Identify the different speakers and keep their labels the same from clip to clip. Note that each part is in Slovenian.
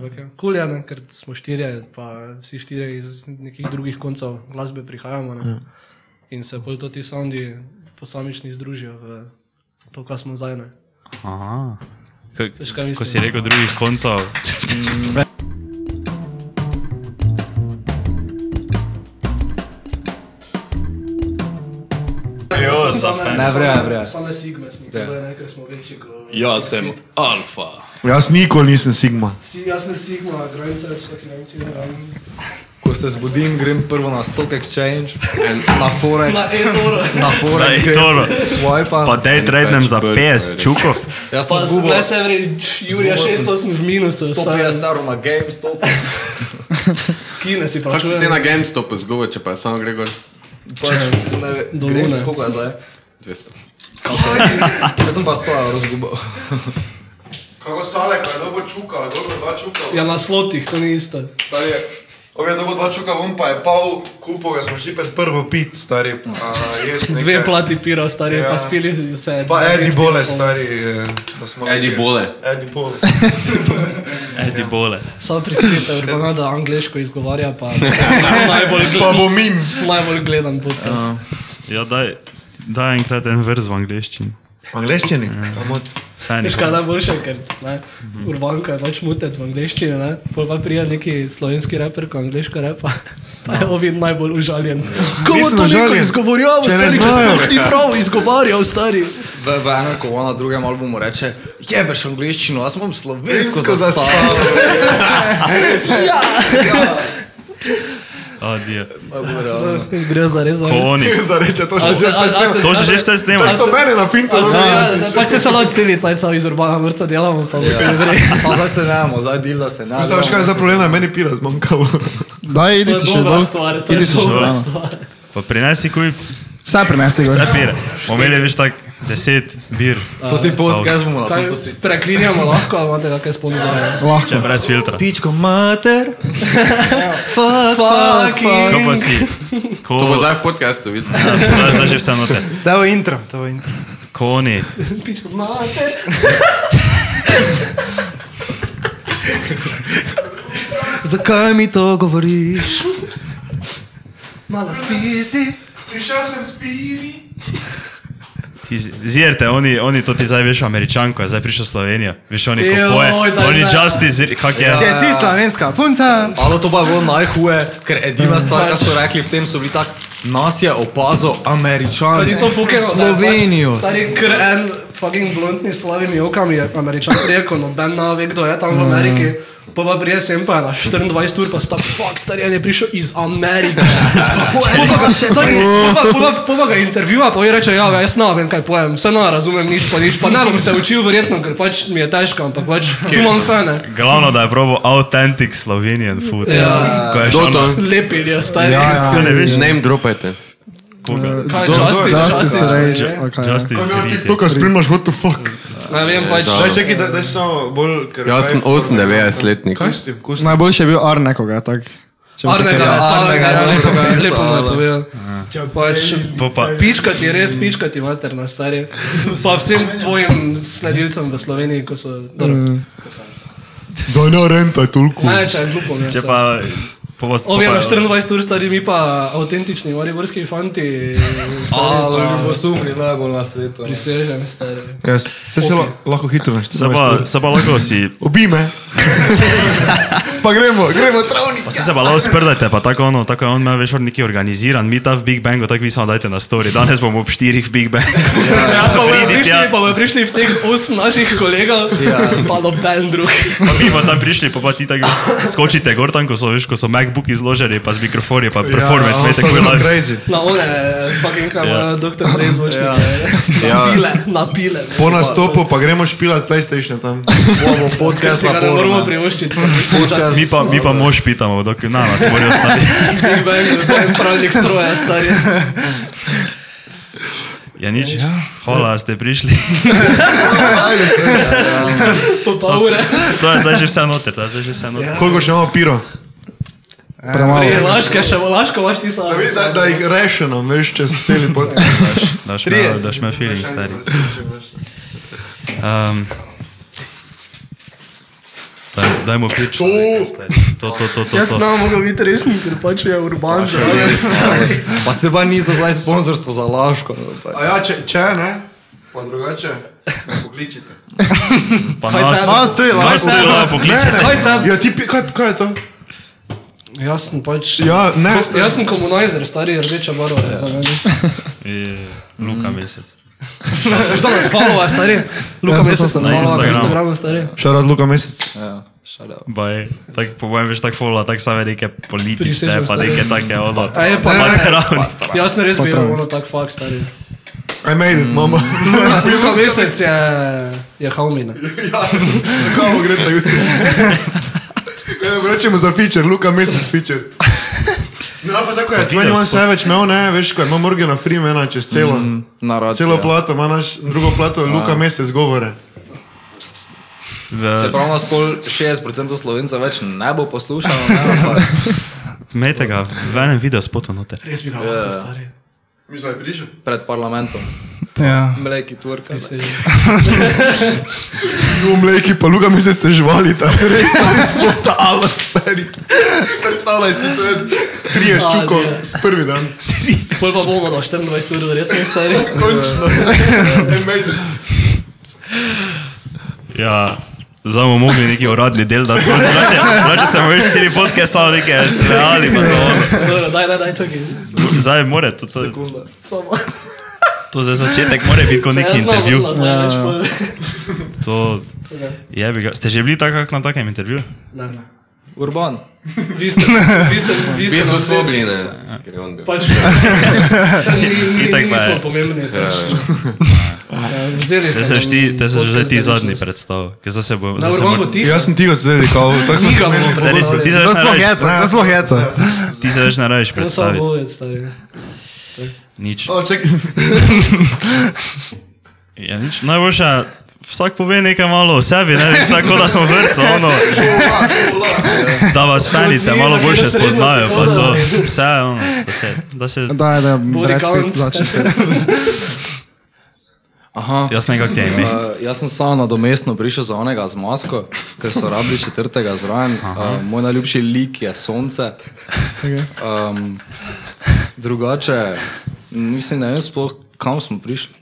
Speaker 1: Okay. Kul ja, cool je, ne, ker smo štirje, pa vsi štirje iz nekih drugih koncev glasbe prihajamo. Ne? In se bolj to ti soundi posamični združijo v to, kar smo zdaj. ne.
Speaker 2: Aha. K
Speaker 1: Veš, kaj
Speaker 2: ko
Speaker 1: mislim?
Speaker 2: si rekel drugih koncev,
Speaker 1: Jo, same,
Speaker 3: Ne, vrejo, vrejo.
Speaker 1: Same sigme smo bili, zdaj, ne, ker smo večji kot.
Speaker 4: Jaz sem alfa.
Speaker 5: Jaz nikoli nisem Sigma.
Speaker 1: Si jaz ne sigma, grajim se več vsak dan, si grajim.
Speaker 3: Ko se zbudim, grem prvo na Stock Exchange, na Forex,
Speaker 1: Na e-toro.
Speaker 3: na
Speaker 2: Na
Speaker 3: Forex,
Speaker 2: e-toro.
Speaker 3: svoje
Speaker 2: pa
Speaker 3: pa.
Speaker 2: dej tradem za
Speaker 4: Bird,
Speaker 2: pes,
Speaker 4: Bird.
Speaker 2: čukov.
Speaker 3: Jaz sem
Speaker 1: Pa
Speaker 3: zgubil.
Speaker 1: zdaj se vre, Julija 600 v minusu,
Speaker 3: Stopil je
Speaker 1: vsaj
Speaker 3: staro na GameStop.
Speaker 1: skine si
Speaker 4: Kako si
Speaker 1: plačuje.
Speaker 4: ti na GameStopu zgubil, če pa je samo Gregor?
Speaker 3: Pač, ne,
Speaker 1: Do
Speaker 3: grem,
Speaker 1: lune.
Speaker 3: koliko je zdaj?
Speaker 4: 200.
Speaker 3: Jaz sem pa 100 evrov zgubil.
Speaker 6: Kako sale, kaj dobo čuka, dobo dva čuka.
Speaker 1: Ja, na slotih, to ni isto.
Speaker 6: Stari, ok, dobo dva čuka, on pa je pol kupov, jaz smo šli pet prvo pit, stari. A, jes,
Speaker 1: Dve plati pira, stari, ja.
Speaker 6: Ja.
Speaker 1: pa spili se.
Speaker 6: Pa
Speaker 1: dve
Speaker 6: Edi
Speaker 1: pit
Speaker 6: Bole,
Speaker 1: in pol.
Speaker 6: stari. eh, da smo
Speaker 4: Edi
Speaker 6: nekaj-
Speaker 4: bole.
Speaker 6: Edi Bole.
Speaker 2: Edi bole.
Speaker 1: Samo prispite, Urbana, da angliško izgovarja, pa najbolj,
Speaker 6: Pa bom im.
Speaker 1: najbolj gledan podcast.
Speaker 2: Ja, daj, daj enkrat en vrz v angliščini.
Speaker 5: V angleščini? Kamot.
Speaker 2: Fajn je
Speaker 1: Veš
Speaker 2: bilo.
Speaker 1: kaj najboljše, ker ne, Urbanka je pač mutec v angliščini, ne? pol pa prija neki slovenski raper, ko angliško repa. Pa je Ovid najbolj užaljen. Kako
Speaker 5: Nisem
Speaker 1: to neko
Speaker 5: užaljen,
Speaker 1: izgovorjavo,
Speaker 5: če ne
Speaker 1: stari, če
Speaker 5: znajo.
Speaker 1: sploh ti prav izgovarjal, stari.
Speaker 3: V, v enem, ko ona drugem albumu reče, jebeš angliščino, jaz imam slovensko
Speaker 5: Slovensko
Speaker 3: zastavo.
Speaker 2: Adijo.
Speaker 1: Gre za res za
Speaker 2: Ko
Speaker 1: res.
Speaker 2: Oh, oni.
Speaker 5: Zareče, to še
Speaker 1: A se-
Speaker 5: zdaj
Speaker 1: a- a
Speaker 5: vse snema.
Speaker 1: se-
Speaker 2: To že že vse snemaš.
Speaker 5: So mene na finto.
Speaker 1: A se-
Speaker 5: no.
Speaker 1: ja, Pač se samo celica, aj samo iz Urbana vrca delamo, pa bo to ne gre.
Speaker 3: Samo zdaj se nemo, zdaj dila se nemo.
Speaker 5: Vse, veš kaj je zdaj problem, da je meni pira zmanjkalo.
Speaker 7: Daj, idi
Speaker 1: To je
Speaker 7: si še
Speaker 1: dobra
Speaker 7: dol.
Speaker 1: stvar, to je
Speaker 7: Idi si še
Speaker 1: dobra
Speaker 7: dol.
Speaker 1: stvar.
Speaker 2: Pa prinesi kuj,
Speaker 7: Vse prenesi
Speaker 2: vse
Speaker 7: gor.
Speaker 2: pire. Omeli veš tak 10 bir.
Speaker 3: To ti podcast bomo na
Speaker 1: Kaj,
Speaker 3: koncu si.
Speaker 1: Preklinjamo lahko, ali imate kakšne sponzorje?
Speaker 2: Če
Speaker 7: Lahko.
Speaker 2: brez filtra.
Speaker 3: Pičko mater, fuck, fuck,
Speaker 1: Fucking.
Speaker 3: fuck.
Speaker 2: Ko pa si. Ko,
Speaker 4: To bo zdaj v podkastu, vidiš.
Speaker 2: To je zdaj že vse note.
Speaker 7: Da bo intro, da bo intro.
Speaker 2: Ko oni.
Speaker 1: Pičo, mate.
Speaker 3: Zakaj mi to govoriš?
Speaker 1: Malo spizdi.
Speaker 6: Prišel sem s piri.
Speaker 2: Ti z- Zjerte, oni, oni to ti zdaj veš, američanko je zdaj prišel v Slovenijo. Veš, oni ko
Speaker 1: Joj,
Speaker 2: poje,
Speaker 1: daj,
Speaker 2: oni
Speaker 1: daj.
Speaker 2: justice, kak je.
Speaker 7: Če si slovenska punca.
Speaker 3: Alo, Ja. to pa je bilo najhuje, ker edina stvar, ki so rekli v tem, so bili tak, nas je opazil
Speaker 1: Pa
Speaker 3: američan.
Speaker 1: ni to fukeno. da je
Speaker 3: Slovenijo.
Speaker 1: pač Stari kr en fucking bluntni s plavimi okami je američan rekel, noben ne ve, kdo je tam v Ameriki.
Speaker 3: Mm.
Speaker 1: Pa pa prije sem pa na 24 ur, pa sta fuck stari, on je prišel iz Amerike. Pol pa ga- stari, pol pa- pol pa- Pol pa ga intervjuva, pa je reče, ja, ve, jaz ne vem, kaj pojem, se ne razumem nič, pa nič, pa ne bom se učil verjetno, ker pač mi je težko, ampak pač tu imam fene.
Speaker 2: Glavno, da je probo authentic Slovenian food.
Speaker 1: Ja.
Speaker 2: Ko je
Speaker 4: Kdo
Speaker 2: šel
Speaker 4: to?
Speaker 2: na
Speaker 1: Lepi je, stari.
Speaker 3: Ja,
Speaker 2: Kaj ne veš?
Speaker 4: Name dropajte.
Speaker 2: koga.
Speaker 1: Kaj,
Speaker 5: Kdo- kdo je?
Speaker 1: Justin,
Speaker 7: Justice
Speaker 1: Justin,
Speaker 7: Rage.
Speaker 1: ne?
Speaker 7: Okay, ja.
Speaker 2: Justice Zrite.
Speaker 5: To, kar spremljaš, what the fuck.
Speaker 1: Ne vem, pač.
Speaker 4: žal.
Speaker 6: Daj, čekaj, daj, daj samo bolj, ker...
Speaker 4: Jaz sem 98-letnik.
Speaker 6: Kustim, kustim.
Speaker 7: Najboljši je bil ar nekoga, tak. Če bi
Speaker 1: Arnega,
Speaker 7: tako-
Speaker 1: Arnega,
Speaker 3: Arnega, Arnega,
Speaker 1: Arnega,
Speaker 3: Arnega,
Speaker 1: lepo mu je
Speaker 3: Arnega.
Speaker 1: povedal.
Speaker 2: Ja.
Speaker 1: Pač,
Speaker 2: Pa,
Speaker 1: pičkati je res, pičkati materna stari. Pa vsem tvojim sledilcem v Sloveniji, ko so... dobro.
Speaker 2: Mm.
Speaker 5: Zdaj ne rentaj toliko.
Speaker 1: Največja je glupo mi je.
Speaker 2: če
Speaker 1: vse.
Speaker 2: pa, pa vas
Speaker 1: Ovi na 24 ur stari, mi pa avtentični mariborski fanti,
Speaker 3: Alo, ljubosumni najbolj na svetu.
Speaker 1: prisežem stari.
Speaker 5: Ja, se se la- lahko hitro našteti.
Speaker 2: Se pa, se pa lahko si,
Speaker 5: Obi me. Pa gremo, gremo travnik.
Speaker 2: pa si se pa lahko sprdajte, pa tako ono, tako je on ima veš, neki organiziran, mi ta v Big Bangu, tako vi samo dajte na story, danes bomo ob štirih v Big Bangu.
Speaker 1: Ja, pa bojo
Speaker 2: pridi
Speaker 1: prišli,
Speaker 2: tja. Ja.
Speaker 1: pa bojo prišli vseh osm naših kolegov, pa noben drug.
Speaker 2: Pa mi pa tam prišli, pa, pa ti tako veš, skočite gor tam, ko so, veš, ko so MacBooki izloženi, pa z mikrofoni, pa performance, ja, mete kuj live.
Speaker 5: crazy.
Speaker 1: Na one, eh, fucking kam,
Speaker 2: Ja.
Speaker 1: doktor eh, Drej zvočnice.
Speaker 4: Ja.
Speaker 1: Napile, napile.
Speaker 5: Po nastopu pa gremo špilat PlayStation tam.
Speaker 3: Bomo podcast
Speaker 1: Si ga
Speaker 3: na
Speaker 1: ne moramo
Speaker 3: forum.
Speaker 1: privoščiti, ker nismo častni.
Speaker 2: Mi pa, mi pa mož pitamo, dok na nas morajo stati.
Speaker 1: Big Bang, vse en pravnik stroja, stari.
Speaker 2: Ja, nič. Hvala, da ste prišli.
Speaker 1: Po pol ure.
Speaker 2: To je zdaj že vse noter, to je zdaj že vse noter.
Speaker 5: Koliko še imamo piro?
Speaker 1: Ja,
Speaker 7: Premalo.
Speaker 1: Je laška, še bo laško, imaš ti sam.
Speaker 5: Da vidiš, da- da jih rešeno, veš, čez celi pot.
Speaker 2: Daš me, daš me feeling, stari. Um, Daj, dajmo pič. To, to, to, to. to,
Speaker 1: Jaz
Speaker 2: to.
Speaker 1: znam, mogo biti resen, ker pač je urban.
Speaker 3: Pa se pa ni za zdaj sponzorstvo za Laško. no, pa-
Speaker 6: A ja, če, če ne, pa drugače, me pokličite.
Speaker 2: Pa nas,
Speaker 7: A, stoj,
Speaker 2: nas
Speaker 7: lahko.
Speaker 2: te lahko pokličete.
Speaker 1: Kaj tam?
Speaker 6: Ja, ti, pi- kaj, kaj je to?
Speaker 1: Jaz sem pač...
Speaker 5: Ja, ne.
Speaker 1: Ko- Jaz sem komunizer, stari rdeča barva je za mene.
Speaker 2: Je, Luka
Speaker 1: Mm.
Speaker 2: mesec.
Speaker 1: Že danes followa, stari. Luka
Speaker 7: Ja,
Speaker 1: Mesec
Speaker 7: sem
Speaker 1: sem
Speaker 2: na
Speaker 7: se
Speaker 1: followa na
Speaker 2: Instagramu.
Speaker 1: Instagramu, stari.
Speaker 5: Šarad Luka Mesec.
Speaker 3: Ja, shut up.
Speaker 2: Baj, tak, po mojem veš tako fola, tako same neke politične,
Speaker 1: Prisežem,
Speaker 2: pa
Speaker 1: stari.
Speaker 2: neke take, ono,
Speaker 1: A je pa-
Speaker 2: materavne.
Speaker 1: Jaz sem res bil
Speaker 7: Potem.
Speaker 1: ono tak fakt, stari.
Speaker 5: I made it, mama.
Speaker 1: Luka- Luka Mesec je... je Haumina.
Speaker 5: Kako gre ta jutri?
Speaker 6: Rečemo za feature, Luka Mesec feature. No, pa tako je.
Speaker 5: Meni on se več imel, ne, veš kaj, ima Morgana Freemana čez celo.
Speaker 3: Narod.
Speaker 5: Celo plato, ima naš drugo plato, Luka Mesec govore.
Speaker 3: Se pravi, nas pol 60% Slovencev več ne bo poslušalo, ne, ampak
Speaker 2: Mete ga, v enem videu spota noter.
Speaker 1: Res bi ga lahko, stari.
Speaker 6: Mislim, da je prišel.
Speaker 3: pred parlamentom.
Speaker 7: Ja.
Speaker 3: Mleki turka. ne.
Speaker 5: Tu mleki, pa Luka Mesec se živali, ta res spotala, stari.
Speaker 6: Predstavljaj si, to je trije
Speaker 1: A,
Speaker 6: ščuko
Speaker 5: ja.
Speaker 1: ne.
Speaker 6: s prvi dan.
Speaker 1: Pol pa bomo na 24 ur verjetno, stari.
Speaker 6: Končno. En mejden.
Speaker 2: Ja, zdaj bomo mogli neki uradni del, da smo zrače, zrače se moraš celi podke samo neke smejali, pa to ono.
Speaker 1: Dobro, daj, daj, daj, čakaj.
Speaker 2: Zdaj more, to, to,
Speaker 3: Sekunda.
Speaker 1: Samo.
Speaker 2: to za začetek more biti kot neki
Speaker 1: Ja, znam,
Speaker 2: intervju.
Speaker 1: vrla, zdaj več pol.
Speaker 2: To, je, bi ga, ste že bili takrat na takem intervjuju?
Speaker 1: Ne, ne.
Speaker 3: Urban.
Speaker 1: Vi ste, vi ste, vi ste.
Speaker 4: Bili smo
Speaker 1: nam vsi-
Speaker 4: slobljeni, ker je on bil.
Speaker 1: Pač, Saj ni, ni,
Speaker 2: Itak
Speaker 1: ni,
Speaker 2: pa je. ja.
Speaker 1: nismo pomembni. pač. Ja, Vzeli ste.
Speaker 2: Te se že
Speaker 1: nam
Speaker 2: ti, te se že
Speaker 1: podcast
Speaker 2: ti zadnji
Speaker 1: značilnost.
Speaker 2: predstavil, ker zdaj se
Speaker 1: Na
Speaker 2: bo... zdaj se
Speaker 1: vrhu bo
Speaker 2: mora-
Speaker 1: ti.
Speaker 5: Jaz sem tiho sedeli, kao, tako smo
Speaker 1: Mi ga bomo
Speaker 2: Zdaj res- ti
Speaker 1: predstavili.
Speaker 2: se več
Speaker 7: To
Speaker 2: ne
Speaker 7: sploh
Speaker 2: rabiš-
Speaker 7: je to, to sploh je to.
Speaker 2: Ti se več ne rabiš
Speaker 1: To so
Speaker 2: predstaviti,
Speaker 1: bolje, stari.
Speaker 2: nič.
Speaker 6: O, čakaj.
Speaker 2: Ja, nič. Najboljša, vsak pove nekaj malo o sebi, ne veš, tako da smo vrtci, ono. Da vas fanice malo boljše spoznajo, pa to vse, ono, da se, da se,
Speaker 7: Da, da,
Speaker 1: Body count.
Speaker 7: začne.
Speaker 3: Aha.
Speaker 2: jaz ne kak je ime.
Speaker 3: Uh, jaz sem samo nadomestno prišel za onega z masko, ker so rabili četrtega zraven. Uh, moj najljubši lik je sonce. Um, drugače, mislim, ne vem sploh, kam smo prišli.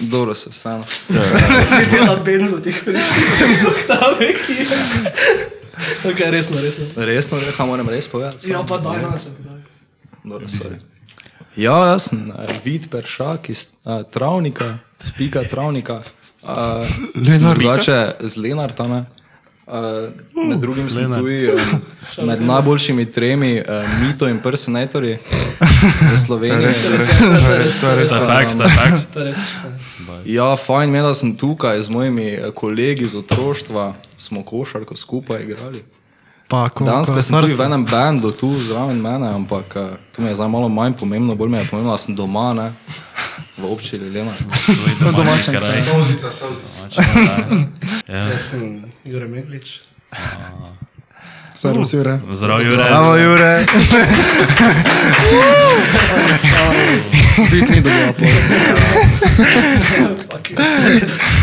Speaker 3: Dobro se vseeno.
Speaker 1: Ti dela benzo tih prišli. Ok, resno, resno.
Speaker 3: Resno, rekam, moram res povedati.
Speaker 1: Ja, pa daj, daj se. daj.
Speaker 3: Dobro, No, sorry. Ja, jaz sem uh, vid peršak iz uh, travnika, spika travnika. Uh, drugače z Lenarta. Ne? Uh, med drugim sem tudi um, med najboljšimi tremi uh, mito in personatorji v
Speaker 1: To
Speaker 3: Sloveniji.
Speaker 1: je res, to je res, to je
Speaker 2: To je
Speaker 1: res.
Speaker 2: faks, to je faks.
Speaker 1: To je res.
Speaker 3: Ja, fajn mi je, da sem tukaj z mojimi eh, kolegi iz otroštva, smo košarko skupaj igrali.
Speaker 7: Pa, ko,
Speaker 3: Danes, ko sem tudi v
Speaker 7: kolesarstvo.
Speaker 3: enem bendu, tu zraven mene, ampak eh, to mi je zdaj malo manj pomembno, bolj mi je pomembno, da sem doma, ne? v občini Ljubljana.
Speaker 2: Svoj domači
Speaker 7: domačem
Speaker 2: kraj.
Speaker 6: Solzica, solzica.
Speaker 2: Ja.
Speaker 1: Jaz sem Jure Meglič.
Speaker 7: Servus, Jure.
Speaker 2: Zdrav, Jure.
Speaker 5: Bravo, Jure.
Speaker 7: Biti ni dobil aplauz.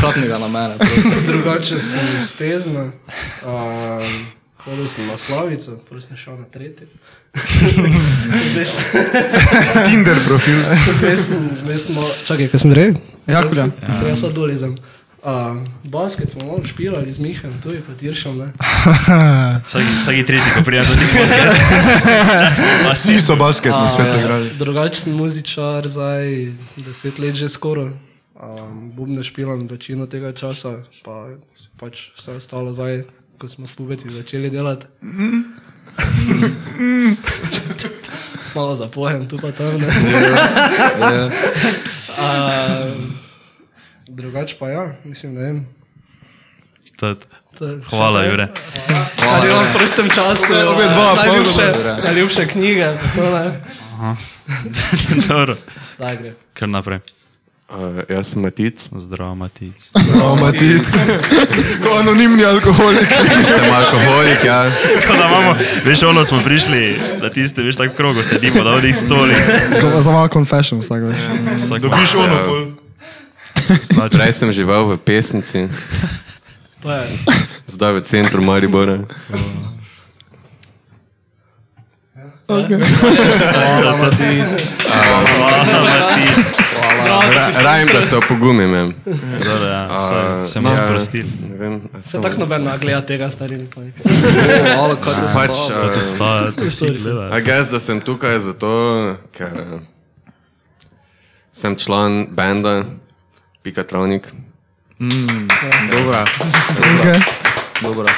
Speaker 3: Kapni ga na mene, prosim.
Speaker 1: Drugače sem stezna. Um, hodil sem na Slavico, prvi sem šel na tretji. Zdaj sem-
Speaker 5: Tinder profil.
Speaker 1: zdaj sem, zdaj sem, malo- čakaj, kaj sem rekel?
Speaker 7: Jakulja.
Speaker 1: Ja, sad dolizem. Um, basket smo malo špilali z Mihaelom, tu je pa Tiršom, ne?
Speaker 2: Vsaki, vsaki tretji, ko prijem do tih podcastov.
Speaker 5: Vsi so basketni svet igrali.
Speaker 1: Drugače sem muzičar, zdaj deset let že skoraj. Um, Bubne špilam večino tega časa, pa pač vse ostalo zdaj, ko smo s pubeci začeli delati. Malo zapojem, tu pa tam. Ne? Um, drugače pa ja, mislim, ne vem.
Speaker 2: To je-
Speaker 1: To je-
Speaker 2: Hvala, Jure.
Speaker 1: Kar delam v prostem času. Obe dva, najljubše, najljubše knjige. to ne.
Speaker 2: Dobro.
Speaker 1: Daj, gre.
Speaker 2: Kar naprej.
Speaker 4: Uh, jaz sem Matic,
Speaker 2: Zdravo, Matic.
Speaker 5: Bravo, Matic. Ko anonimni alkoholik.
Speaker 4: sem alkoholik, ja.
Speaker 2: Tako da imamo, veš, ono smo prišli, da tiste, veš, tako v krogu sedimo, da onih stoli.
Speaker 7: Ko- Za malo confession vsak veš.
Speaker 1: Ja,
Speaker 2: Vsak ima
Speaker 5: Dobiš ono pol.
Speaker 2: snač.
Speaker 4: Prej sem živel v pesnici,
Speaker 1: To je.
Speaker 4: Zdaj v centru Maribora.
Speaker 2: Hvala, Matic. Hvala, Matic.
Speaker 4: Ra- Rajem, da se opogumim. em.
Speaker 2: Dobro, ja, se- se mi
Speaker 4: Ja,
Speaker 2: sprostil.
Speaker 4: Ne vem. a
Speaker 1: Se
Speaker 4: samo-
Speaker 1: tako noben ne gleda tega, stari nikoli.
Speaker 3: Malo kot je
Speaker 4: Pač,
Speaker 3: slabo.
Speaker 4: eh,
Speaker 2: To staje, to vsi
Speaker 1: Sorry.
Speaker 2: gledajo.
Speaker 4: I guess, da sem tukaj zato, ker eh, sem član benda Pika Travnik.
Speaker 3: Dobra,
Speaker 7: Okay.
Speaker 3: dobra.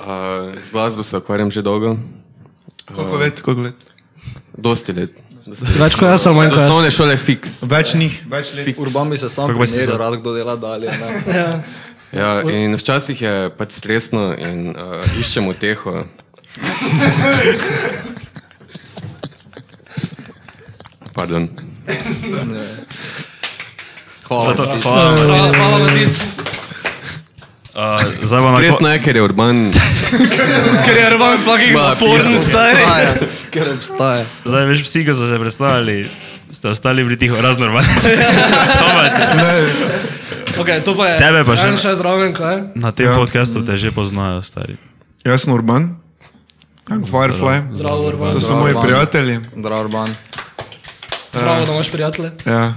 Speaker 4: Eh, Z glasbo se ukvarjam že dolgo,
Speaker 5: Koliko let, koliko let?
Speaker 4: dosti let.
Speaker 1: Več kot jaz, manj
Speaker 4: Od osnovne šole fiks.
Speaker 5: Več njih.
Speaker 6: Več let.
Speaker 3: Urban bi se sam
Speaker 2: Kako bi si
Speaker 3: primeril,
Speaker 2: za-
Speaker 3: rad kdo dela dalje. ne.
Speaker 4: Ja, in včasih je pač stresno in uh, iščemo teho. Pardon.
Speaker 3: Hvala.
Speaker 2: To- Hvala.
Speaker 1: Hvala, Matic.
Speaker 2: Eh, Zdaj bo na koncu.
Speaker 4: Stresno je, ker je urban.
Speaker 1: Ker je Rvan fucking naporen, stari.
Speaker 3: Obstaja, ker obstaja.
Speaker 2: Zdaj veš, vsi, ki so se predstavljali, ste ostali bili tiho, razen normalno. Tomac,
Speaker 1: Ok, to pa je.
Speaker 2: Tebe pa še
Speaker 1: En
Speaker 2: ne.
Speaker 1: še zraven, kaj?
Speaker 2: Na tem
Speaker 5: Ja.
Speaker 2: podkastu te že poznajo, stari.
Speaker 5: Jaz sem Urban, Young Firefly,
Speaker 1: Zdravo, Urban.
Speaker 5: to so moji
Speaker 3: Urban.
Speaker 5: prijatelji.
Speaker 3: Drav Urban.
Speaker 1: Zdravo, da imaš prijatelje.
Speaker 5: Ja.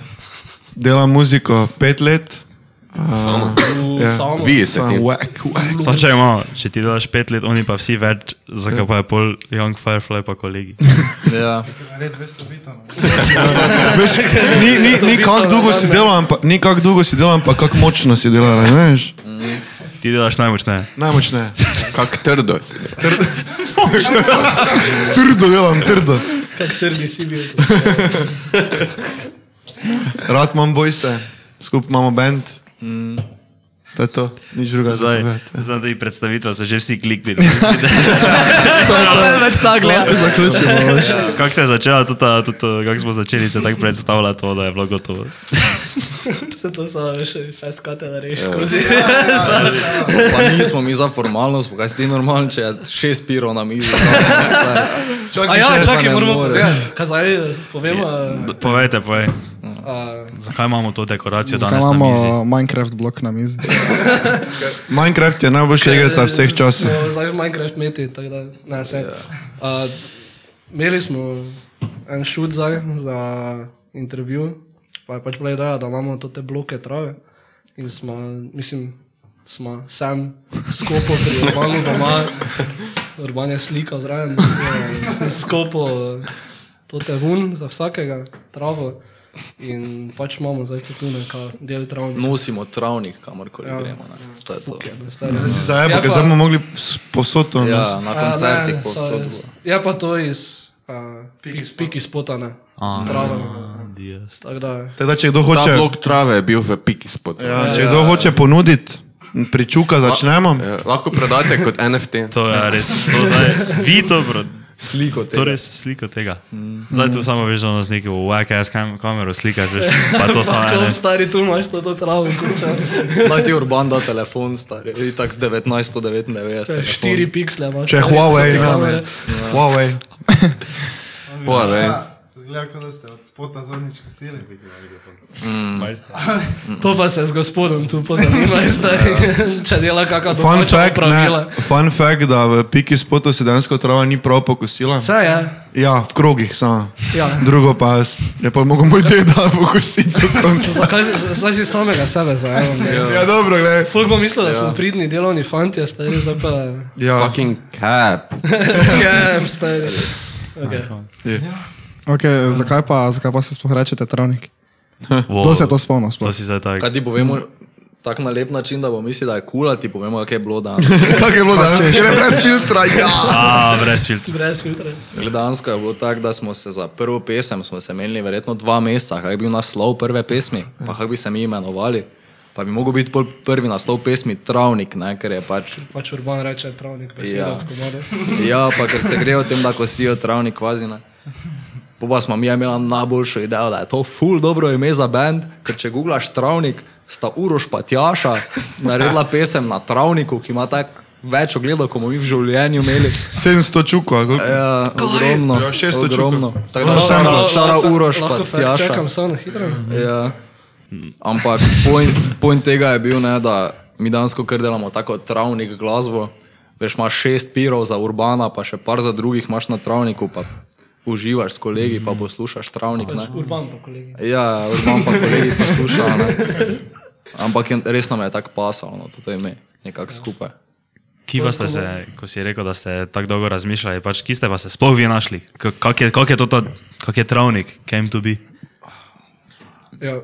Speaker 5: Delam muziko pet let. Samo.
Speaker 1: V
Speaker 5: Ja.
Speaker 1: Samo.
Speaker 4: Vi ste ti.
Speaker 5: Sam whack, whack.
Speaker 2: Samo če imamo, če ti delaš pet let, oni pa vsi več, zakaj pa je pol Young Firefly pa kolegi.
Speaker 3: Ja.
Speaker 5: Ni, ni, ni kako dolgo si delal, ampak, ni kako dolgo si delal, ampak kako močno si delal, ne veš?
Speaker 2: Ti delaš najmočneje.
Speaker 5: Najmočneje.
Speaker 4: Kak trdo si.
Speaker 5: Trdo delam, trdo.
Speaker 1: Kak trdi si bil.
Speaker 5: Rad imam bojse, skupaj imamo bend. Mm. To je to, nič drugega. za
Speaker 2: Zdaj,
Speaker 5: povedati.
Speaker 2: zdaj ti predstavitva so že vsi kliknili.
Speaker 1: Več tako gleda.
Speaker 5: Zaključimo. veš.
Speaker 2: Kako se je začela, tudi ta- tudi to, kako smo začeli se tako predstavljati, to, da je bilo gotovo.
Speaker 1: Se to samo še fest katera reši skozi.
Speaker 3: Pa nismo mi za formalnost, pa kaj si ti normalen, če je šest pirov na mizi. no,
Speaker 1: A ja, čakaj, moramo
Speaker 3: povedati.
Speaker 1: povedati. Kaj zdaj povemo?
Speaker 2: D- Povejte, povej,
Speaker 1: a-
Speaker 2: zakaj imamo to dekoracijo
Speaker 7: Zakaj
Speaker 2: danes na mizi?
Speaker 7: imamo Minecraft blok na mizi?
Speaker 5: Minecraft je najboljša igrica vseh časov. Ja.
Speaker 1: Smo Ja, Zdaj v Minecraft meti, tako da ne se. Uh, imeli smo en šut zdaj za intervju, pa je pač bila ideja, da imamo to te bloke trave. In smo, mislim, smo sam skopo pri Urbanu doma, Urban je slika zraven, eh, sem skopo eh, to te vun za vsakega travo. In pač imamo zdaj tudi tu nekaj del travnika.
Speaker 3: Nosimo travnik, kamorkoli ja. gremo. Ne. To je to.
Speaker 5: Zdaj,
Speaker 1: Ja,
Speaker 5: ampak
Speaker 1: pa-
Speaker 5: zdaj bomo mogli s- posod to no.
Speaker 3: Ja,
Speaker 5: nositi.
Speaker 3: na
Speaker 1: A,
Speaker 3: koncertih
Speaker 1: ne,
Speaker 3: po
Speaker 1: so
Speaker 3: vsem.
Speaker 1: res. Je pa to iz uh, piki spotane, zdrave.
Speaker 2: Dias.
Speaker 1: Tako da, ja,
Speaker 5: Teda, če kdo
Speaker 4: Ta
Speaker 5: hoče,
Speaker 4: blok trave je bil v piki spod.
Speaker 5: ja, če kdo hoče ponuditi, pričuka začnemo.
Speaker 4: Ja, lahko prodate kot NFT.
Speaker 2: To je res, to zdaj, vi to, bro.
Speaker 3: Sliko tega.
Speaker 2: To
Speaker 1: Torej-
Speaker 2: res sliko tega. Zdaj to samo veš, da nas neki v VKS kam, kamero slikaš, veš, pa to samo
Speaker 1: tako
Speaker 2: ene.
Speaker 1: stari tu imaš to, to travo, kuča.
Speaker 3: Naj ti Urban da telefon, star, itak z 1999. telefon.
Speaker 1: Štiri piksle imaš.
Speaker 5: Če Huawei ima, ne. Huawei.
Speaker 4: Huawei.
Speaker 8: Ja, Zgleda, kot da ste od spota zadnjič kosili.
Speaker 1: To pa se z gospodom tu pozanimaj, stari. Če dela kakšna
Speaker 5: Fun
Speaker 1: domača
Speaker 5: fact,
Speaker 1: opravila.
Speaker 5: ne, fun fact, da v piki spotu se dejansko trava ni prav pokosila.
Speaker 1: Vse je.
Speaker 5: Ja, v krogih samo.
Speaker 1: Ja.
Speaker 5: Drugo pa jaz, je pa mogel moj deda pokositi do konca.
Speaker 1: Zakaj si- zdaj si samega sebe zajel?
Speaker 5: Ja, dobro, gledaj.
Speaker 1: Folk bo mislil, da
Speaker 3: Ja.
Speaker 1: smo pridni delovni fanti, a stari zdaj pa...
Speaker 5: Ja,
Speaker 4: Fucking cap.
Speaker 1: Jem, stari. Okay.
Speaker 7: Okay, zakaj, pa, zakaj pa se sploh rečete travnik?
Speaker 2: Wow.
Speaker 7: To se to spomnim.
Speaker 2: To
Speaker 7: sploh.
Speaker 2: si zdaj tak.
Speaker 3: Kaj ti povemo tak na lep način, da bo mislil, da je kul, cool, a ti povemo, kaj je bilo danes.
Speaker 5: tako je bilo danes, ker je brez filtra, ja.
Speaker 2: A, brez filtra.
Speaker 1: Brez filtra.
Speaker 3: Gledansko je bilo tako, da smo se za prvo pesem, smo se menili verjetno dva meseca, kaj je bil naslov prve pesmi, pa kako bi se mi imenovali. Pa bi mogel biti pol prvi naslov pesmi Travnik, ne, ker je pač
Speaker 1: Pač Urban reče travnik, besedo
Speaker 3: Ja.
Speaker 1: v komode.
Speaker 3: Ja, pa ker se grejo tem, da kosijo travnik kvazine. Po pa smo mi imeli najboljšo idejo, da je to ful dobro ime za bend, ker če googlaš travnik, sta Uroš pa Tjaša naredila pesem na travniku, ki ima tako več ogledov, kot bomo mi v življenju imeli.
Speaker 5: 700 čukov, ali koliko?
Speaker 3: Ja, ogromno.
Speaker 5: Ja, 600 čukov.
Speaker 3: ogromno. Tako da
Speaker 5: Lahko-
Speaker 3: šara, šara
Speaker 1: Lahko-
Speaker 3: Uroš pa
Speaker 1: lahko fact
Speaker 3: Tjaša.
Speaker 1: Čakam samo na hitro.
Speaker 3: Ja. Ampak point, point tega je bil, ne, da mi dansko kar delamo tako travnik glasbo. Veš, imaš šest pirov za urbana, pa še par za drugih imaš na travniku, pa uživaš s kolegi, pa poslušaš travnik. Ne?
Speaker 1: Urban pa kolegi.
Speaker 3: Ja, urban pa kolegi posluša. Ne? Ampak je- res nam je tako pasalo, no, to ime, nekako skupaj.
Speaker 2: Kje pa ste se, ko si rekel, da ste tako dolgo razmišljali, pač kje ste pa se sploh vi našli? K- Kak je, kak je to, ta, kak je travnik, came to be?
Speaker 1: Ja.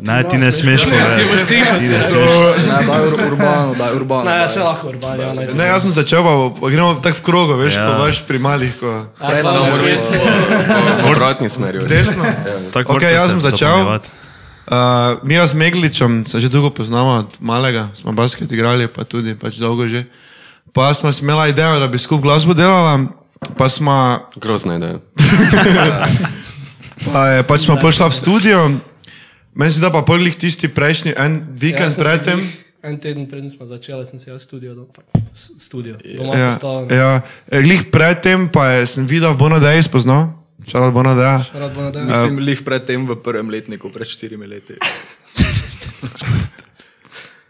Speaker 2: Ne, ti ne smeš
Speaker 1: Ja, ti
Speaker 2: povedati.
Speaker 1: boš tiho. si.
Speaker 3: Ne, da je urbano, da je urbano.
Speaker 1: Ne,
Speaker 3: daj.
Speaker 1: se lahko urban, ja, naj.
Speaker 5: Ne, jaz sem začel, pa, pa gremo tako v krogu, veš,
Speaker 2: Ja.
Speaker 5: ja. pa veš pri malih, ko
Speaker 1: Prej
Speaker 3: Samo
Speaker 1: nam spet.
Speaker 4: V obratni smeri. veš.
Speaker 5: desno.
Speaker 2: Tako
Speaker 5: Ok,
Speaker 2: morate
Speaker 5: jaz
Speaker 2: se
Speaker 5: sem začel.
Speaker 2: dopolnjevati.
Speaker 5: Uh, mi s Megličem se že dolgo poznamo, od malega smo basket igrali, pa tudi pač dolgo že. Pa smo si imeli idejo, da bi skupaj glasbo delala, pa smo
Speaker 4: Grozna ideja.
Speaker 5: Pa je, pač smo prišli v studio, meni se da pa prvi tisti prejšnji, en
Speaker 1: Ja, sem
Speaker 5: vikend ja,
Speaker 1: si
Speaker 5: predtem.
Speaker 1: glih En teden pred smo začeli, sem si jaz studio, doma- pa, s- studio doma
Speaker 5: Ja,
Speaker 1: postavil.
Speaker 5: ja, Eh, glih predtem pa je, sem videl Bonadeja spoznal, šalat Bonadeja.
Speaker 1: Rad bo nadaljeval.
Speaker 3: Mislim, lih predtem v prvem letniku, pred štirimi leti.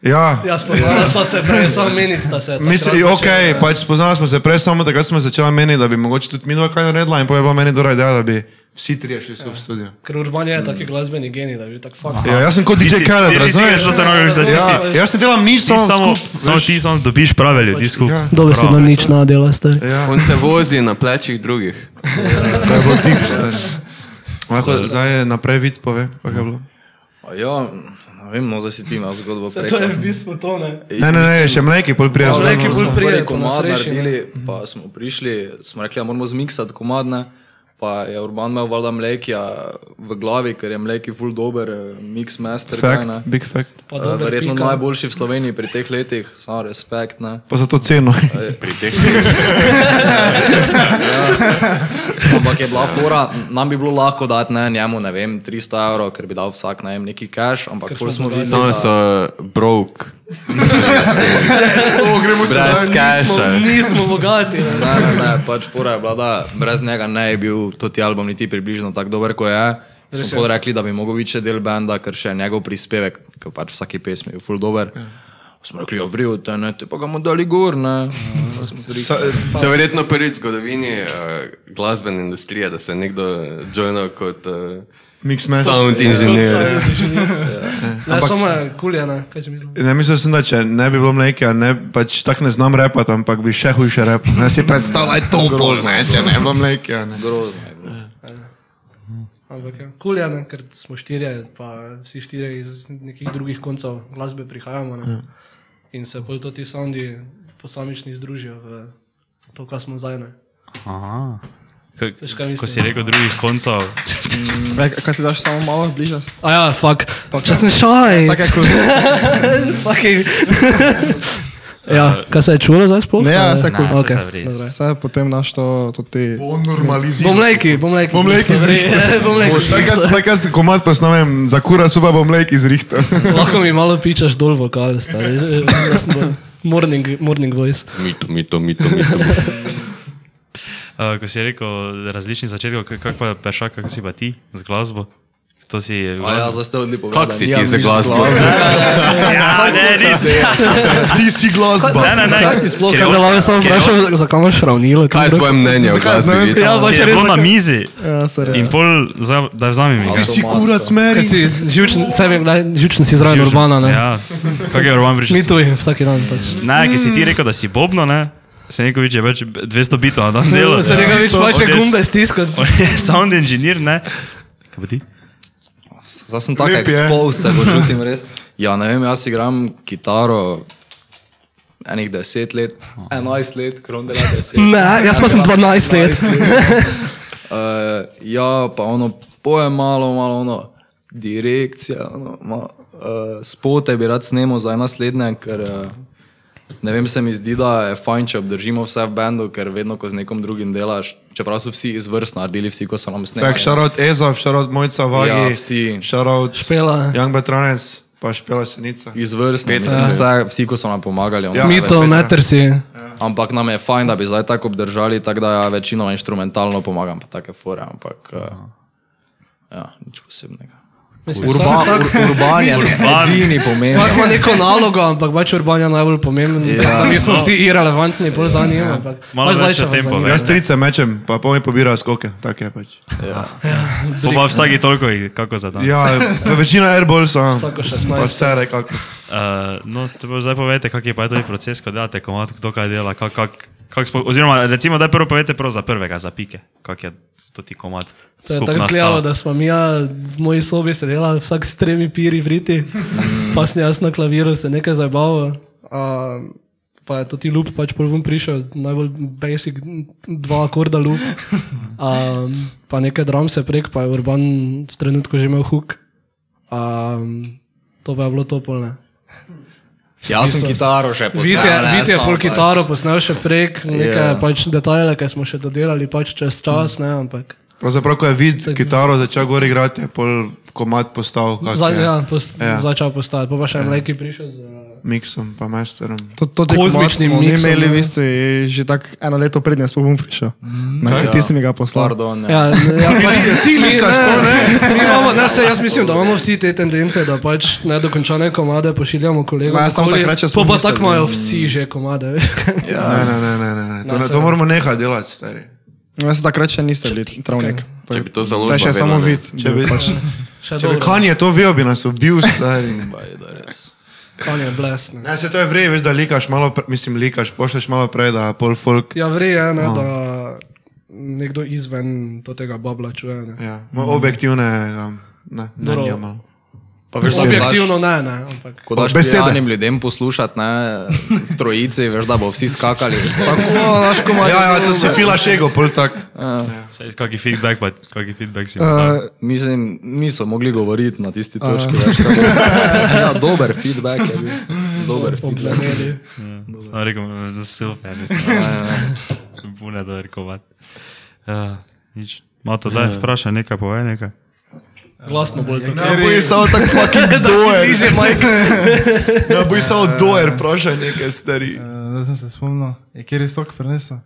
Speaker 5: Ja,
Speaker 1: Ja, spoznala sva se prej, samo menic sta se. takrat
Speaker 5: mislim,
Speaker 1: začela,
Speaker 5: ok,
Speaker 1: ja.
Speaker 5: pač spoznali smo se prej, samo takrat smo začeli meni, da bi mogoče tudi mi dva kaj naredila in pa je bila meni dobra ideja, da bi vsi trije šli so v studio.
Speaker 1: Ker Urban je taki glasbeni genij, da bi bil tak fakt.
Speaker 5: Ja, jaz sem kot
Speaker 2: Ti si-
Speaker 5: DJ Khaled,
Speaker 2: ti- ti si
Speaker 5: razumeš?
Speaker 2: veš, da se ne moreš zdaj, ti si-
Speaker 5: Ja, jaz ne delam nič,
Speaker 2: ti Samo,
Speaker 5: samo skup,
Speaker 2: samo ti samo dobiš prave ljudi skupaj.
Speaker 5: Ja.
Speaker 1: Dobro,
Speaker 2: Prav.
Speaker 1: se nam nič nadela, stari.
Speaker 5: Ja,
Speaker 4: On se vozi na plečih drugih.
Speaker 5: to je bilo tip. stari. Lahko zdaj je naprej vid pove, kaj je bilo.
Speaker 3: A Ja, ne vem, no, zdaj si ti imel zgodbo prej.
Speaker 1: To je v bistvu to, ne.
Speaker 5: Ne, ne, ne, še mleki, pol prijazen.
Speaker 2: Ja,
Speaker 1: Mleki,
Speaker 3: Ko
Speaker 1: bolj
Speaker 3: smo
Speaker 1: pride,
Speaker 3: prvi
Speaker 1: ko nas
Speaker 3: komad
Speaker 1: reši, ne.
Speaker 3: naredili, pa smo prišli, smo rekli, da moramo zmiksati komadne. Pa je Urban imel valjda mlekja v glavi, ker je mleki full dober, eh, mix master. kaj ne.
Speaker 5: Fact, big fact.
Speaker 1: Pa
Speaker 3: Eh,
Speaker 1: dobro,
Speaker 3: Verjetno
Speaker 1: pika.
Speaker 3: najboljši v Sloveniji pri teh letih, samo respekt. Ne.
Speaker 5: Pa za to ceno.
Speaker 3: Ampak je bila fora, nam bi bilo lahko dati ne, njemu, ne vem, 300 evrov, ker bi dal vsak najem neki cash, ampak pol smo videli.
Speaker 4: Samo
Speaker 5: No,
Speaker 3: da-
Speaker 4: so broke.
Speaker 6: O, gremo se
Speaker 4: Brez keša.
Speaker 1: Nismo bogati. ne.
Speaker 3: Ne, ne, ne, pač fora je bila, da brez njega ne bi bil to ti album niti približno tako dober, kot je. Smo pa rekli, da bi mogel biti še del benda, ker še njegov prispevek, ki pač vsaki pesmi je ful dober. Smo rekli, ovrijo te, ne, te pa ga bomo dali gor, ne. Pa smo se rekli,
Speaker 4: To je verjetno prvič v zgodovini uh, glasbene industrije, da se je nekdo joinal kot uh,
Speaker 5: Mixmaster.
Speaker 4: sound
Speaker 1: Sam
Speaker 4: engineer.
Speaker 1: ne želim. Ne, samo je kulje, ne. Kaj si mislil?
Speaker 5: Ne mislim, sem, da če ne bi bilo mleka, ne, pač tak ne znam repati, ampak bi še hujše rep. Ne si predstavljaj to bolj, ne, če ne bi bilo mleka. ne.
Speaker 3: grozno je bilo.
Speaker 1: Ampak ja, kul je, ne, ker smo štirje, pa vsi štirje iz nekih drugih koncev glasbe prihajamo. Ne. In se pol to ti soundi posamični združijo v to, kar smo zdaj. ne.
Speaker 2: Aha. Ko-
Speaker 1: Veš, kaj mislim?
Speaker 2: Ko si rekel drugih koncev,
Speaker 7: Kaj, kaj si daš samo malo bliže?
Speaker 1: A ja, fuck. Če sem šaj.
Speaker 7: Tako je kot.
Speaker 1: Ja, kaj se je čulo zdaj sploh?
Speaker 7: Ne, ja, vse kul.
Speaker 2: ne,
Speaker 1: Ok,
Speaker 2: okay. se vri.
Speaker 1: dobro.
Speaker 7: Vse potem naš to, to ti.
Speaker 6: On normalizira.
Speaker 1: Bom lajki, bom lajki.
Speaker 5: Bom lajki
Speaker 1: zrihe. Bom lajki.
Speaker 5: Tako jaz- Tako jaz komad posnamem, za kura suba bom mleka izrihtal.
Speaker 1: Lahko mi malo pičaš dol vokale, stari. Jaz sem bolj Morning, morning voice.
Speaker 4: Mito, mito, mito, mito.
Speaker 2: Uh, ko si rekel različnih začetkov, k- kako pa pešak, kako si pa ti z glasbo? To si je
Speaker 3: A ja,
Speaker 2: glasbo.
Speaker 3: zdaj ste odlipo. Kak
Speaker 4: si ti za glasbo?
Speaker 2: Ja, ne, nisem.
Speaker 5: Ti si glasba.
Speaker 2: Ne, ne, ne.
Speaker 3: Kaj si sploh
Speaker 2: Ker je
Speaker 1: Kaj
Speaker 2: bilo-
Speaker 1: da vam samo
Speaker 2: ker je-
Speaker 1: vprašal, zakaj imaš ravnilo?
Speaker 4: Kaj je tvoje mnenje o glasbi?
Speaker 7: Zakaj?
Speaker 4: Vito?
Speaker 1: Ja, pač
Speaker 2: ker je
Speaker 1: res.
Speaker 2: bilo na mizi
Speaker 7: Ja, se res.
Speaker 2: in pol, za, da vzamem
Speaker 1: Ja,
Speaker 2: ga.
Speaker 5: Ti si kurac meri.
Speaker 1: Ker si živčen, sem jim dal, živčen si zraven urbana, ne?
Speaker 2: Ja, kako je Urban prišel?
Speaker 1: Mi tu je vsak dan pač.
Speaker 2: Ne, ki si ti rekel, da si bobno, ne? Se neko viče več 200 bitov na dan delo.
Speaker 1: Se nekaj več pač
Speaker 2: On je s-
Speaker 1: gumbe stiskati.
Speaker 2: On je sound engineer, ne? Kaj pa ti?
Speaker 3: Zdaj sem tako
Speaker 5: Lep je.
Speaker 3: ekspol, se počutim res. Ja, ne vem, jaz igram kitaro enih deset let, enajst let, krondela deset.
Speaker 1: Ne, jaz pa sem 12 let.
Speaker 3: Uh, ja, pa ono poje malo, malo ono, direkcija, ono, malo, uh, spote bi rad snemal za naslednje, ker uh, ne vem, se mi zdi, da je fajn, če obdržimo vse v bendu, ker vedno, ko z nekom drugim delaš, čeprav so vsi izvrstno naredili, vsi, ko so nam
Speaker 5: Tak,
Speaker 3: snemali.
Speaker 5: šarot Ezov, šarot Mojca
Speaker 3: Ja,
Speaker 5: Vagi,
Speaker 3: vsi.
Speaker 5: šarot
Speaker 1: Špela.
Speaker 5: Young Betranec, pa špela Senica.
Speaker 3: Izvrstno, mislim, vse, vsi, ko so nam pomagali. Ono,
Speaker 5: Ja.
Speaker 3: ne vem.
Speaker 1: Mito, meter si.
Speaker 3: Ampak nam je fajn, da bi zdaj tako obdržali, tako da ja, večinoma instrumentalno pomagam, pa take fore, ampak uh, ja, nič eh, posebnega.
Speaker 1: Mislim,
Speaker 3: Urba,
Speaker 1: vsak- vsak-
Speaker 3: ur, urban je
Speaker 2: Urban.
Speaker 3: edini pomemben.
Speaker 1: Vsak ima neko nalogo, ampak pač urban je najbolj pomemben. Ja, mi smo vsi irrelevantni, bolj za njim. ampak
Speaker 2: Malo
Speaker 1: pač
Speaker 2: več
Speaker 1: Zajčeva
Speaker 2: o tem
Speaker 1: zanima.
Speaker 2: povej.
Speaker 5: Jaz trice mečem, pa polni pobira skoke, tako je pač.
Speaker 2: Po pa vsaki toliko jih kako zadam. Ja.
Speaker 5: Ja, večina airball so.
Speaker 1: Vsako 16.
Speaker 5: Pa vse rekako.
Speaker 2: Uh, no, te boš zdaj povete, kak je pa tudi proces, ko delate komat, kdo kaj dela, kak, kak, kak spo, oziroma recimo, da prvo povete prav za prvega, za pike, kak je to ti komat.
Speaker 1: To je
Speaker 2: skup
Speaker 1: tako
Speaker 2: nastal.
Speaker 1: izgledalo, da smo mi ja, v moji sobi sedela vsak s tremi piri vriti, pa sem jaz na klaviru se nekaj zabaval. Uh, pa je to ti lup, pač prvum prišel, najbolj basic, dva akorda lup. Um, pa nekaj dram se prek, pa je Urban v trenutku že imel huk. Um, to pa je bilo topolne.
Speaker 3: Ja, Jaz sem kitaro še poznal.
Speaker 1: Vidite,
Speaker 3: ne,
Speaker 1: vidite je
Speaker 3: samo
Speaker 1: pol
Speaker 3: pa-
Speaker 1: kitaro posnel še prek, nekaj
Speaker 3: Ja.
Speaker 1: yeah. pač detajle, ki smo še dodelali pač čez čas, ne, ampak.
Speaker 5: Pravzaprav, ko je vid kitaro začel gor igrati, je pol komat postal kak
Speaker 1: Za,
Speaker 5: je,
Speaker 1: ja, post, ja.
Speaker 5: Ja.
Speaker 1: Začel postajati, pa, pa še en leki prišel z eh,
Speaker 5: miksom pa mesterom.
Speaker 7: To, to tekmo
Speaker 1: Kozmičnim
Speaker 7: smo mi
Speaker 1: miksom,
Speaker 7: imeli
Speaker 1: ne.
Speaker 7: v bistvu že tako eno leto prednje, sploh bom prišel.
Speaker 4: Mm.
Speaker 7: Ne, ti si mi ga poslal.
Speaker 3: Pardon, ne.
Speaker 1: Ja, ja, pač,
Speaker 5: ti
Speaker 1: mi-
Speaker 5: likaš,
Speaker 1: ne,
Speaker 5: to ne.
Speaker 1: mi Imamo, ne, se, jaz mislim, da imamo vsi te tendence, da pač nedokončane komade pošiljamo kolegom.
Speaker 7: Ma, jaz samo
Speaker 1: okoli,
Speaker 7: takrat še
Speaker 1: Pa
Speaker 7: sploh
Speaker 1: pa
Speaker 7: nisem
Speaker 1: tako imajo vsi že komade. veš.
Speaker 5: Ne, ne, ne, ne, ne, ne. To,
Speaker 1: No,
Speaker 5: ne, to moramo nehati delati, stari.
Speaker 7: No, jaz sem takrat še niste bili travnik. To je-
Speaker 4: Če bi to
Speaker 7: To je
Speaker 4: založba
Speaker 7: še
Speaker 4: vedela,
Speaker 7: samo
Speaker 4: ne.
Speaker 7: vid. pač.
Speaker 5: Če bi,
Speaker 1: Še
Speaker 5: če bi
Speaker 1: dobro.
Speaker 5: Kanye to bil, bi nas ubil, stari.
Speaker 1: Kan je blesne.
Speaker 5: Ne, se to je vrej, veš, da likaš malo, pre, mislim, likaš, pošleš malo prej, da pol folk.
Speaker 1: Ja, vrej je,
Speaker 5: No.
Speaker 1: ne, da nekdo izven to tega babla čuje. Ne.
Speaker 5: Ja, mo- objektivne, um, ne, ne,
Speaker 1: Mhm. Dobro.
Speaker 5: nimamo.
Speaker 3: Pa veš, da
Speaker 1: Objektivno ne, ne, ampak.
Speaker 3: Ko daš
Speaker 5: Besede.
Speaker 3: pijanim ljudem poslušati, ne, v trojici, veš, da bo vsi skakali. Tako,
Speaker 5: Ja, ja, to se fila šego, pol tak.
Speaker 2: Saj, Kaki feedback, pa kaki feedback si. Uh,
Speaker 7: Eh,
Speaker 3: Mislim, niso mogli govoriti na tisti točki. Več, tako da- ja, dober feedback je bil. Dober feedback.
Speaker 2: Sam rekel, da si super, ja, bune da rekovat. Uh, nič. Mato, daj, vprašaj nekaj, povej nekaj.
Speaker 1: Glasno bolj tako.
Speaker 5: Ja, boji samo tak fucking doer.
Speaker 1: Že majka.
Speaker 5: Ja, boji samo doer, prošaj nekaj, stari.
Speaker 8: Da sem se spomnil, je kjer je sok prenesel.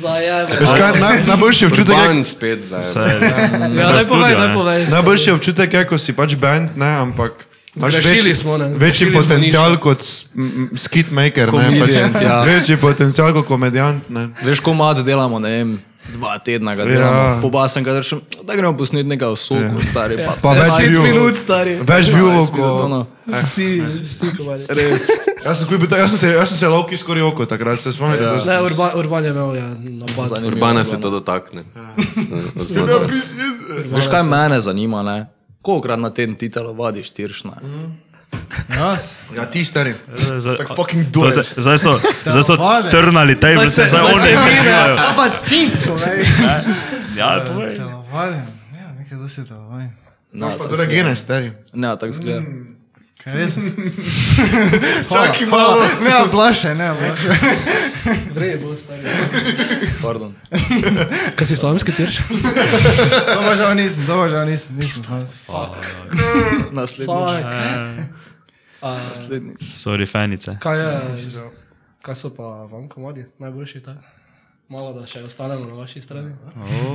Speaker 1: Zajebe.
Speaker 5: Veš kaj, naj, najboljši občutek je,
Speaker 4: Urban spet zdaj.
Speaker 2: Saj,
Speaker 1: Ja,
Speaker 2: ta
Speaker 1: daj povej,
Speaker 2: studio,
Speaker 1: daj
Speaker 2: ne.
Speaker 1: povej.
Speaker 5: najboljši občutek je, ko si pač band, ne, ampak imaš
Speaker 1: Zgrešili
Speaker 5: večji,
Speaker 1: smo, ne,
Speaker 5: večji
Speaker 1: zgrešili smo
Speaker 5: potencial kot s- m, m, skitmaker, ne, pač
Speaker 3: Komedijant, ja.
Speaker 5: večji potencial kot komedijant, ne.
Speaker 3: Veš, komat delamo, ne vem, dva tedna ga
Speaker 5: Ja.
Speaker 3: delamo. Ja. Pobasem ga, rečem, da gremo posneti nekaj v soku, ja. stari pa.
Speaker 5: Pa več
Speaker 1: 10
Speaker 5: view,
Speaker 1: minut, stari.
Speaker 5: več view, ko...
Speaker 3: Ko...
Speaker 1: Vsi, vsi komadi.
Speaker 3: Res.
Speaker 5: Jaz sem, kupil ta- jaz sem se, jaz sem se lovki skoraj oko takrat, se spomnite, da sem...
Speaker 1: Ne, Urban, Urban je imel ja, napad.
Speaker 3: Zanimivo, no.
Speaker 4: Urbana se
Speaker 3: Urbana.
Speaker 4: to dotakne.
Speaker 5: Ja,
Speaker 4: Zelo dobro.
Speaker 3: Veš, kaj mene zanima, ne? Kolikrat na teden ti telovadiš, tiršna?
Speaker 5: Mhm.
Speaker 8: Jaz?
Speaker 5: Ja, ti stari.
Speaker 2: Zdaj-
Speaker 5: Tak fucking
Speaker 2: To
Speaker 5: doer.
Speaker 2: zdaj- Zdaj so, zdaj so
Speaker 8: Telovade.
Speaker 2: trnali, taj vrste, zdaj oni igrajo.
Speaker 8: Pa ti, povej.
Speaker 2: Ja, povej.
Speaker 8: Telovadim. Ja, nekaj dosti telovadim.
Speaker 3: Ne,
Speaker 5: Imaš No, pa Mm. dobre gene, stari.
Speaker 3: Ne, tako zgleda.
Speaker 8: Kaj res?
Speaker 5: Čakaj malo.
Speaker 8: Ne, oblaše, ne, oblaše.
Speaker 1: Vrej bo stari.
Speaker 3: Pardon.
Speaker 1: Kaj si sam skitirš?
Speaker 8: Dobro, žal nisem, dobro, žal nisem. Nisem no. sam.
Speaker 3: Naslednjič.
Speaker 1: Fuck.
Speaker 2: Eh.
Speaker 1: A,
Speaker 3: Naslednjič.
Speaker 2: Sorry, fanice.
Speaker 1: Kaj je?
Speaker 2: no.
Speaker 1: Kaj so pa vam komadi? Najboljši ta? Malo da še ostanemo na vaši strani.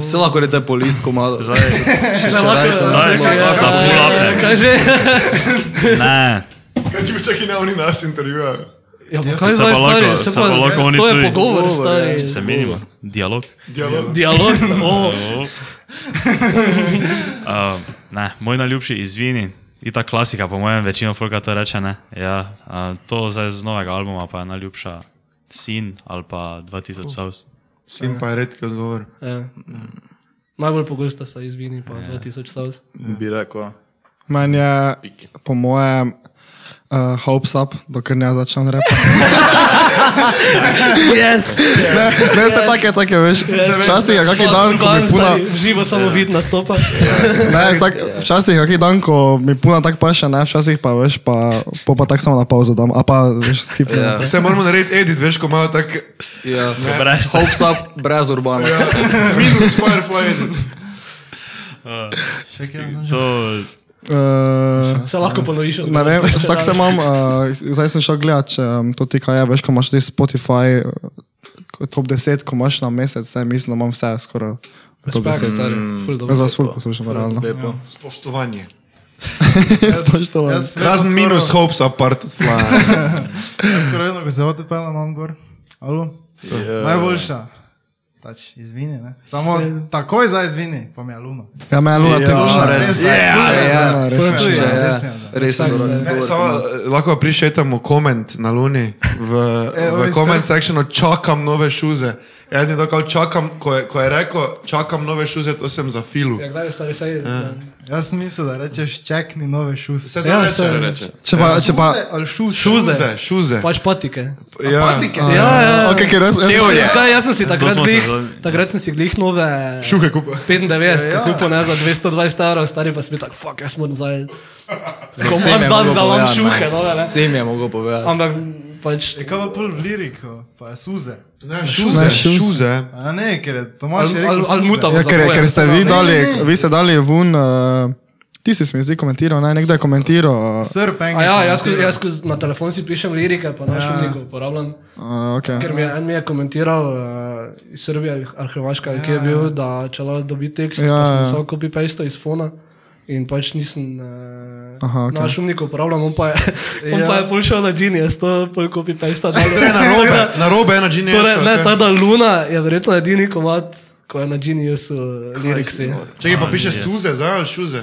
Speaker 3: Se lahko rečete po listku malo.
Speaker 2: Zdaj,
Speaker 3: Če
Speaker 1: Še lahko-
Speaker 3: rajte,
Speaker 2: daj,
Speaker 1: čakaj, ja,
Speaker 2: da smo
Speaker 1: ja,
Speaker 2: lahko.
Speaker 1: Kaj že?
Speaker 2: ne.
Speaker 5: Kaj ti čakaj ne, oni nas intervjujajo.
Speaker 1: Ja, pa kaj
Speaker 2: Se
Speaker 1: zdaj
Speaker 2: pa
Speaker 1: stari?
Speaker 2: lahko-
Speaker 1: Se
Speaker 2: se
Speaker 1: pa,
Speaker 2: pa lahko oni
Speaker 1: to je
Speaker 2: tudi-
Speaker 1: pogovor ja, stari.
Speaker 2: Če se menimo, dialog.
Speaker 1: Dialog? O,
Speaker 2: Um, ne, moj najljubši izvini, ita klasika, po mojem, večino folka to reče. Ne? Ja, uh, to zdaj z novega albuma pa je najljubša Sin ali pa 2000 South.
Speaker 5: Sin pa je redki odgovor.
Speaker 1: ja. Najbolj pogosto se izvini
Speaker 2: Ja.
Speaker 1: pa 2000 saus.
Speaker 3: bi rekel.
Speaker 7: Meni je, po mojem, uh, hopes up, dokler ne začnem reči. yes! Ne, ne se take, take, veš. Včasih je kakšen dan, ko mi puna, Ja.
Speaker 1: V živo
Speaker 2: Ja.
Speaker 1: samo vid nastopa.
Speaker 7: ne, tak, včasih je kakšen dan, ko mi puna tako paše, ne, včasih pa veš, pa, pa, pa tako samo na pauzo dam, a pa veš, skipnem.
Speaker 3: Ja.
Speaker 5: Vse moramo narediti edit, veš, ko malo tak...
Speaker 3: Ja,
Speaker 2: Brez.
Speaker 3: Hopes up, brez urbana.
Speaker 5: Ja, minus Firefly edit.
Speaker 8: Še kjer? ne?
Speaker 2: To
Speaker 7: Uh,
Speaker 1: Se lahko ponoviš.
Speaker 7: Ne vem, vsak eh, se imam, uh, zdaj sem šel gledat, če um, to ti kaj je, veš, ko imaš ti Spotify, uh, top 10, ko imaš na mesec, saj mislim, da imam vse skoraj. v Top 10.
Speaker 1: stari, ful dobro.
Speaker 7: Jaz vas ful poslušam, realno.
Speaker 3: Lepo.
Speaker 5: Spoštovanje.
Speaker 7: Spoštovanje.
Speaker 5: Razen minus hopes apart od fly.
Speaker 8: Jaz skoraj vedno, ko se odpeljem, imam gor. Alo?
Speaker 3: Ja.
Speaker 8: Najboljša. Pač izvini, ne? Samo takoj za izvini, pa mi je luna.
Speaker 7: Ja, me je luna te
Speaker 3: Ja,
Speaker 7: duša.
Speaker 3: res, ja, ja,
Speaker 7: Ja, res
Speaker 8: To je
Speaker 7: me
Speaker 8: tudi,
Speaker 7: je.
Speaker 8: ja,
Speaker 3: ja.
Speaker 8: res mi je, da.
Speaker 3: Res je,
Speaker 5: Ne, samo eh, lahko prišetamo koment na Luni v,
Speaker 8: E,
Speaker 5: v
Speaker 8: ovi
Speaker 5: comment
Speaker 8: se-
Speaker 5: sectionu, čakam nove šuze. Eden je tako, čakam, ko je, ko je rekel, čakam nove šuze, to sem za filu.
Speaker 1: Ja, kdaj je stari sej?
Speaker 8: Jaz sem mislil, da rečeš čekni nove šuse.
Speaker 5: Vse to reče.
Speaker 1: Ja, saj.
Speaker 4: reče.
Speaker 7: Če pa, če pa,
Speaker 8: Ali šuse?
Speaker 5: Šuze, šuze.
Speaker 1: Pač patike.
Speaker 5: Ja.
Speaker 8: Patike.
Speaker 1: Ja, ja. ja.
Speaker 7: ok, ker jaz, jaz,
Speaker 1: Skaj, jaz sem si takrat
Speaker 2: smo se
Speaker 1: glih,
Speaker 2: zdaj-
Speaker 1: takrat sem si glih nove
Speaker 5: Šuhe kupa.
Speaker 1: 95, ja, ja. kupo ne za 220 evrov, stari pa si bil tak, fuck, jaz moram zdaj.
Speaker 3: Vsem
Speaker 1: Komar
Speaker 3: je
Speaker 1: dan,
Speaker 3: mogel
Speaker 1: da vam
Speaker 3: povedati,
Speaker 1: šuhe,
Speaker 3: ne.
Speaker 1: nove, ne.
Speaker 3: Vsem je mogel povedati.
Speaker 1: Ampak pač,
Speaker 8: Je kaj pa pol v liriko, pa je suze.
Speaker 5: Ne,
Speaker 7: Ne,
Speaker 5: šuze,
Speaker 7: šuze.
Speaker 5: šuze.
Speaker 8: A ne, ker je Tomaš je
Speaker 1: ali,
Speaker 8: rekel
Speaker 1: ali, ali
Speaker 8: suze.
Speaker 1: mutavo.
Speaker 7: Ja, ker,
Speaker 1: zapojem,
Speaker 7: ker ste
Speaker 1: ne,
Speaker 7: vi
Speaker 1: ne,
Speaker 7: dali,
Speaker 8: ne, ne.
Speaker 7: vi ste dali vun, uh, ti si mi zdi komentiral, naj nekdo je komentiral. eh,
Speaker 8: Srp, enega.
Speaker 1: A ja, jaz, ko- jaz ko na telefon si pišem lirike, pa na
Speaker 8: Ja.
Speaker 1: šumniku uporabljam.
Speaker 7: Uh, okay.
Speaker 1: Ker mi je en mi je komentiral uh, iz Srbije ali- ali Hrvaška, ja, ki je bil, da če lahko dobi tekst,
Speaker 7: Ja,
Speaker 1: ja,
Speaker 7: ja.
Speaker 1: ja. samo copy paste iz fona in pač nisem uh,
Speaker 7: Aha,
Speaker 1: okay.
Speaker 7: okej.
Speaker 1: na šumniku uporabljal, on pa je, on
Speaker 8: Ja.
Speaker 1: ja. pa je prišel na Genius, to pol copy paste.
Speaker 5: Torej, na robe, na robe je na Genius.
Speaker 1: Torej, ne,
Speaker 5: ok.
Speaker 1: ta da Luna je verjetno edini komat, ko je na Geniusu liriksi.
Speaker 5: Čekaj, pa piše suze, zdaj ali šuze.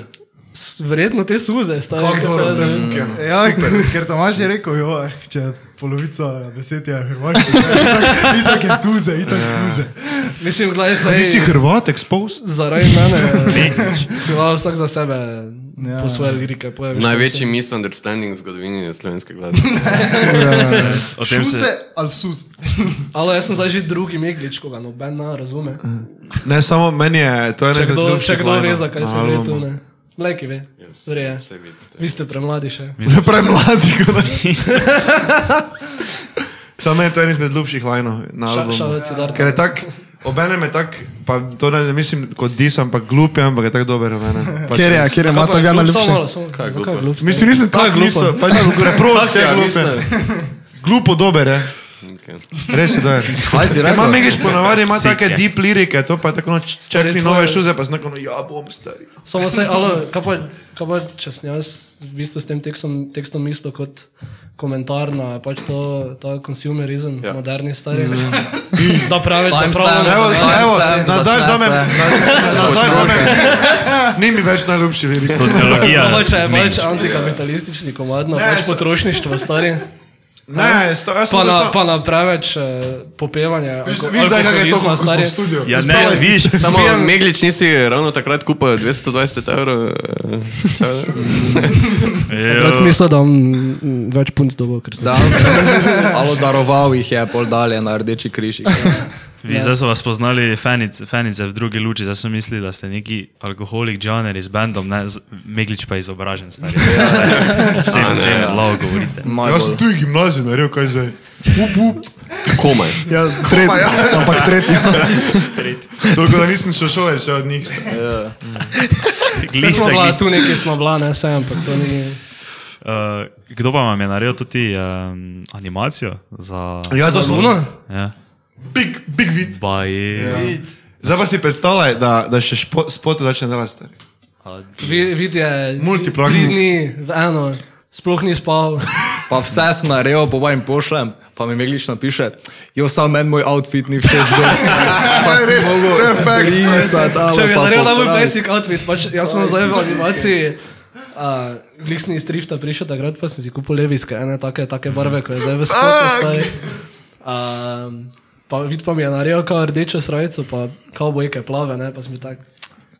Speaker 1: S- Verjetno te suze, stari.
Speaker 5: Kako
Speaker 1: kaj
Speaker 5: dobro,
Speaker 1: te-
Speaker 5: ne, fukeno.
Speaker 8: Ja, ker, ker Tomaš je rekel, jo, eh, če je polovica besed je hrvaška, itak- itak je suze, itak suze.
Speaker 1: Mislim, gledaj
Speaker 5: Ti si
Speaker 1: se.
Speaker 5: Hrvat, exposed?
Speaker 1: Zaradi mene, si lahko vsak za sebe ja. po svoje lirike poje.
Speaker 4: Največji misunderstanding v zgodovini slovenske glasbe.
Speaker 2: O tem se...
Speaker 8: Šuse ali suze.
Speaker 1: Ali jaz sem zdaj že drugi meglič, koga noben ne razume.
Speaker 5: Ne, samo meni je, to je
Speaker 1: Če
Speaker 5: nekaj
Speaker 1: kdo,
Speaker 5: ljubših
Speaker 1: če kdo ve,
Speaker 5: linov
Speaker 1: zakaj
Speaker 5: na
Speaker 1: se gre tu,
Speaker 5: albumu.
Speaker 1: ne. Mleki ve, verje. Vi ste premladi še.
Speaker 5: Premladi, kot da si. Samo meni je to en izmed ljubših lajnov na
Speaker 1: Ša-
Speaker 5: albumu.
Speaker 1: Šalec je dar.
Speaker 5: Ker je tak, obenem je tak, pa to ne, ne mislim kot dis, ampak glup je, ampak je tak dober obenem. Pač,
Speaker 7: Ker je, ker je, ima ta gana lepši.
Speaker 1: Kaj je glup?
Speaker 5: Mislim, nisem
Speaker 1: Kaj je
Speaker 5: tako
Speaker 1: glupo?
Speaker 5: glup, pač preprost je
Speaker 4: Ja,
Speaker 5: glup.
Speaker 4: mislim.
Speaker 5: Glupo dober je.
Speaker 4: Okay.
Speaker 5: Res je, da je.
Speaker 3: Kaj si
Speaker 5: Ker Ima
Speaker 3: rekel?
Speaker 5: Megiš ponavadi, ima
Speaker 2: Sik
Speaker 5: take
Speaker 2: je.
Speaker 5: deep lirike, to pa je tako, no, č-
Speaker 1: Stari,
Speaker 5: čakni
Speaker 1: to
Speaker 5: nove
Speaker 1: je-
Speaker 5: šuze, pa sem tako, no, ja bom stari.
Speaker 1: Samo se, ali kaj pa, kaj pa če sem jaz v bistvu s tem tekstom, tekstom mislil kot komentar na pač to, ta consumerizem, ja. moderni stari. Da preveč se
Speaker 3: Timestamp.
Speaker 5: Evo,
Speaker 1: pravi.
Speaker 5: evo,
Speaker 3: Timestamp,
Speaker 5: nazaj
Speaker 3: začne
Speaker 5: vzamem,
Speaker 3: se.
Speaker 5: nazaj- nazaj vzamem. Ni mi več najljubši lirik.
Speaker 2: Sociologija.
Speaker 1: Pač je
Speaker 2: zmenj.
Speaker 1: pač antikapitalistični komad, na pač
Speaker 5: se-
Speaker 1: potrošništvo stari.
Speaker 5: Ne, sta- jaz sem
Speaker 1: Pa
Speaker 5: to
Speaker 1: na,
Speaker 5: sam-
Speaker 1: pa na preveč eh, popevanje. alko-
Speaker 5: Viš zdaj, kako je to,
Speaker 1: alkoholizma,
Speaker 5: ko smo
Speaker 1: stari.
Speaker 5: v studiu.
Speaker 2: Ja, ne, vidiš,
Speaker 4: Samo Meglič nisi ravno takrat kupil 220 evrov. eh, čao.
Speaker 2: Ja.
Speaker 1: Rad smisel, da imam več punc dobo, ker sem
Speaker 3: Da, ali daroval jih je, pol dalje na rdeči križik.
Speaker 2: Vi zdaj so vas poznali fanice, fanice v drugi luči, zdaj so mislili, da ste neki alkoholik džaner z bandom, ne, z- Meglič pa je izobražen star. Vsem tem lao govorite.
Speaker 5: Jaz sem
Speaker 3: Najbolj.
Speaker 5: tu gimnazij naredil, kaj zdaj.
Speaker 4: Komaj.
Speaker 7: Ja, tretji, ampak tretji.
Speaker 5: Toliko, da nisem šel šole še od njih.
Speaker 1: Vse smo bila
Speaker 2: Glisek.
Speaker 1: tu nekaj smo bila, ne sem, ampak to ni.
Speaker 2: Uh, kdo pa vam je naredil tudi um, animacijo za...
Speaker 5: Ja, to smo.
Speaker 1: Luno?
Speaker 2: Ja.
Speaker 5: Big, big vid.
Speaker 2: Baje.
Speaker 1: Ja.
Speaker 5: Zdaj pa si predstavljaj, da, da še špo- spote začne delati stari.
Speaker 1: Vi- Vid je
Speaker 5: Multiplak.
Speaker 1: tri dni v eno, sploh ni spal.
Speaker 3: Pa vse sem naredil, po mojem pošljem, pa mi meglično piše, jo sam meni moj outfit ni všeč, da sem
Speaker 5: res, to je fact, to je
Speaker 3: se
Speaker 1: Če bi naredil najbolj
Speaker 3: pejsi.
Speaker 1: basic outfit, pač jaz sem zdaj v animaciji. Uh, Gliksni iz Trifta prišel takrat, pa sem si kupil levijske, ene take, take barve, kot je zdaj v spotu. Um, pa vid pa mi je naredil kao rdečo srajco, pa kao bojke plave, ne, pa sem bil tak.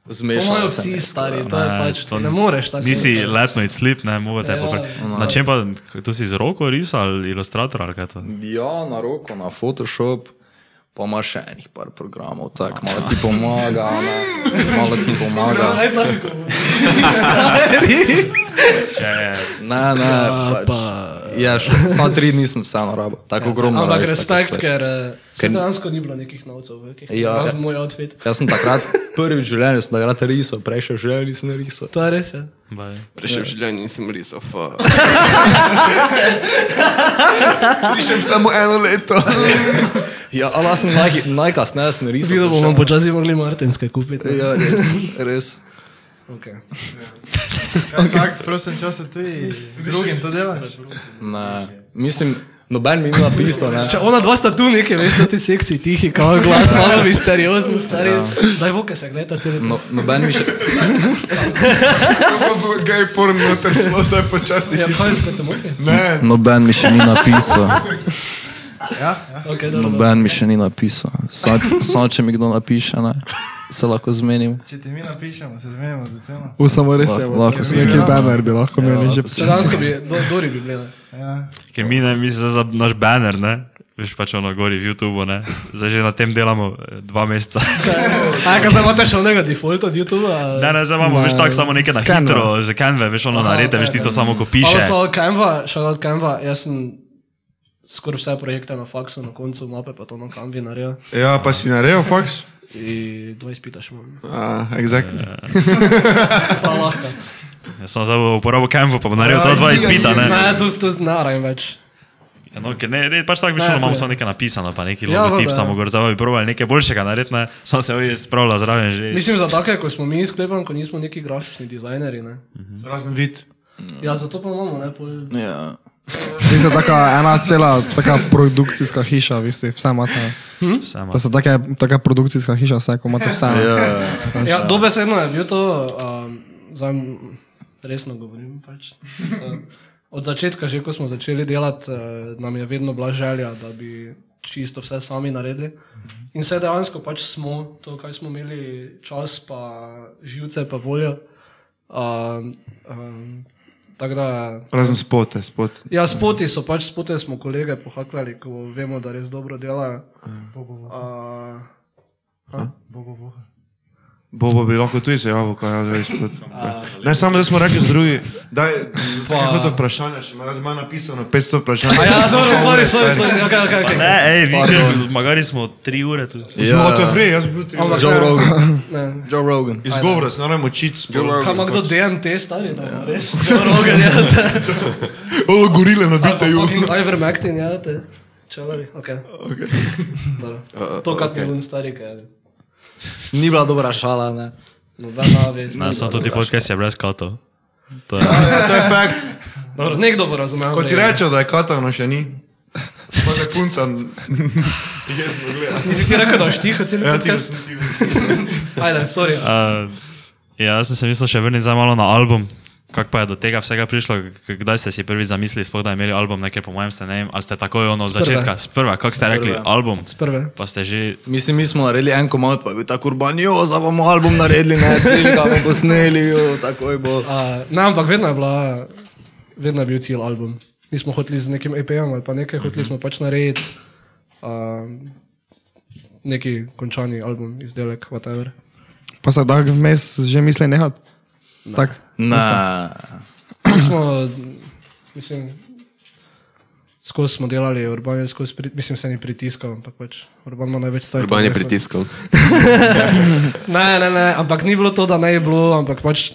Speaker 1: To imajo
Speaker 3: Zmešal sem.
Speaker 1: vsi stari, to je
Speaker 2: Ne,
Speaker 1: pač,
Speaker 2: to
Speaker 1: ne moreš tako.
Speaker 2: Nisi letno in slip, ne, mogoče.
Speaker 1: Ja,
Speaker 2: Ja, na čem pa, to si z roko risal ali ilustrator ali kaj to?
Speaker 3: Ja, na roko, na Photoshop, pa ima še enih par programov, tako malo ti pomaga, ne? malo ti pomaga.
Speaker 1: Stari.
Speaker 3: Ne, ne, pač.
Speaker 1: Pa,
Speaker 3: Ja, še, samo tri dni sem vseeno rabo. Tako ogromno.
Speaker 1: Ja, Ampak
Speaker 3: res, tako
Speaker 1: respekt,
Speaker 3: stvari.
Speaker 1: ker se
Speaker 3: Ker-
Speaker 1: dejansko ni bilo nekih novcev, ki jih
Speaker 3: Ja,
Speaker 1: imam
Speaker 3: ja.
Speaker 1: za moj outfit.
Speaker 3: Jaz sem takrat prvič v življenju, sem takrat risal, prej še v življenju nisem risal.
Speaker 1: To je res. Ja.
Speaker 4: Prejšel v življenju nisem risal. fuck. eh,
Speaker 6: Pišem samo eno leto.
Speaker 3: Ja, ali jaz sem naj, najkasneje sem risal.
Speaker 1: Zgledal bomo
Speaker 3: prišel.
Speaker 1: počasi mogli Martinske kupiti.
Speaker 3: Ja, res, res.
Speaker 1: Okay.
Speaker 8: Ampak Ja. v prostem času tudi drugim to delaš.
Speaker 3: Ne, mislim, noben mi ni napisal, ne.
Speaker 1: Če ona dva sta tu nekaj, veš, da ti seksi, tihi, kao glas, malo misteriozni, stari. Ja. Zdaj voke se gledata celo celo.
Speaker 3: No, noben mi še.
Speaker 6: Gaj porn noter smo zdaj počasni.
Speaker 1: Ja, kaj ste tam mogli?
Speaker 6: Ne,
Speaker 3: Noben mi še ni napisal.
Speaker 1: Okay, dobro, dobro.
Speaker 3: Noben mi še ni napisal. Samo sam, če mi kdo napiše, ne, se lahko zmenim.
Speaker 8: Če ti mi napišemo, se zmenimo za ceno.
Speaker 7: U, samo res je,
Speaker 3: Lahko- lahko
Speaker 7: tak
Speaker 3: si-
Speaker 7: neki banner bi lahko imeli že.
Speaker 1: Če dansko bi, do, Dori bi gledala.
Speaker 2: Ker mi ne, mi za, za naš banner, ne? Veš pač ono gori v YouTubu, ne? Zdaj že na tem delamo eh, dva meseca.
Speaker 1: A kaj zdaj imate še onega default od YouTube-a?
Speaker 2: Ne, ne, zdaj imamo, veš, tako samo nekaj na
Speaker 7: Scanva.
Speaker 2: hitro, z Canve, veš, ono naredi, veš, tisto samo ko
Speaker 1: Malo
Speaker 2: piše.
Speaker 1: ja, so Canva, šel od Canva, jaz sem skoraj vse projekte na faksu, na koncu mape pa to na Canvi naredil.
Speaker 5: Ja, pa si naredil, faks?
Speaker 1: In dva izpita še imam.
Speaker 5: Ah, exactly.
Speaker 1: Samo lahko.
Speaker 2: Jaz sem zdaj bo uporabil Canvo, pa bom
Speaker 1: Ja,
Speaker 2: naredil ta dva izpita, ne?
Speaker 1: Ne, tu tu ne rabim več.
Speaker 2: Ja, No, ker ne, red, pač
Speaker 1: Ne,
Speaker 2: tako večino imamo
Speaker 1: ne.
Speaker 2: samo nekaj napisano, pa neki
Speaker 1: Ja,
Speaker 2: logotip
Speaker 1: valjda, ja.
Speaker 2: samo gor, zdaj bi probali nekaj boljšega narediti, ne? Sam se ovdje spravila zraven že.
Speaker 1: Mislim, za take, ko smo mi sklepam, ko nismo neki grafični dizajnerji. Ne.
Speaker 5: Razen vid.
Speaker 1: Ja, zato pa imamo, ne, pol...
Speaker 3: Ja.
Speaker 7: Vi ste taka ena cela taka produkcijska hiša, vi ste vse imate.
Speaker 2: Vse ima.
Speaker 7: To so take, taka produkcijska hiša, vse, ko imate vse.
Speaker 3: Ja,
Speaker 1: Ja, dobesedno je bil to, um, zdaj resno govorim. Pač. Za- Od začetka, že ko smo začeli delati, eh, nam je vedno bila želja, da bi čisto vse sami naredili. In se dejansko pač smo, to, kaj smo imeli čas, pa živce, pa voljo. Um, um, tako da
Speaker 5: Razen spote, spot.
Speaker 1: Ja, spoti so pač, spoti smo kolege pohakljali, ko vemo, da res dobro delajo. Uh,
Speaker 5: Bobo bi lahko tudi se javil, kaj je zdaj spot. Ne, samo da smo rekli z drugi. Daj, kako to vprašanje, še ima- ima napisano 500 vprašanj.
Speaker 1: ja, dobro, sorry, sorry, sorry, okay, okay, okay.
Speaker 2: Ne, ej, vi, magari smo tri ure tu.
Speaker 5: Ja, to je free, jaz bi bil tri.
Speaker 1: Ampak-
Speaker 3: Joe Rogan.
Speaker 1: Ne.
Speaker 3: Joe Rogan.
Speaker 5: Izgovor, se moram učiti. spot.
Speaker 1: Kaj ima kdo DMT stari, da ja. res? Droge delate.
Speaker 5: Olo gorile nabite ju.
Speaker 1: Ivermectin, ja, te. Čelari, ok. Dobro. To, kar ti je un stari, kaj. No,
Speaker 3: Ni bila dobra šala, ne.
Speaker 1: Nobena vest.
Speaker 2: Ne, so tudi podcast je brez katov. To je.
Speaker 5: Ja, to je fakt.
Speaker 1: Dobro, nekdo bo razumel.
Speaker 5: Ko ti
Speaker 1: zdaj.
Speaker 5: rečejo, da je katano še ni. Pa ne punca. Jezno gledam.
Speaker 1: Nisi ti rekel, da štiha cel
Speaker 5: Ja, ti
Speaker 1: podcast?
Speaker 5: sem ti.
Speaker 1: Ajde, sorry.
Speaker 2: Uh, ja, jaz sem se mislil še vrniti zdaj malo na album. Kako pa je do tega vsega prišlo? K- Kdaj ste si prvi zamislili, sploh, da je imeli album, nekaj po mojem ste ne vem, ali ste takoj ono od
Speaker 1: Sprva.
Speaker 2: začetka, sprva, kako ste rekli, album,
Speaker 1: Prve.
Speaker 2: pa ste že,
Speaker 3: Mislim, mi smo naredili en komad, pa je bil tako urban, jo, zdaj bomo album naredili, ne, cilj ga bomo posneli, jo, takoj bo.
Speaker 1: A, ne, ampak vedno je, bila, vedno je bil cilj album. Nismo hoteli z nekim EP-om ali pa nekaj, hoteli
Speaker 2: Mhm.
Speaker 1: smo pač narediti um, neki končani album, izdelek, whatever.
Speaker 7: Pa se da vmes že misli nehat. Tak.
Speaker 3: Ne,
Speaker 1: Mi smo, mislim, skozi smo delali, Urban je skozi, pri, mislim, se ni pritiskal, ampak pač Urban ima največ stvari.
Speaker 4: Urban je pritiskal.
Speaker 1: Ne, ne, ne, ampak ni bilo to, da ne je bilo, ampak pač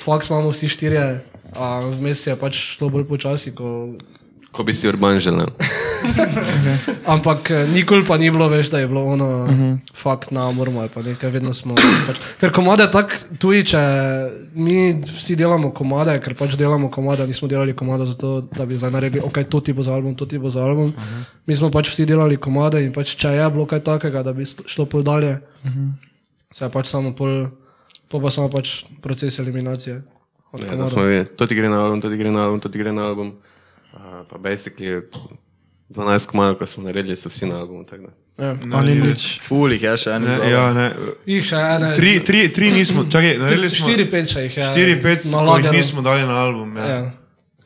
Speaker 1: faks imamo vsi štirje, a vmes je pač šlo bolj počasi, ko
Speaker 4: Ko bi si Urban želel.
Speaker 1: Ampak eh, nikoli pa ni bilo več, da je bilo ono, uh -huh. fakt na mormo ali pa nekaj, vedno smo. Pač, ker komade tako tuji, če mi vsi delamo komade, ker pač delamo komade, nismo delali komada zato, da bi zdaj naredili, ok, to ti bo za album, to ti bo za album. Uh -huh. Mi smo pač vsi delali komade in pač če je bilo kaj takega, da bi sl- šlo pol dalje, uh -huh. se je pač samo pol, pol pa samo pač proces eliminacije. od
Speaker 4: Ja,
Speaker 1: komadov.
Speaker 4: to, smo vi, to ti gre na album, to ti gre na album, to ti gre na album. Uh, pa basically 12 komadov, ko smo naredili, so vsi na albumu. tako da.
Speaker 1: Ja.
Speaker 7: Ali nič.
Speaker 3: fulih je še en
Speaker 5: Ne,
Speaker 3: izgovor.
Speaker 5: Ja, ne.
Speaker 1: Jih še ene.
Speaker 5: Tri, tri, tri nismo, čakaj, naredili smo.
Speaker 1: 4-5 še jih je.
Speaker 5: 4-5,
Speaker 1: na
Speaker 5: ko jih
Speaker 1: lageru.
Speaker 5: nismo dali na album. Ja.
Speaker 1: no. Ja.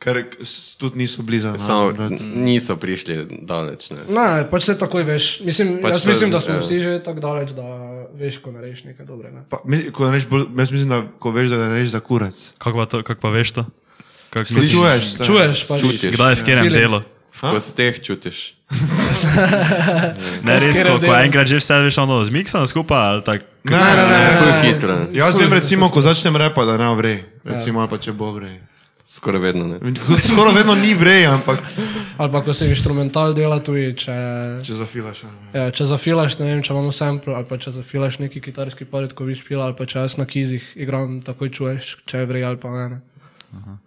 Speaker 5: Ker s- tudi niso blizu. no. na
Speaker 4: Samo
Speaker 5: album dati.
Speaker 4: n- niso prišli daleč. Ne.
Speaker 1: Ne, pač se takoj veš. Mislim,
Speaker 4: Pač
Speaker 1: pač jaz
Speaker 4: to-
Speaker 1: mislim, da smo
Speaker 4: ja.
Speaker 1: vsi že tako daleč, da veš, ko narediš nekaj dobrega. Ne?
Speaker 5: Pa, mi- ko narediš bolj- Jaz mislim, da ko veš, da ne rečeš za kurac.
Speaker 2: kako pa, to- kako pa veš to?
Speaker 5: Kako slišiš?
Speaker 1: Čuješ, pač.
Speaker 4: Ja, Čutiš.
Speaker 2: Kdaj je v katerem
Speaker 1: Feeling.
Speaker 2: delu?
Speaker 4: V kosteh čutiš.
Speaker 2: Ne, res,
Speaker 1: katerem
Speaker 2: ko, ko
Speaker 1: delu?
Speaker 2: enkrat že vse veš, ono zmiksano skupaj ali tako.
Speaker 5: Ne, ne, ne.
Speaker 4: Tako je hitro.
Speaker 5: Jaz vem, recimo, ko začnem repa, da ne vre. Recimo, ali pa če bo vre.
Speaker 4: Skoraj vedno
Speaker 5: Ja.
Speaker 4: ne.
Speaker 5: Skoro vedno ni vre, ampak
Speaker 1: Ali pa ko se instrumental dela tuji, če,
Speaker 5: če zafilaš. a.
Speaker 1: ja, če zafilaš, ne vem, če imamo sample, ali pa če zafilaš neki kitarski palet, ko viš pila, ali pa če jaz na kizih igram, takoj čuješ, če je vrej ali pa ne. ne.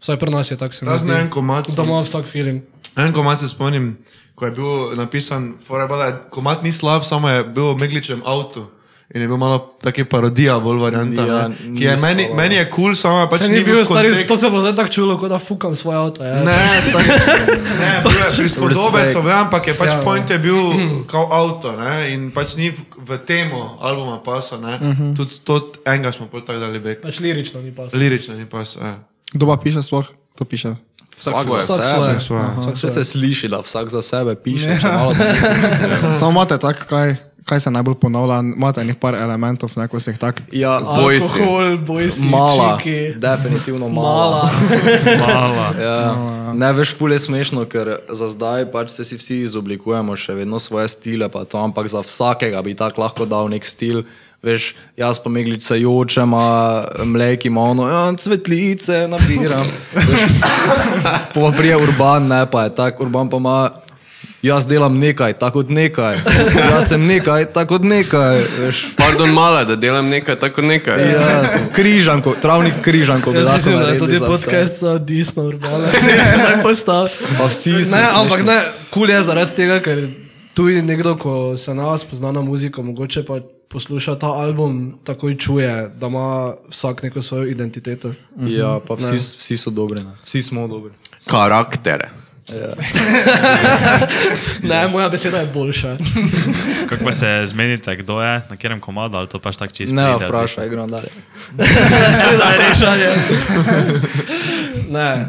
Speaker 1: Vsaj pri nas je tako, se mi
Speaker 5: Jaz
Speaker 1: zdi.
Speaker 5: na en komad.
Speaker 1: Da ima vsak feeling.
Speaker 5: En komad se spomnim, ko je bil napisan, da komad ni slab, samo je bil v megličem avtu. In je bil malo take parodija, bolj varianta.
Speaker 3: Ja,
Speaker 5: Ja,
Speaker 3: ni
Speaker 5: je meni,
Speaker 3: spala. ja.
Speaker 5: meni je kul, cool, samo je pač
Speaker 1: Se ni bil stari,
Speaker 5: kontekst.
Speaker 1: to se bo zdaj tako čulo, kot da fukam svoje avto. Ja.
Speaker 5: Ne, stari, ne, bil je prispodobe so
Speaker 3: Respekt.
Speaker 5: bile, ampak je pač
Speaker 1: Ja,
Speaker 5: ja,
Speaker 1: ja.
Speaker 5: point je bil kot avto ne, in pač ni v, v temo albuma paso. Uh -huh. Tudi to enega smo pol tako dali bek.
Speaker 1: Pač lirično ni pa.
Speaker 5: Lirično ni paso. Ja.
Speaker 7: Kdo pa piše sploh? To piše.
Speaker 3: Vsak za
Speaker 1: Vsak
Speaker 3: sebe.
Speaker 1: svoje.
Speaker 5: svoje.
Speaker 1: Vsak
Speaker 3: Vse
Speaker 1: svoje.
Speaker 3: se sliši, da vsak za sebe piše. če malo pomisliš.
Speaker 7: Samo imate tak, kaj, kaj se najbolj ponavlja, imate enih par elementov, neko se jih tak.
Speaker 3: Ja,
Speaker 4: Boj si.
Speaker 1: Alkohol, boj si,
Speaker 3: mala.
Speaker 1: čiki,
Speaker 3: Definitivno mala.
Speaker 1: mala.
Speaker 2: Mala.
Speaker 3: Ja, ne veš, ful je smešno, ker za zdaj pač se si vsi izoblikujemo še vedno svoje stile, pa to, ampak za vsakega bi tako lahko dal nek stil. Veš, jaz pa meglice jočem, a mleki ima ono, ja, cvetlice nabiram. Veš, Pa prije urban, ne pa je tako, urban pa ima. Jaz delam nekaj, tako od nekaj. Jaz sem nekaj, tako od nekaj. Veš.
Speaker 4: Pardon, mala, da delam nekaj, tako nekaj.
Speaker 3: Ja, križanko, travnik križanko. bi
Speaker 1: Jaz
Speaker 3: lahko
Speaker 1: mislim, da je
Speaker 3: naredili
Speaker 1: tudi
Speaker 3: za vse.
Speaker 1: podcast za desno urbano. Zdaj postavi.
Speaker 3: Pa vsi smo
Speaker 1: Ne, ampak
Speaker 3: smešni.
Speaker 1: ne, kul je zaradi tega, ker tu je nekdo, ko se na vas pozna na muziko, mogoče pa posluša ta album, takoj čuje, da ima vsak neko svojo identiteto.
Speaker 3: Ja, pa vsi, vsi so dobri, ne. vsi smo dobri.
Speaker 4: Karakter.
Speaker 3: Ja.
Speaker 1: Ne, moja beseda je boljša.
Speaker 2: Kako pa se zmenite, kdo je, na katerem komadu ali to pač tako čisto.
Speaker 3: Ne,
Speaker 2: pride?
Speaker 3: vprašaj, gremo dalje.
Speaker 1: Beseda je rešanje. Ne,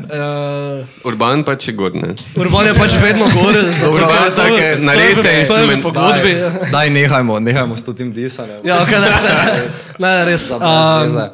Speaker 1: uh,
Speaker 4: Urban pa če god ne.
Speaker 1: urban je pač vedno gore.
Speaker 4: Dobro, tako je, naredi se instrument-
Speaker 1: Pogodbi. ja.
Speaker 3: Daj, daj, nehajmo, nehajmo s tem disanjem.
Speaker 1: Ja, ok, ne, se, ne, res.
Speaker 3: Za brez
Speaker 1: Um,
Speaker 3: veze.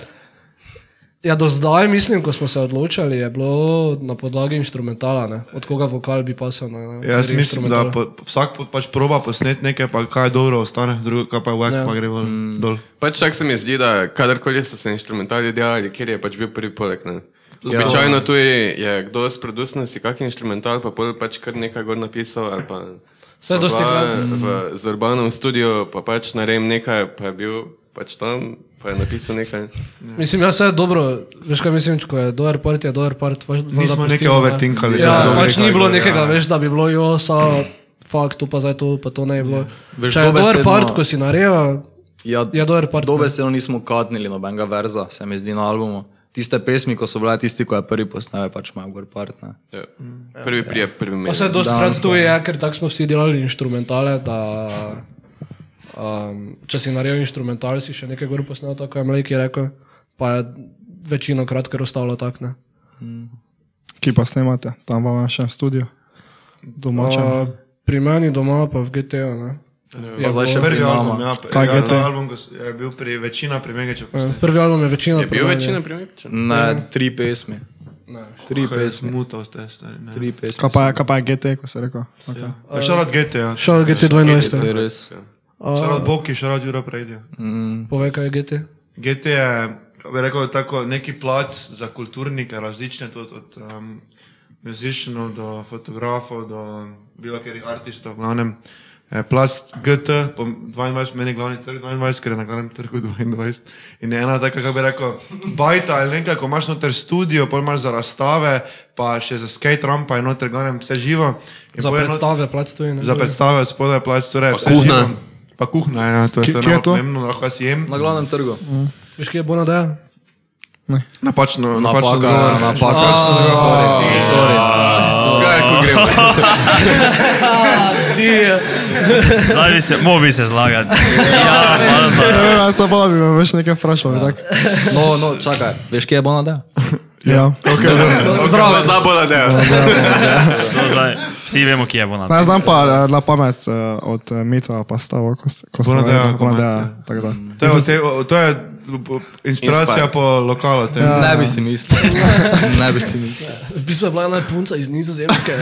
Speaker 1: ja, do zdaj, mislim, ko smo se odločili, je bilo na podlagi instrumentala, ne? od koga vokal bi pasel na
Speaker 5: Jaz
Speaker 1: kateri
Speaker 5: mislim, da
Speaker 1: instrumental.
Speaker 5: po, vsak po- pač proba posneti nekaj, pa kaj dobro ostane, drugo kaj pa je vek,
Speaker 1: Ja.
Speaker 5: pa gre vol dol.
Speaker 4: Pač tako se mi zdi, da kadarkoli so se instrumentali delali, kjer je pač bil prvi poleg. Ne? Običajno tu je, je kdo sproducil si kakšen instrumental, pa pol pač kar nekaj gor napisal. ali Pa,
Speaker 1: Vse
Speaker 4: pa
Speaker 1: dosti
Speaker 4: bila
Speaker 1: krat.
Speaker 4: v- Z urbanom studiu pa pač narejem nekaj, pa je bil pač tam, pa je napisal nekaj.
Speaker 1: Mislim, jaz je dobro, veš kaj mislim, ko je dober part, je dober part. Vaš,
Speaker 5: Nismo neke overtinkali. da
Speaker 1: Ja,
Speaker 5: dobro
Speaker 1: pač ni
Speaker 5: nekaj
Speaker 1: bilo
Speaker 5: gre,
Speaker 1: nekega,
Speaker 5: ja.
Speaker 1: veš, da bi bilo jo, sa, fuck, tu pa zdaj to, pa to ne je
Speaker 5: Ja.
Speaker 1: bilo.
Speaker 3: Veš,
Speaker 1: Če je dober
Speaker 3: dobesedno-
Speaker 1: part, ko si nareja,
Speaker 3: Ja,
Speaker 1: je dober part.
Speaker 3: Dobesedno nismo katnili nobenega verza, se mi zdi na albumu. Tiste pesmi, ko so bile tisti, ko je prvi posnel, je pač imel gor part. Ne.
Speaker 4: Ja. Prvi prije, prvi
Speaker 1: Pa
Speaker 4: meni.
Speaker 1: se dosti krat tu je, ker tako smo vsi delali instrumentale, da um, če si naredil instrumental, si še nekaj gor posnel, tako je Mleki rekel, pa je večino krat, ker ostalo tako ne.
Speaker 7: Ki pa snemate, tam vam je še v studiu. Domačem.
Speaker 1: Uh, pri meni doma pa v GTA, ne.
Speaker 3: Pa
Speaker 1: Je
Speaker 3: zdaj še
Speaker 1: bilo-
Speaker 5: Prvi
Speaker 3: pri
Speaker 5: album,
Speaker 3: nama.
Speaker 5: ja,
Speaker 7: Kaj
Speaker 5: ja,
Speaker 7: je to?
Speaker 5: ta album ko s- je bil pri večina primega,
Speaker 1: Ja,
Speaker 5: če posneti.
Speaker 1: Prvi album je večina.
Speaker 4: Je bil večina primerov?
Speaker 3: Ne, tri pesmi. Tri
Speaker 5: Kaj je
Speaker 3: pesmi.
Speaker 5: smutal, ste stari. ne.
Speaker 3: Tri pesmi.
Speaker 7: Kaj pa, je- kaj pa je GT, ko se reko? Okay.
Speaker 5: Ja, Šarat GTA.
Speaker 1: Šel je GT 12,
Speaker 3: To je
Speaker 1: ne.
Speaker 3: res.
Speaker 5: Šarat Boki, šarat Jura ja. Predja.
Speaker 1: Uh, povej kaj je GT.
Speaker 5: GT je, kako bi rekel, tako neki plac za kulturnike, različne, tudi od um, muzičnov do fotografov, do bilo katerih artistov, v glavnem. Eh, Plac GT, po 22, meni je glavni trg 22, ker je na glavnem trgu 22. In je ena taka, kako bi rekel, bajta ali nekaj, ko imaš noter studio, pol imaš za razstave, pa še za skate rampa in noter, v glavnem, vse živo. In
Speaker 1: Za
Speaker 5: pol je not-
Speaker 1: predstave, plač tu je. ne.
Speaker 5: Za predstave spodaj je plac, torej vse
Speaker 4: kuhna.
Speaker 5: živo. Pa kuhna, ja, to je,
Speaker 7: Kje-
Speaker 5: to je
Speaker 7: kje je
Speaker 5: najbolj
Speaker 7: to?
Speaker 5: pomembno, lahko jaz jem.
Speaker 3: Na glavnem trgu.
Speaker 1: Veš, kje je bona da?
Speaker 5: Napačno, napačno
Speaker 3: Napaka,
Speaker 5: odgovor.
Speaker 3: ja, napaka. Sorry, sorry.
Speaker 4: Ah. Kaj, ko gremo?
Speaker 2: Zdaj bi se, mobi se zlagati. Ja, hvala za-
Speaker 7: Ja, se pa bi me več nekaj vprašal, tako.
Speaker 3: No, no, čakaj. Veš, kje je Bonada?
Speaker 7: Ja.
Speaker 4: Zdravo, zabola deo.
Speaker 2: to zdaj. Vsi vemo, kje bo na to.
Speaker 7: Ne znam pa eh, na pamet eh, od eh, Mita, pa stavo, ko ste
Speaker 5: Bonadeja,
Speaker 7: rekli.
Speaker 5: komad, ja. To je, od te, o- to je bo inspiracija po lokalu. tem.
Speaker 1: Ja.
Speaker 3: Ne bi si mislil. Ne bi si mislil.
Speaker 1: V bistvu je bila ena punca iz Nizozemske,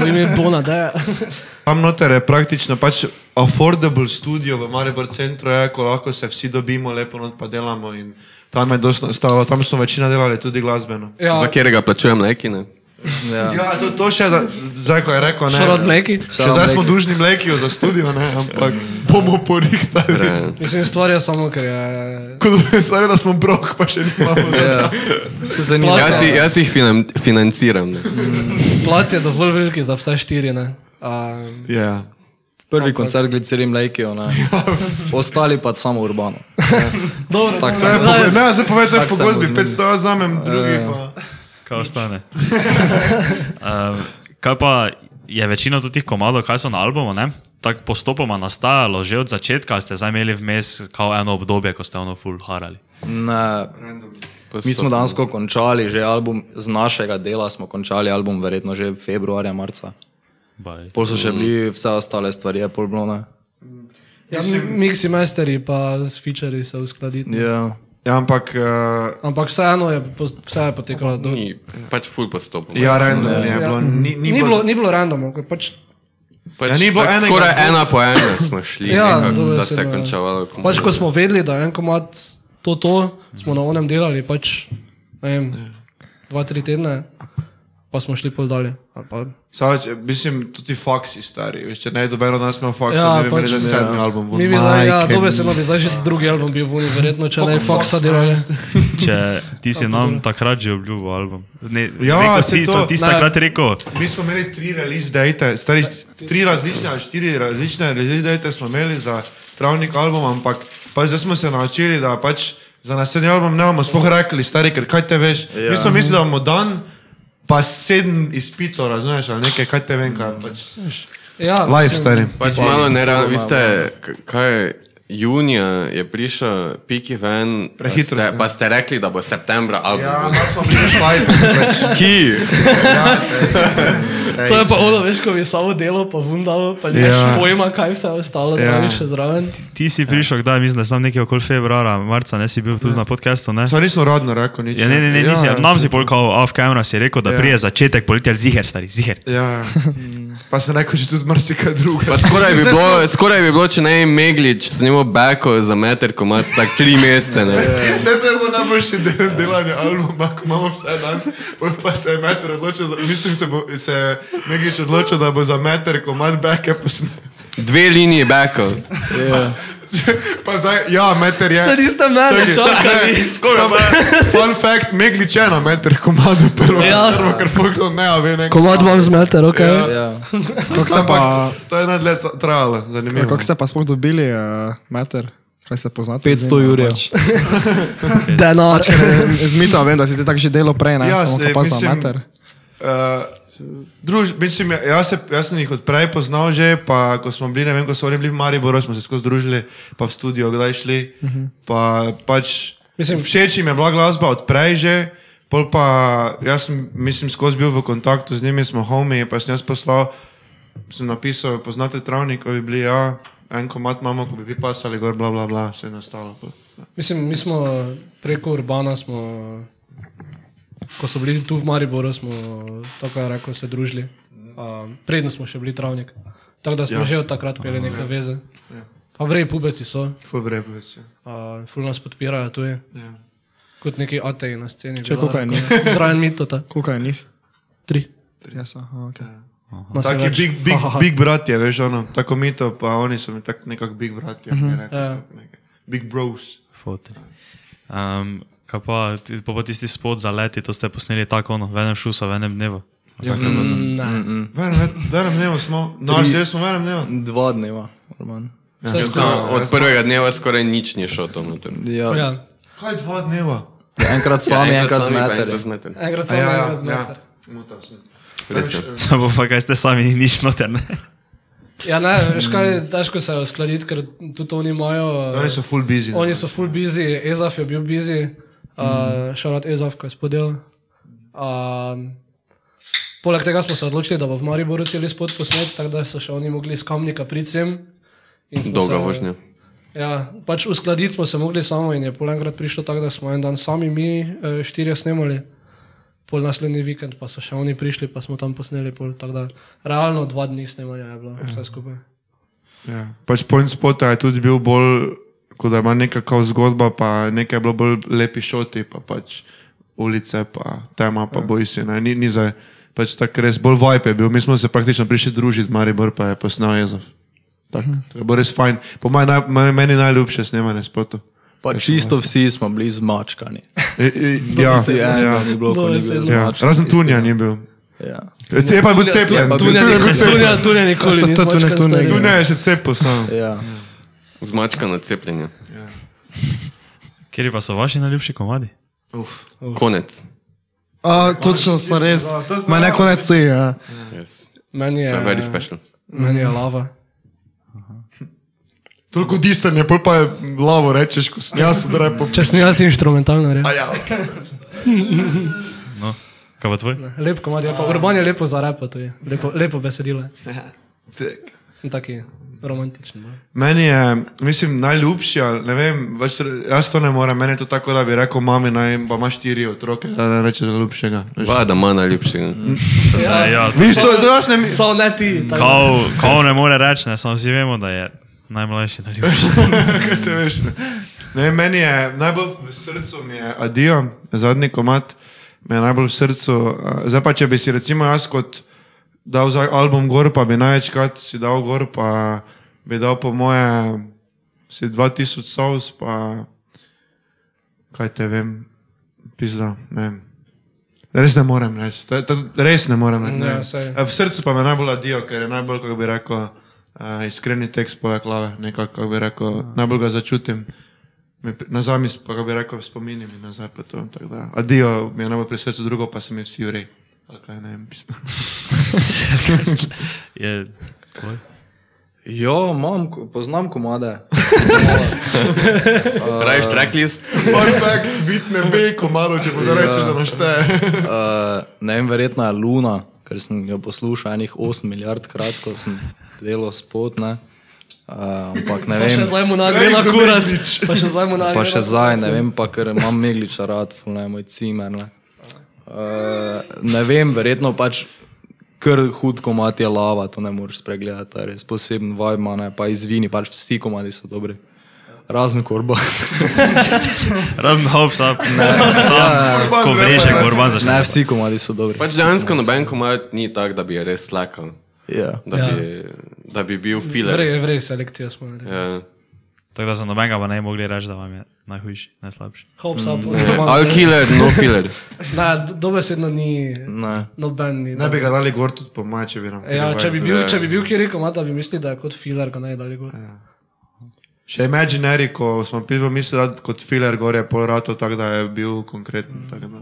Speaker 1: ki je imela Bona, da je.
Speaker 5: Tam noter je praktično pač affordable studio v Maribor centru, je, ko lahko se vsi dobimo, lepo not pa delamo in tam je dosti nastalo, tam smo večina delali tudi glasbeno.
Speaker 1: Ja,
Speaker 4: Za katerega plačujem leki, ne?
Speaker 5: Ja, to, to še, da- zdaj ko je rekel, ne.
Speaker 1: šarot mleki.
Speaker 5: Še zdaj smo dužni mlekijo za studio, ne, ampak bomo porihtali.
Speaker 4: Re,
Speaker 1: Mislim, stvar je samo, ker je...
Speaker 5: Kot da stvari, da smo brok, pa še nimamo.
Speaker 3: Ja. Se zanima. ja,
Speaker 1: Plača.
Speaker 4: Jaz, jih- jaz jih finan, financiram. Ne?
Speaker 1: Plac je dovolj veliki za vse štiri, ne. Um,
Speaker 5: Ja.
Speaker 3: Prvi koncert glicirim lajkijo, ne. Ostali pa samo urbano.
Speaker 1: dobro,
Speaker 3: Tako
Speaker 5: Ne,
Speaker 3: samo.
Speaker 5: pove- ne, zdaj povej, to je
Speaker 3: Tako se
Speaker 5: pogodbi,
Speaker 3: bo
Speaker 5: 500 jaz zamem, drugi
Speaker 3: Ja.
Speaker 5: pa.
Speaker 2: Kaj ostane? um, kaj pa je večina tudi tih komadov, kaj so na albumu, ne? tako postopoma nastajalo, že od začetka ali ste zdaj imeli vmes kao eno obdobje, ko ste ono full harali.
Speaker 3: Ne. Mi smo dansko končali že album z našega dela, smo končali album verjetno že februarja, marca.
Speaker 2: Baj.
Speaker 3: Pol so še bili vse ostale stvari, je pol blone.
Speaker 1: ja, mixi masteri pa s featuri se uskladiti. ne.
Speaker 3: Ja.
Speaker 5: Ja, ampak eh,
Speaker 1: Ampak vseeno je, pos- vse je potekalo do...
Speaker 4: Ni, pač ful postopno.
Speaker 5: ja, random je
Speaker 1: Ja.
Speaker 5: bilo. Ni,
Speaker 1: Ni, bilo, ni bilo randomno, ker pač,
Speaker 4: pač,
Speaker 5: Ja, ni bilo
Speaker 4: pač
Speaker 5: enega
Speaker 4: skoraj
Speaker 5: obdobja.
Speaker 4: ena po ena smo šli,
Speaker 1: Ja,
Speaker 4: ja, nekak, da se je
Speaker 1: dobesedno, ja.
Speaker 4: končalo.
Speaker 1: pač ko smo vedeli, da je en komad to, to, smo na onem delali pač, ne vem, dva, tri tedne, pa smo šli pol dalje. ali pa-
Speaker 5: Savač, mislim, tudi faksi stari. Veš, če ne bi dober od nas imel faksa,
Speaker 1: Ja,
Speaker 5: ja, ne bi imeli
Speaker 1: pač
Speaker 5: že
Speaker 1: ne.
Speaker 5: sedmi album.
Speaker 1: Mi bi zdaj, ja,
Speaker 7: Majke
Speaker 1: to veselo bi zdaj že drugi album bil vuni, verjetno, če ne bi Foxa delali.
Speaker 2: Če ti si nam takrat že obljubil album. Ne,
Speaker 5: Ja,
Speaker 2: rekel,
Speaker 5: saj
Speaker 2: si,
Speaker 5: to-
Speaker 2: sem ti
Speaker 1: Ne.
Speaker 2: takrat rekel,
Speaker 5: Mi smo imeli tri release date, stari, tri različne, ali štiri različne release date smo imeli za travnik album, ampak pač zdaj smo se naučili, da pač za naslednji album ne bomo sploh rekli, stari, ker kaj te veš. Ja. Mi smo mislili, da bomo dan, pa sedem izpitov, razumeš, ali nekaj, kaj te vem, kaj pač.
Speaker 1: Ja,
Speaker 5: Live,
Speaker 1: mislim,
Speaker 5: stari.
Speaker 4: Pač malo nerealno, vi ste, k- kaj je, junija je prišel Piki ven, pa
Speaker 5: Prehitro,
Speaker 4: ste,
Speaker 5: ja.
Speaker 4: pa ste rekli, da bo septembra album.
Speaker 5: Ja, mi smo bili špajni, pač.
Speaker 4: Ki?
Speaker 5: Ja, sej.
Speaker 1: To je pa ono, veš, ko bi samo delo, pa vundalo, pa neš
Speaker 5: Ja.
Speaker 1: pojma, kaj vse ostalo, da
Speaker 5: Ja.
Speaker 1: ni še zraven.
Speaker 2: ti si prišel, kdaj, mislim, da znam nekje okoli februarja, marca, ne si bil tudi na podkastu, ne?
Speaker 5: Saj nismo radno rekli nič.
Speaker 2: Ja, ne, ne, ne, nisi, ja, nam si
Speaker 5: saj.
Speaker 2: polkal off camera, si rekel, da
Speaker 5: Ja.
Speaker 2: ja. prije začetek poletja ziher, stari, ziher.
Speaker 5: Ja, pa sem rekel, že tudi marsikaj
Speaker 4: Pa
Speaker 5: drugega.
Speaker 4: skoraj bi,
Speaker 5: Vse
Speaker 4: bilo, skoraj bi bilo, če ne bi Meglič snimil Beko za meter, ko ima tako tri mesece. Ne?
Speaker 5: Ne, to je bilo najboljše del, delanje albuma, ko imamo vse dan. Pol Pa se je meter odločil, da, mislim, se, bo, se je Megič odločil, da bo za meter komad backe posnel.
Speaker 4: Dve liniji Beko.
Speaker 5: Pa zdaj, ja, meter je.
Speaker 1: Se niste mene
Speaker 5: Čakaj,
Speaker 1: čakali.
Speaker 5: ne, samo Fun fact, Meglič je na meter komadu prvo,
Speaker 1: Ja.
Speaker 5: ja. prvo ker Foxo ne ve, ne.
Speaker 1: Komad vam zmeter, ok.
Speaker 5: Ja.
Speaker 3: Ja.
Speaker 7: Kako se pa,
Speaker 5: Ampak to, to je najdlje ca- trajalo, zanimivo.
Speaker 7: Ja, kako se pa sploh dobili, uh, meter? Kaj se poznate?
Speaker 3: 500 jurjev.
Speaker 1: Denar.
Speaker 7: Zmito, vem, da si ti tako že delo prej, ne?
Speaker 5: Ja,
Speaker 7: Samo
Speaker 5: saj,
Speaker 7: ko pa za
Speaker 5: mislim-
Speaker 7: meter.
Speaker 5: Uh, druž, mislim, ja, jaz, se, jaz sem jih odprej poznal že, pa ko smo bili, ne vem, ko so oni bili v Mariboru, smo se skozi družili, pa v studio kdaj šli. Uh -huh. pa, pač,
Speaker 1: Mislim-
Speaker 5: mislim, všeč jim je bila glasba odprej že, pol pa jaz sem, mislim, skozi bil v kontaktu z njimi, smo homi, pa sem jaz poslal, sem napisal, poznate travnik, ko bi bili, ja, en komat imamo, ko bi vi pasali gor, bla, bla, bla, se je nastalo. pol.
Speaker 1: Mislim, mi smo preko Urbana, smo, ko so bili tu v Mariboru, smo tako je rekel, se družili. Um, Predno smo še bili travnik. Tako da smo ja. že od takrat imeli neke veze. Pa vrej pubeci so,
Speaker 5: Ful vrebe se.
Speaker 1: uh, ful nas podpirajo tudi.
Speaker 5: Ja.
Speaker 1: Kot neki ateji na sceni.
Speaker 7: Če, koliko je njih?
Speaker 1: Zraven mitota.
Speaker 7: Koliko je njih?
Speaker 1: Tri.
Speaker 7: Jaz, aha, ok.
Speaker 1: Nas je
Speaker 5: Taki
Speaker 1: več.
Speaker 5: big, big,
Speaker 1: Ha, ha, ha.
Speaker 5: big bratje, veš, ono, tako mi to, pa oni so mi tako nekako big bratje. Mm -hmm.
Speaker 1: Ja.
Speaker 5: rekel, tako nekaj. big bros.
Speaker 2: Fotor. Um, kaj pa, ti- pa, pa tisti spot za leti, to ste posneli tako, ono, v enem šusu, v enem dnevu. Ja,
Speaker 1: Mm, Ne,
Speaker 5: Verjamem, ne smo, naš del smo, verjamem, ne.
Speaker 3: Dva dneva, urbano.
Speaker 1: vse
Speaker 4: Samo
Speaker 1: skupaj.
Speaker 5: Ja,
Speaker 4: Od prvega dneva skoraj nič ni šlo tam noter.
Speaker 3: Ja.
Speaker 1: Ja.
Speaker 5: Kaj dva dneva?
Speaker 3: Enkrat sami, enkrat z
Speaker 4: sami, pa
Speaker 3: meter.
Speaker 4: Ja, enkrat z meter.
Speaker 1: Enkrat
Speaker 5: A
Speaker 1: sem ja, ja, ja.
Speaker 5: Mutal sem.
Speaker 4: Res je.
Speaker 2: Samo pa kaj ste sami, ni nič noter, ne?
Speaker 1: ja, ne, veš kaj, težko se je uskladiti, ker tudi oni imajo. eh,
Speaker 5: No, Oni so full busy.
Speaker 1: Oni so full busy, Ezaf je bil busy, uh, še rad Ezaf, ko je spodel. Um, poleg tega smo se odločili, da bo v Mariboru cel spot posnet, tako da so še oni mogli iz Kamnika priti sem. in smo
Speaker 4: Dolga
Speaker 1: se-
Speaker 4: vožnja.
Speaker 1: Ja, pač uskladiti smo se mogli samo in je pol enkrat prišlo tako, da smo en dan sami mi eh, štirje snemali, pol naslednji vikend pa so še oni prišli, pa smo tam posneli pol tako da. Realno dva dni snemanja je bilo vse skupaj.
Speaker 5: Ja. Pač point spota je tudi bil bolj, kot da ima neka kao zgodba, pa nekaj je bilo bolj lepi šoti, pa pač ulice, pa tema, pa ja. boji se. Ni, ni za, pač tak res bolj vibe je bil. Mi smo se praktično prišli družiti, Maribor pa je posnel jezov.
Speaker 6: Mhm.
Speaker 5: Tako, to je bilo res fajn. Po mojem, naj, moj- meni najljubše snemanje spota.
Speaker 3: Pa čisto vsi smo bili zmačkani.
Speaker 5: Ja,
Speaker 3: Vsi
Speaker 5: ja,
Speaker 3: enega
Speaker 5: ja.
Speaker 3: ni bilo, ko ni bil
Speaker 5: ja.
Speaker 3: zmačkan,
Speaker 5: Razen
Speaker 3: tisti-
Speaker 5: Tunja ni bil.
Speaker 3: Ja.
Speaker 5: Cep je pa bil cepljen.
Speaker 3: Tunja-
Speaker 1: Tunja,
Speaker 5: Tunja je bil
Speaker 1: nikoli-
Speaker 5: cepljen.
Speaker 1: tunja, tunja nikoli.
Speaker 7: To- to-
Speaker 1: ni
Speaker 7: tunja-
Speaker 1: zmačkan,
Speaker 7: tunja-
Speaker 1: stari.
Speaker 5: Tunja je še cepil sam.
Speaker 3: Ja.
Speaker 4: Zmačka na cepljenje.
Speaker 2: Kjer pa so vaši najljubši komadi?
Speaker 4: Konec.
Speaker 7: A, točno, sem res. Mene konec si, ja.
Speaker 4: Yes.
Speaker 1: Meni je,
Speaker 4: To je very special.
Speaker 1: meni je lava.
Speaker 6: Toliko distanja, pol pa je lavo rečeš, ko sem jaz, da je po
Speaker 1: Če sem jaz instrumentalno rekel.
Speaker 6: Ja,
Speaker 2: Kaj pa tvoj?
Speaker 1: Lep komad je, pa Urban je lepo zarepa, to je. Lepo, lepo besedilo. je. Sem taki romantičen. no. bolj.
Speaker 5: Meni je, mislim, najljubši, ali ne vem, več, jaz to ne morem, meni je to tako, da bi rekel, mami, naj pa imaš štiri otroke, da ne rečeš najljubšega. veš.
Speaker 4: Vada ima najljubši.
Speaker 2: Ja, ja
Speaker 5: Viš, to, to jaz ne mislim.
Speaker 1: So ne ti. tako.
Speaker 2: kao, kao ne more reči, ne, samo vsi vemo, da je najmlajši najljubši.
Speaker 5: Te veš, ne. Ne, meni je najbolj v srcu, mi je adijo, zadnji komat, mi je najbolj v srcu. eh, Zdaj pa, če bi si recimo jaz kot dal za album gor, pa bi največkrat si dal gor, pa bi dal po moje si 2000 sous, pa kaj te vem, pizda, ne vem. Res ne morem reči, to, je- to, res ne morem reči.
Speaker 1: Ja,
Speaker 5: Ne,
Speaker 1: saj.
Speaker 5: ne. V srcu pa me najbolj adijo, ker je najbolj, kako bi rekel, uh, iskreni tekst poleg glave, nekako kako bi rekel,
Speaker 1: Ja.
Speaker 5: najbolj ga začutim. Mi pri- Nazaj mi, sp- kako bi rekel, spomini mi nazaj pa to. tako da. Adijo mi je najbolj pri srcu, drugo pa se mi vsi vrej. Ali kaj, ne vem, pizda.
Speaker 2: Je tvoj?
Speaker 3: Jo, imam, ko- poznam komade. Eh,
Speaker 4: Praviš tracklist?
Speaker 6: fakt, vid ne ve, ko malo, če pa
Speaker 5: Ja.
Speaker 6: zarečeš, da našteje.
Speaker 3: Uh, ne vem, verjetno je Luna, ker sem jo poslušal enih 8 milijard krat, ko sem delal spot, ne. Uh, ampak ne
Speaker 1: Pa še
Speaker 3: vem,
Speaker 1: zdaj mu nagre na kurac. Pa še zdaj mu nagre.
Speaker 3: pa še zdaj, ne vem, pa ker imam megliča rad, ful ne moj cimer, ne. Uh, ne vem, verjetno pač kar hud komat je lava, to ne moreš spregledati, to je res poseben vajma, ne, pa izvini, pač vsi komadi so dobri. Razen korba.
Speaker 2: Razen hops up, tam, ko vreže, ko urban začne.
Speaker 3: ne, vsi komadi so dobri.
Speaker 4: Pač dejansko noben komad ni tak, da bi je res slakal.
Speaker 3: Ja.
Speaker 4: Da,
Speaker 1: Ja.
Speaker 4: ja. bi, da bi bil filer.
Speaker 1: Vrej, vrej selekcija smo naredili.
Speaker 4: Ja.
Speaker 2: Tako da za nobenega pa ne bi mogli reči, da vam je najhujši, najslabši.
Speaker 1: Hops
Speaker 5: Mm.
Speaker 1: up.
Speaker 4: Al killer, no filler.
Speaker 1: Ne, Ja, dobesedno ni
Speaker 3: Ne.
Speaker 1: noben. Ni,
Speaker 5: Ne bi ga dali gor tudi po moje, če bi nam.
Speaker 1: Ja, če bi bil,
Speaker 4: Ja.
Speaker 1: če bi bil kjer rekel, mata bi mislil, da je kot filar, ga naj dali gor.
Speaker 5: Ja. Še Imaginary, ko smo pivo mislili, da kot filer gor je pol rato, tako da je bil
Speaker 1: Mm.
Speaker 5: konkreten. tako da.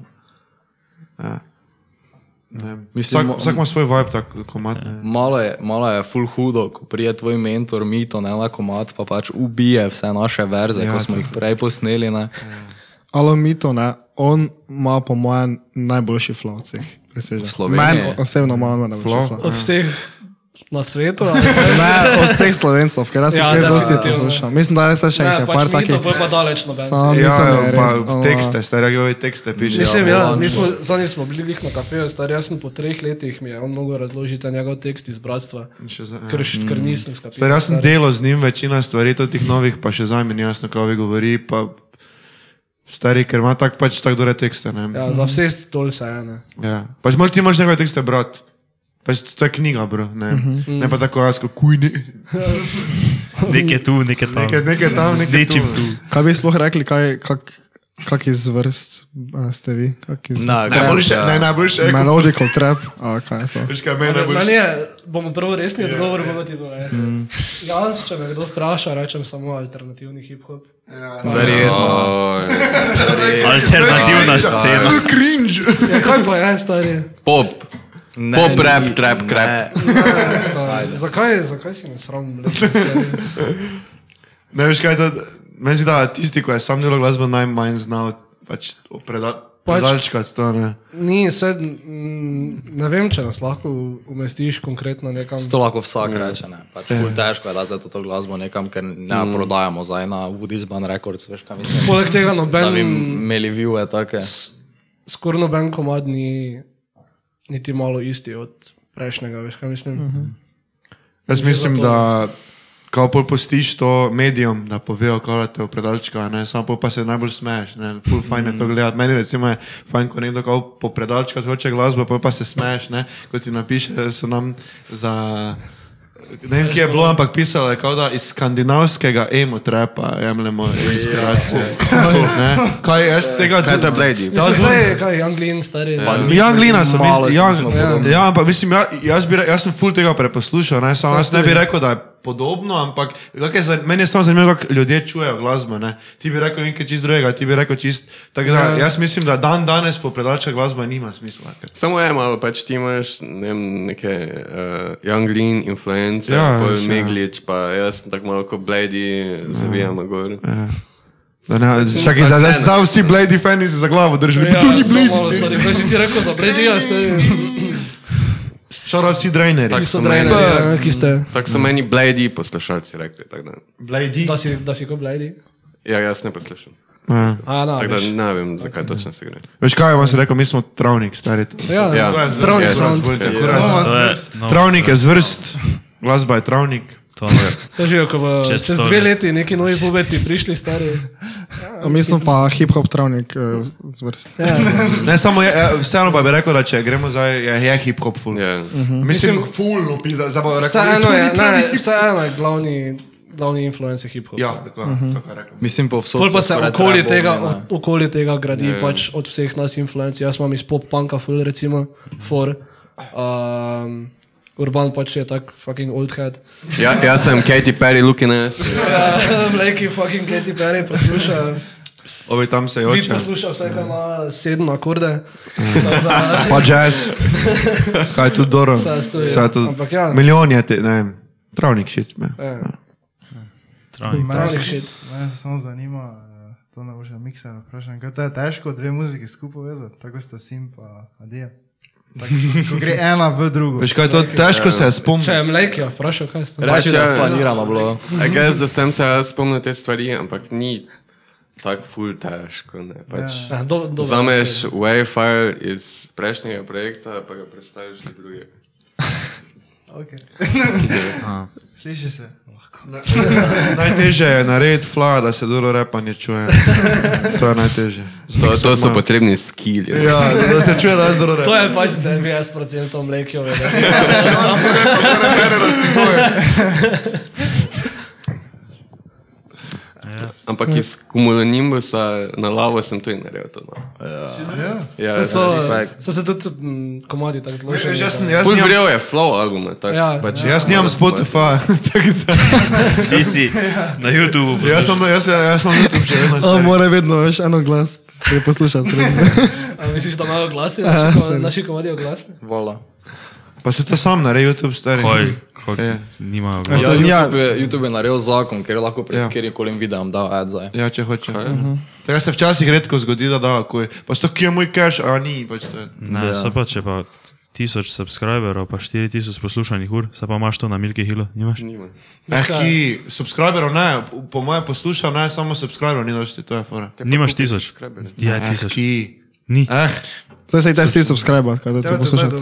Speaker 5: Ja. Ne vem.
Speaker 3: Mislim,
Speaker 5: Vsak vsak ima svoj vibe, tako komat. ne.
Speaker 3: Malo je, malo je full hudo, ko prije tvoj mentor, mi to ne lako mat, pa pač ubije vse naše verze, ja, ko smo jih prej posneli. Ne?
Speaker 7: Alo Mito, ne, on ima po mojem najboljši flow od vseh. Presežem.
Speaker 3: Sloveniji?
Speaker 7: Meni o- osebno ima on najboljši
Speaker 5: Flow?
Speaker 7: flow.
Speaker 1: Od vseh na svetu. ali-
Speaker 7: Ne, od vseh slovencov, ker jaz jih
Speaker 1: Ja,
Speaker 7: ja, dosti
Speaker 1: definitivno.
Speaker 7: poslušam. Mislim, da res je še
Speaker 1: Ne,
Speaker 7: nekaj, par
Speaker 1: pač mi
Speaker 7: takih.
Speaker 1: to bolj pa daleč noben.
Speaker 7: Samo Mito mi
Speaker 5: Ja,
Speaker 7: je res.
Speaker 5: pa
Speaker 7: ono,
Speaker 5: tekste, stari govi tekste piše.
Speaker 1: Mislim, ja, mi smo, zadnji smo bili glih na kafeju, star jaz sem po treh letih, mi je on mogel razložiti ta njegov tekst iz bratstva,
Speaker 5: Še za- ja.
Speaker 1: ker, š- ker nisem skapiral.
Speaker 5: Stari, jaz sem delal z njim večina stvari, tudi teh novih, pa še za meni jasno, kaj ovi govori. Pa stari, ker ima tak pač tako dobre tekste. Ne?
Speaker 1: Ja, za vse stol se ena.
Speaker 5: Ja. Pač moraš ti imaš nekaj tekste brati. Pač to je knjiga, bro. Ne, ne pa tako jaz, kot kujni.
Speaker 2: Nek je tu, nek je tam.
Speaker 5: Nekaj, nekaj tam,
Speaker 2: Z
Speaker 5: nekaj
Speaker 2: nečim
Speaker 5: tam.
Speaker 2: tu.
Speaker 7: Kaj bi sploh rekli, kaj, kak, kak iz vrst a, ste vi? Kak iz
Speaker 3: Na,
Speaker 7: vrst?
Speaker 6: Najboljše,
Speaker 3: ja.
Speaker 6: ne, najboljše. je, ko-
Speaker 7: Melodical trap, a kaj je to?
Speaker 6: Veš kaj, meni
Speaker 1: Meni
Speaker 6: najboljše.
Speaker 1: je, bomo prvo resni odgovor, bomo ti bomo. Jaz, če me kdo vpraša, rečem samo alternativni hip-hop.
Speaker 3: Verjetno.
Speaker 2: E, Alternativna scena.
Speaker 6: Cringe.
Speaker 1: Ja, kaj pa je, stari?
Speaker 4: Pop.
Speaker 3: Ne,
Speaker 4: Pop
Speaker 3: ni-
Speaker 4: rap, trap,
Speaker 3: ne.
Speaker 4: crap.
Speaker 1: Stari. Zakaj, zakaj si ne sram? bled, stari?
Speaker 5: Ne veš kaj je to. Meni se da tisti, ko je sam delal glasbo, najmanj znal pač opredati.
Speaker 1: Pač-
Speaker 5: Daljčkat to, ne.
Speaker 1: Ni, sed, ne vem, če nas lahko umestiš konkretno nekam.
Speaker 3: To lahko vsak reče. Ne? Pač, ful težko je, da se to glasbo nekam, ker ne mm. prodajamo zdaj na Woodisban Records, veš kaj mislim.
Speaker 1: Poleg tega
Speaker 3: Da bi
Speaker 1: noben,
Speaker 3: imeli viewe take.
Speaker 1: skoraj noben komad ni niti malo isti od prejšnjega, veš kaj mislim. Uh -huh.
Speaker 5: Jaz mislim, da kao pol postiš to medijem, da povejo, kako te opredalčka, ne, samo pol pa se najbolj smeješ, ne, ful fajn je to
Speaker 4: Mm.
Speaker 5: gledati. Meni recimo je fajn, ko nekdo kao popredalčka hoče glasbo, pol pa se smeješ, ne, ko ti napiše, da so nam za... Ne vem, kje je bilo, ampak pisalo je, kao da iz skandinavskega emo trepa jemljemo inspiracije. Ne, Kaj jaz tega...
Speaker 4: Kaj to je Blady?
Speaker 1: Mislim, zdaj, kaj, Anglin, stari. Ja.
Speaker 3: nismo
Speaker 5: Janglina sem
Speaker 3: malo
Speaker 5: mislil,
Speaker 3: se
Speaker 5: Young-
Speaker 3: nismo
Speaker 1: podobni.
Speaker 5: ja, ampak mislim, ja, jaz, bi, re- jaz sem full tega preposlušal, ne, samo
Speaker 1: Saj
Speaker 5: jaz ne bi
Speaker 1: tudi.
Speaker 5: rekel, da je podobno, ampak kako je, za- meni je samo zanimivo, kako ljudje čujejo glasbo, ne. Ti bi rekel nekaj čist drugega, ti bi rekel čist, tako da jaz mislim, da dan danes popredalča glasba nima smisla. ker-
Speaker 4: Samo je malo, pač ti imaš ne vem, neke uh, Young Lean influence,
Speaker 5: Ja,
Speaker 4: ja, pol
Speaker 5: še.
Speaker 4: Meglič, pa jaz sem tako malo kot Blady, zavijam ja. gor. Ja.
Speaker 5: Da ne, Ja. čakaj,
Speaker 4: pa
Speaker 5: zdaj- zdaj
Speaker 4: ne, ne.
Speaker 5: zdaj vsi Blady fani se za glavo držali, pa to ni
Speaker 1: Malo,
Speaker 5: Blady.
Speaker 1: stari, kaj si ti rekel za Bredija, stari?
Speaker 5: Šaral si drainerji.
Speaker 4: Tak
Speaker 1: Ki so
Speaker 4: so meni,
Speaker 1: drejne, ja, ki ste,
Speaker 4: tak so meni Blady poslušalci rekli. tak da-
Speaker 5: Blady.
Speaker 1: da si, da si ko Bledi.
Speaker 4: Ja, jaz ne poslušam.
Speaker 5: Ja.
Speaker 1: A, na,
Speaker 4: Tako da
Speaker 1: veš.
Speaker 4: ne vem, zakaj točno se gre.
Speaker 5: Veš kaj, vam sem rekel, mi smo travnik, stari. to.
Speaker 1: Ja,
Speaker 4: Ja.
Speaker 1: ja. Travnik
Speaker 4: Yes.
Speaker 1: sound.
Speaker 5: Bolj tako,
Speaker 4: Yes.
Speaker 5: kurat.
Speaker 2: To je, no,
Speaker 5: Travnik je zvrst, glasba je travnik.
Speaker 2: To je.
Speaker 1: Vse živijo, ko bo
Speaker 2: Čez
Speaker 1: čez, čez
Speaker 2: sto
Speaker 1: dve
Speaker 2: let.
Speaker 1: leti neki novi bubeci prišli, stari.
Speaker 7: Mi smo pa hip-hop travnik eh, zvrst.
Speaker 1: Ja,
Speaker 5: Ne, samo je, je- vseeno pa bi rekel, da če gremo zdaj, je, je hip-hop full.
Speaker 4: Ja.
Speaker 5: Mislim, fulno pizda, zdaj pa
Speaker 1: Vseeno je, ne, vseeno je glavni, glavni influence hip-hop.
Speaker 5: Ja, tako, uh -huh. tako rekel.
Speaker 3: Mislim, povsod.
Speaker 1: Pol pa
Speaker 3: so
Speaker 1: se
Speaker 3: skoraj
Speaker 1: okoli
Speaker 3: trapov,
Speaker 1: tega,
Speaker 3: ne.
Speaker 1: od- okoli tega gradi, yeah. pač od vseh nas influenc. Jaz imam iz pop-punka, ful recimo, for. Um, Urban pač je tak fucking old head.
Speaker 4: Ja, jaz sem Katy Perry, looking ass.
Speaker 1: Mleki fucking Katy Perry posluša.
Speaker 5: Ovi tam se
Speaker 1: Vid
Speaker 5: joče.
Speaker 1: posluša vse, kar ima sedem akorde.
Speaker 5: Pa jazz. Kaj je tu doro?
Speaker 1: Saj je to, ja.
Speaker 5: Saj je tu-
Speaker 1: Ampak ja.
Speaker 5: Milijon je, te, ne vem, travnik šit. Me.
Speaker 1: Ja. Travnik
Speaker 2: Travnik.
Speaker 8: Mene
Speaker 1: shit.
Speaker 8: s- Mene samo zanima, eh, to ne boš mikser, vprašam, kaj to je težko dve muziki skupaj povezati, tako sta sim pa adija. Tako, ko gre ena v drugo.
Speaker 5: Veš kaj, je to težko se je
Speaker 1: Če je
Speaker 5: spomniti.
Speaker 1: Mleki, vprašaj, kaj ste.
Speaker 3: Reči, da
Speaker 4: Reče-
Speaker 3: je splanirano bilo.
Speaker 4: I guess, da sem se jaz spomnil te stvari, ampak ni tako ful težko. ne, Pač.
Speaker 1: Ja, do, do,
Speaker 4: Zameš WAV file iz prejšnjega projekta, pa ga predstaviš na drugega.
Speaker 8: Okay. Sliši se, lahko.
Speaker 5: Najtežje je narediti fla, da se dolo repanje čuje. To je najtežje.
Speaker 4: To, to so potrebni skilji. ne.
Speaker 5: Ja, da- da se čuje, da je dolo
Speaker 1: To
Speaker 5: repanje.
Speaker 1: je pač 90% mlekijo.
Speaker 4: Ampak iz kumulonimbusa na lavo sem tudi naredil to. No. Ja, ja,
Speaker 1: So,
Speaker 4: ja.
Speaker 1: so se tudi mm, komadi tako zložili.
Speaker 5: Veš, jaz sem- jaz
Speaker 4: Ful
Speaker 5: nimam-
Speaker 4: vrel je flow albuma, tako.
Speaker 1: Ja,
Speaker 4: pač,
Speaker 5: Jaz nimam Spotify, tako da.
Speaker 2: Ti si na YouTubu.
Speaker 5: Jaz Ja sem, jaz, jaz sem YouTube še vedno.
Speaker 7: A
Speaker 5: stari.
Speaker 7: mora vedno, veš, eno glas preposlušati.
Speaker 1: A misliš, da imajo glase? Naši komadi oglasni?
Speaker 3: Vola.
Speaker 5: Pa se to sam naredi YouTube stari.
Speaker 2: Koj, koj,
Speaker 5: Ja.
Speaker 2: nimajo
Speaker 3: Ja,
Speaker 2: glasa.
Speaker 7: Mislim, ja.
Speaker 3: YouTube, je- YouTube je naredil zakon, ker je lahko pred
Speaker 5: Ja.
Speaker 3: ja. kjerkoli videom dal ad zdaj.
Speaker 5: Ja, če hoče. Tega se včasih redko zgodi, da da, ko je. Pa sto, ki je moj cash, a ni, pač to je.
Speaker 2: Ne, se pa če pa tisoč subscriberov, pa štiri tisoč poslušanih ur, se pa imaš to na Milki Hillu, nimaš?
Speaker 5: Eh, ki, subscriberov ne, po mojem poslušal ne, samo subscriberov ni dosti, to je fora.
Speaker 2: Nimaš tisoč. Ja,
Speaker 5: Eh,
Speaker 2: tisoč.
Speaker 5: ki.
Speaker 2: Ni.
Speaker 5: Eh,
Speaker 7: Zdaj se jih te vsi subscribe, kaj da to poslušate.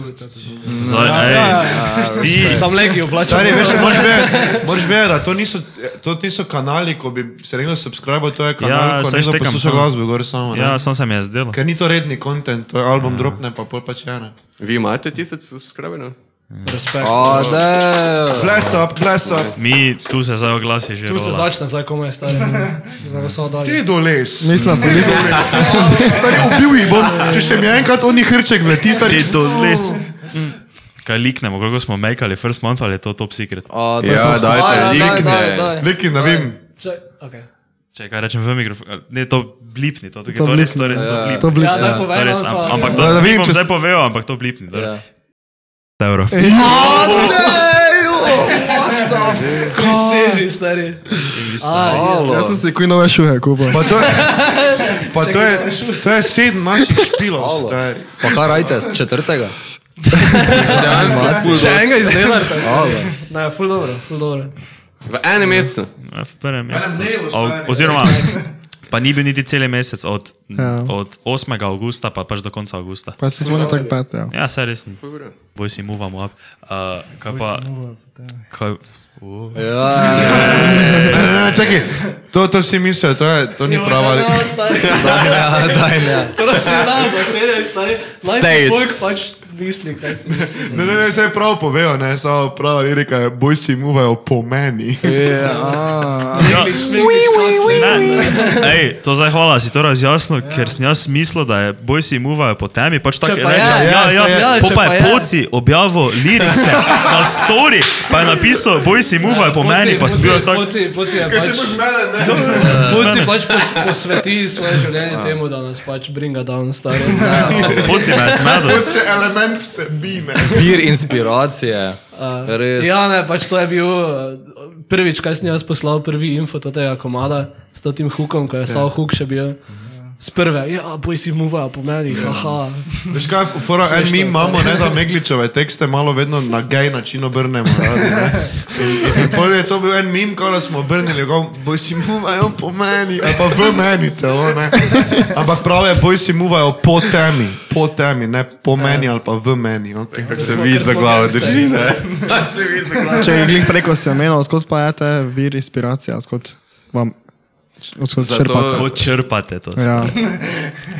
Speaker 2: Zdaj,
Speaker 1: Ja,
Speaker 2: ej, vsi.
Speaker 1: Tam mlekijo plačajo.
Speaker 5: stari, veš, moraš vedeti, moraš vedeti, da to niso, to niso kanali, ko bi se nekdo subscribal, to je kanal,
Speaker 2: Ja,
Speaker 5: ko
Speaker 2: saj
Speaker 5: nekdo
Speaker 2: štekam
Speaker 5: posluša
Speaker 2: samo-
Speaker 5: glasbo, gor samo. ne.
Speaker 2: Ja, sam se mi je zdelo.
Speaker 5: Ker ni to redni kontent, to je album dropne, pa pol pač ena.
Speaker 4: Vi imate tisoč subscriberov?
Speaker 5: Bless up, bless up.
Speaker 2: Mi tu se zdaj oglasi že.
Speaker 1: Tu se
Speaker 2: rola.
Speaker 1: začne, zdaj komaj stari. Zdaj bo samo dalje.
Speaker 5: Ti doles.
Speaker 7: Mislim, da ste bili
Speaker 5: Stari, ubil jih bom, če še mi enkrat oni hrček vleti,
Speaker 2: Ti
Speaker 5: stari.
Speaker 2: to les. Mm. Kaj liknemo, koliko smo mekali first month ali je to top secret?
Speaker 3: A, to je
Speaker 4: Ja,
Speaker 3: top song.
Speaker 4: dajte,
Speaker 3: Daj, daj,
Speaker 4: likne.
Speaker 3: daj, daj.
Speaker 5: Neki, ne vem.
Speaker 1: Če, okay.
Speaker 2: Če kaj rečem v mikrofon, ali- ne to blipni, to, to,
Speaker 7: To
Speaker 2: to res, to
Speaker 7: blipni,
Speaker 2: res, to blipni.
Speaker 7: to bili.
Speaker 1: Ja, daj povej
Speaker 2: To
Speaker 1: nam
Speaker 2: res,
Speaker 1: samo.
Speaker 2: am- ampak to
Speaker 5: Ja, da
Speaker 2: ne
Speaker 5: vidim,
Speaker 2: bom
Speaker 5: če
Speaker 2: zdaj povedal, ampak to blipni. dobro.
Speaker 3: Ja.
Speaker 2: Euro.
Speaker 1: Priseži, stari.
Speaker 7: Ja, Jaz sem si kuj nove šuhe kupil.
Speaker 5: Pa to, Pa to je, to je sedem naših špilov,
Speaker 3: Alo.
Speaker 5: stari.
Speaker 3: Pa kaj rajte, četrtega?
Speaker 4: Dejansko,
Speaker 1: Še enega izdelaj.
Speaker 3: Alo.
Speaker 1: Ne, ful dobro, ful dobro.
Speaker 4: v enem mesecu.
Speaker 2: Ja, V prvem mesecu.
Speaker 5: dnevu,
Speaker 2: O-
Speaker 5: stari.
Speaker 2: Oziroma, pa ni bil niti cel mesec, od,
Speaker 7: Ja.
Speaker 2: od 8. augusta pa pač do konca augusta.
Speaker 7: Pa si smo tako pet, ja.
Speaker 2: Ja, saj resni. Boj si muvamo up. Uh, kaj pa, kaj, uh,
Speaker 3: Ja,
Speaker 5: Ne, čakaj, to, to si mislil, to, je, to ni prava.
Speaker 1: Ja,
Speaker 5: li-
Speaker 1: stari.
Speaker 3: Ja, daj, ne.
Speaker 1: To se da Torej začenjaj, stari. Naj
Speaker 3: Say
Speaker 1: si
Speaker 3: it.
Speaker 1: folk pač misli, kaj si misli.
Speaker 5: Ne, ne, ne, vse prav povejo, ne, samo prava lirika je, bojci muvajo po meni.
Speaker 2: Ja. ne, ej, to zdaj hvala, si to razjasnil, ja. ker sem jaz mislil, da je boj si muvajo po temi, pač tako
Speaker 1: Če pa
Speaker 2: reče. Ja,
Speaker 1: je,
Speaker 2: ja, ja,
Speaker 1: ja,
Speaker 2: ja,
Speaker 1: ja,
Speaker 2: po
Speaker 1: če
Speaker 2: pa
Speaker 1: pa
Speaker 2: je
Speaker 1: je.
Speaker 2: poci objavil lirikse na story, pa je napisal, boj si muvajo po meni, pa sem bil jaz tak.
Speaker 1: Ja, Poci, poci je pač... Poci pač pos, posveti svoje življenje temu, da nas pač bringa down, stari.
Speaker 2: Poci me je smedel.
Speaker 5: Se element vsebine.
Speaker 3: Vir inspiracije. Res.
Speaker 1: Ja, ne, pač to je bil uh, prvič, kaj sem jaz poslal, prvi info od tega komada s tem hukom,
Speaker 3: Ja.
Speaker 1: ko je Sal Huk še bil.
Speaker 3: Mhm.
Speaker 1: Z prve, ja, boj si muva, po meni,
Speaker 3: Ja.
Speaker 1: haha.
Speaker 5: Veš kaj, fora, en mi imamo, ne, da megličeve tekste malo vedno na gej način obrnemo. Radi, ne. in, in, in pol je to bil en mim, ko smo obrnili, go, boj si muvajo po meni, ali pa v meni celo, ne. Ampak prav je, boj si muvajo po temi, po temi, ne po meni ali pa v meni. Okay.
Speaker 6: Kako se vidi za glavo, drži se.
Speaker 7: Če je glih preko semen, odkot pa je te vir inspiracije, odkot vam, odkot črpate.
Speaker 2: Kot črpate to.
Speaker 7: Ja.